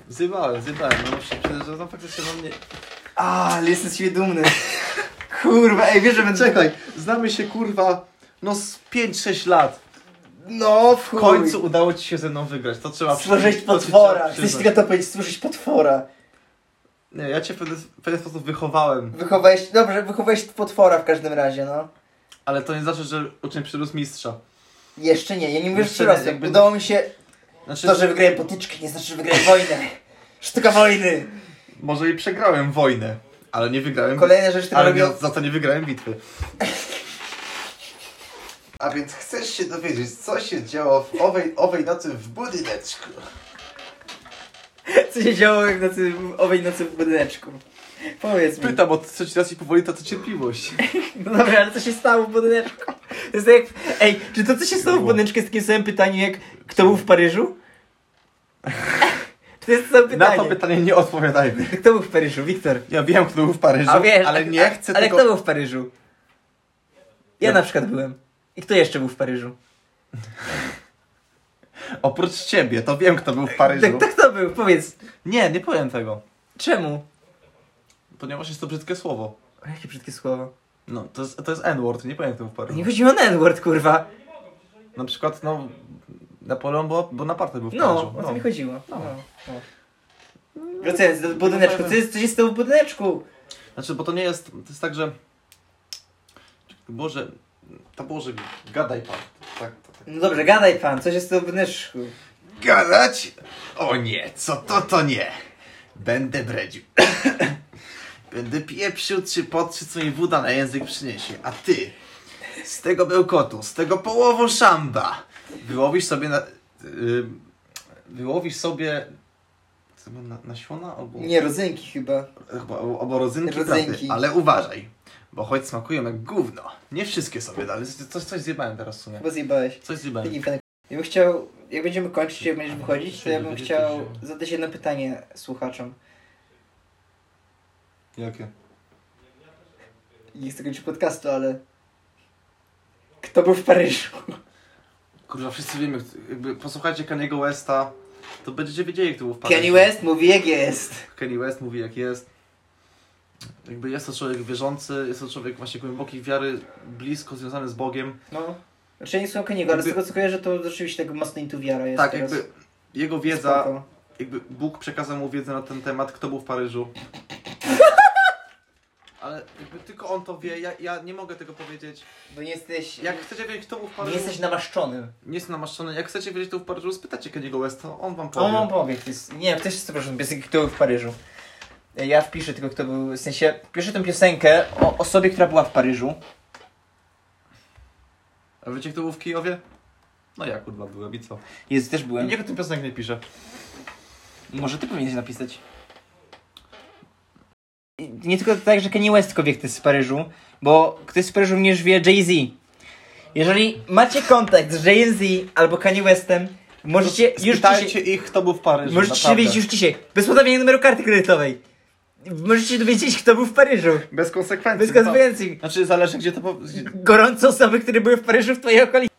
[SPEAKER 2] Zjebałem, zjebałem. No, no przecież, że no faktycznie no mnie...
[SPEAKER 1] A, ale jestem z siebie dumny. Kurwa, ej, wiesz, że będę...
[SPEAKER 2] Czekaj, znamy się kurwa no z 5-6 lat.
[SPEAKER 1] No, w
[SPEAKER 2] W
[SPEAKER 1] chuj.
[SPEAKER 2] końcu udało ci się ze mną wygrać, to trzeba...
[SPEAKER 1] Stworzyć
[SPEAKER 2] to trzeba
[SPEAKER 1] potwora.
[SPEAKER 2] przyznać.
[SPEAKER 1] Chcesz tylko to powiedzieć, stworzyć potwora.
[SPEAKER 2] Nie, ja cię w pewien, w pewien sposób wychowałem,
[SPEAKER 1] Wychowałeś, dobrze, wychowałeś potwora w każdym razie, no.
[SPEAKER 2] ale to nie znaczy, że uczeń przyrósł mistrza.
[SPEAKER 1] Jeszcze nie, ja nie mówię, że
[SPEAKER 2] Jeszcze
[SPEAKER 1] przyrosłem.
[SPEAKER 2] nie, jakby-
[SPEAKER 1] Udało mi się...
[SPEAKER 2] Znaczy,
[SPEAKER 1] To, że wygrałem potyczkę, nie znaczy, że wygrałem wojnę. Sztuka wojny.
[SPEAKER 2] może i przegrałem wojnę, ale nie wygrałem...
[SPEAKER 1] Kolejna rzecz, którą
[SPEAKER 2] Ale nie,
[SPEAKER 1] robią...
[SPEAKER 2] za to nie wygrałem bitwy.
[SPEAKER 3] A więc chcesz się dowiedzieć, co się działo w owej, owej nocy w budyneczku?
[SPEAKER 1] Co się działo jak nocy, owej nocy w budyneczku? Powiedz mi.
[SPEAKER 2] Pytam od trzeci raz i powoli ta cierpliwość.
[SPEAKER 1] No dobra, ale co się stało w budyneczku? To jest jak... Ej, czy to co się stało w budyneczku jest takim samym pytaniem jak kto był w Paryżu? To jest to samo
[SPEAKER 2] Na to
[SPEAKER 1] pytanie.
[SPEAKER 2] pytanie nie odpowiadajmy.
[SPEAKER 1] Kto był w Paryżu? Wiktor.
[SPEAKER 2] Ja wiem, kto był w Paryżu,
[SPEAKER 1] A wiesz,
[SPEAKER 2] ale nie chcę
[SPEAKER 1] Ale
[SPEAKER 2] tego...
[SPEAKER 1] kto był w Paryżu? Ja
[SPEAKER 2] Ja.
[SPEAKER 1] na przykład byłem. I kto jeszcze był w Paryżu?
[SPEAKER 2] Oprócz ciebie, to wiem, kto był w Paryżu.
[SPEAKER 1] Tak, to kto był? Powiedz.
[SPEAKER 2] Nie, nie powiem tego.
[SPEAKER 1] Czemu?
[SPEAKER 2] Ponieważ jest to brzydkie słowo.
[SPEAKER 1] O, jakie brzydkie słowo.
[SPEAKER 2] No, to jest, to jest N-word, nie powiem, kto był w Paryżu.
[SPEAKER 1] Nie chodzi o Edward, kurwa.
[SPEAKER 2] Na przykład, no, Napoleon bo, Bonaparte był w
[SPEAKER 1] No,
[SPEAKER 2] Paryżu.
[SPEAKER 1] o to mi chodziło. No.
[SPEAKER 2] No.
[SPEAKER 1] no. Wracając do budyneczku. Co jest, co się stało w budyneczku?
[SPEAKER 2] Znaczy, bo to nie jest, to jest tak, że... Boże, ta Boże, gadaj pan. Tak, tak, tak.
[SPEAKER 1] No dobrze, gadaj pan, co się stało w budyneczku?
[SPEAKER 3] Gadać? O nie, co to to nie. Będę bredził. Będę pieprzył czy potrzy, co mi woda na język przyniesie. A ty, z tego bełkotu, z tego połowu szamba,
[SPEAKER 2] Wyłowisz sobie na... Yy, wyłowisz sobie... co było, Na, nasiona? Albo...
[SPEAKER 1] Nie, rodzynki chyba.
[SPEAKER 2] Chyba o- albo rodzynki,
[SPEAKER 1] Rodzynki.
[SPEAKER 2] trawy, ale uważaj, bo choć smakują jak gówno. Nie wszystkie sobie dali, coś, coś zjebałem teraz w sumie.
[SPEAKER 1] Chyba zjebałeś.
[SPEAKER 2] Coś
[SPEAKER 1] Taki
[SPEAKER 2] zjebałem.
[SPEAKER 1] fanek. Ja bym chciał, jak będziemy kończyć, jak będziesz wychodzić, to ja bym
[SPEAKER 2] Będzie
[SPEAKER 1] chciał
[SPEAKER 2] coś,
[SPEAKER 1] zadać jedno pytanie słuchaczom.
[SPEAKER 2] Jakie?
[SPEAKER 1] Nie chcę kończyć podcastu, ale... Kto był w Paryżu?
[SPEAKER 2] Kurwa, wszyscy wiemy, jakby posłuchajcie Kaniego Westa, to będziecie wiedzieli, kto był w Paryżu.
[SPEAKER 1] Kanye West mówi jak jest.
[SPEAKER 2] Kanye West mówi jak jest. Jakby jest to człowiek wierzący, jest to człowiek właśnie głębokiej wiary, blisko związany z Bogiem.
[SPEAKER 1] No. Znaczy nie słucham Kanye'ego, ale z
[SPEAKER 2] Jakby-
[SPEAKER 1] tego co kojarzę, to rzeczywiście tak mocno intu wiara jest
[SPEAKER 2] tak,
[SPEAKER 1] teraz.
[SPEAKER 2] jakby jego wiedza,
[SPEAKER 1] Spoko.
[SPEAKER 2] jakby Bóg przekazał mu wiedzę na ten temat, kto był w Paryżu. Ale jakby tylko on to wie, ja, ja nie mogę tego powiedzieć.
[SPEAKER 1] Bo nie jesteś...
[SPEAKER 2] Jak chcecie wiedzieć, kto był w
[SPEAKER 1] Nie
[SPEAKER 2] Paryżu,
[SPEAKER 1] jesteś namaszczonym.
[SPEAKER 2] nie jestem namaszczony, jak chcecie wiedzieć, kto był w Paryżu, spytacie Kenny'ego Westa, on wam powie.
[SPEAKER 1] On wam powie, kto jest... Nie, też jest, proszę, piosenki, kto był w Paryżu. Ja wpiszę tylko, kto był... W sensie, piszę tę piosenkę o osobie, która była w Paryżu.
[SPEAKER 2] A wiecie, kto był w Kijowie? No ja kurwa byłem i co?
[SPEAKER 1] Jest, też
[SPEAKER 2] I
[SPEAKER 1] byłem.
[SPEAKER 2] niech o tym piosenek nie pisze.
[SPEAKER 1] Może ty powinieneś napisać. I Nie tylko tak, że Kanye West tylko wie, kto jest w Paryżu, bo kto jest w Paryżu również wie Jay-Z. Jeżeli macie kontakt z Jay-Z albo Kanye Westem, możecie już dzisiaj...
[SPEAKER 2] No, Spytajcie ich, kto był w Paryżu,
[SPEAKER 1] Możecie się
[SPEAKER 2] naprawdę.
[SPEAKER 1] dowiedzieć już dzisiaj. Bez podawania numeru karty kredytowej. Możecie się dowiedzieć, kto był w Paryżu.
[SPEAKER 2] Bez konsekwencji. no.
[SPEAKER 1] Bez konsekwencji.
[SPEAKER 2] Znaczy, zależy gdzie to... po- Gdzie...
[SPEAKER 1] Gorące osoby, które były w Paryżu w twojej okolicy.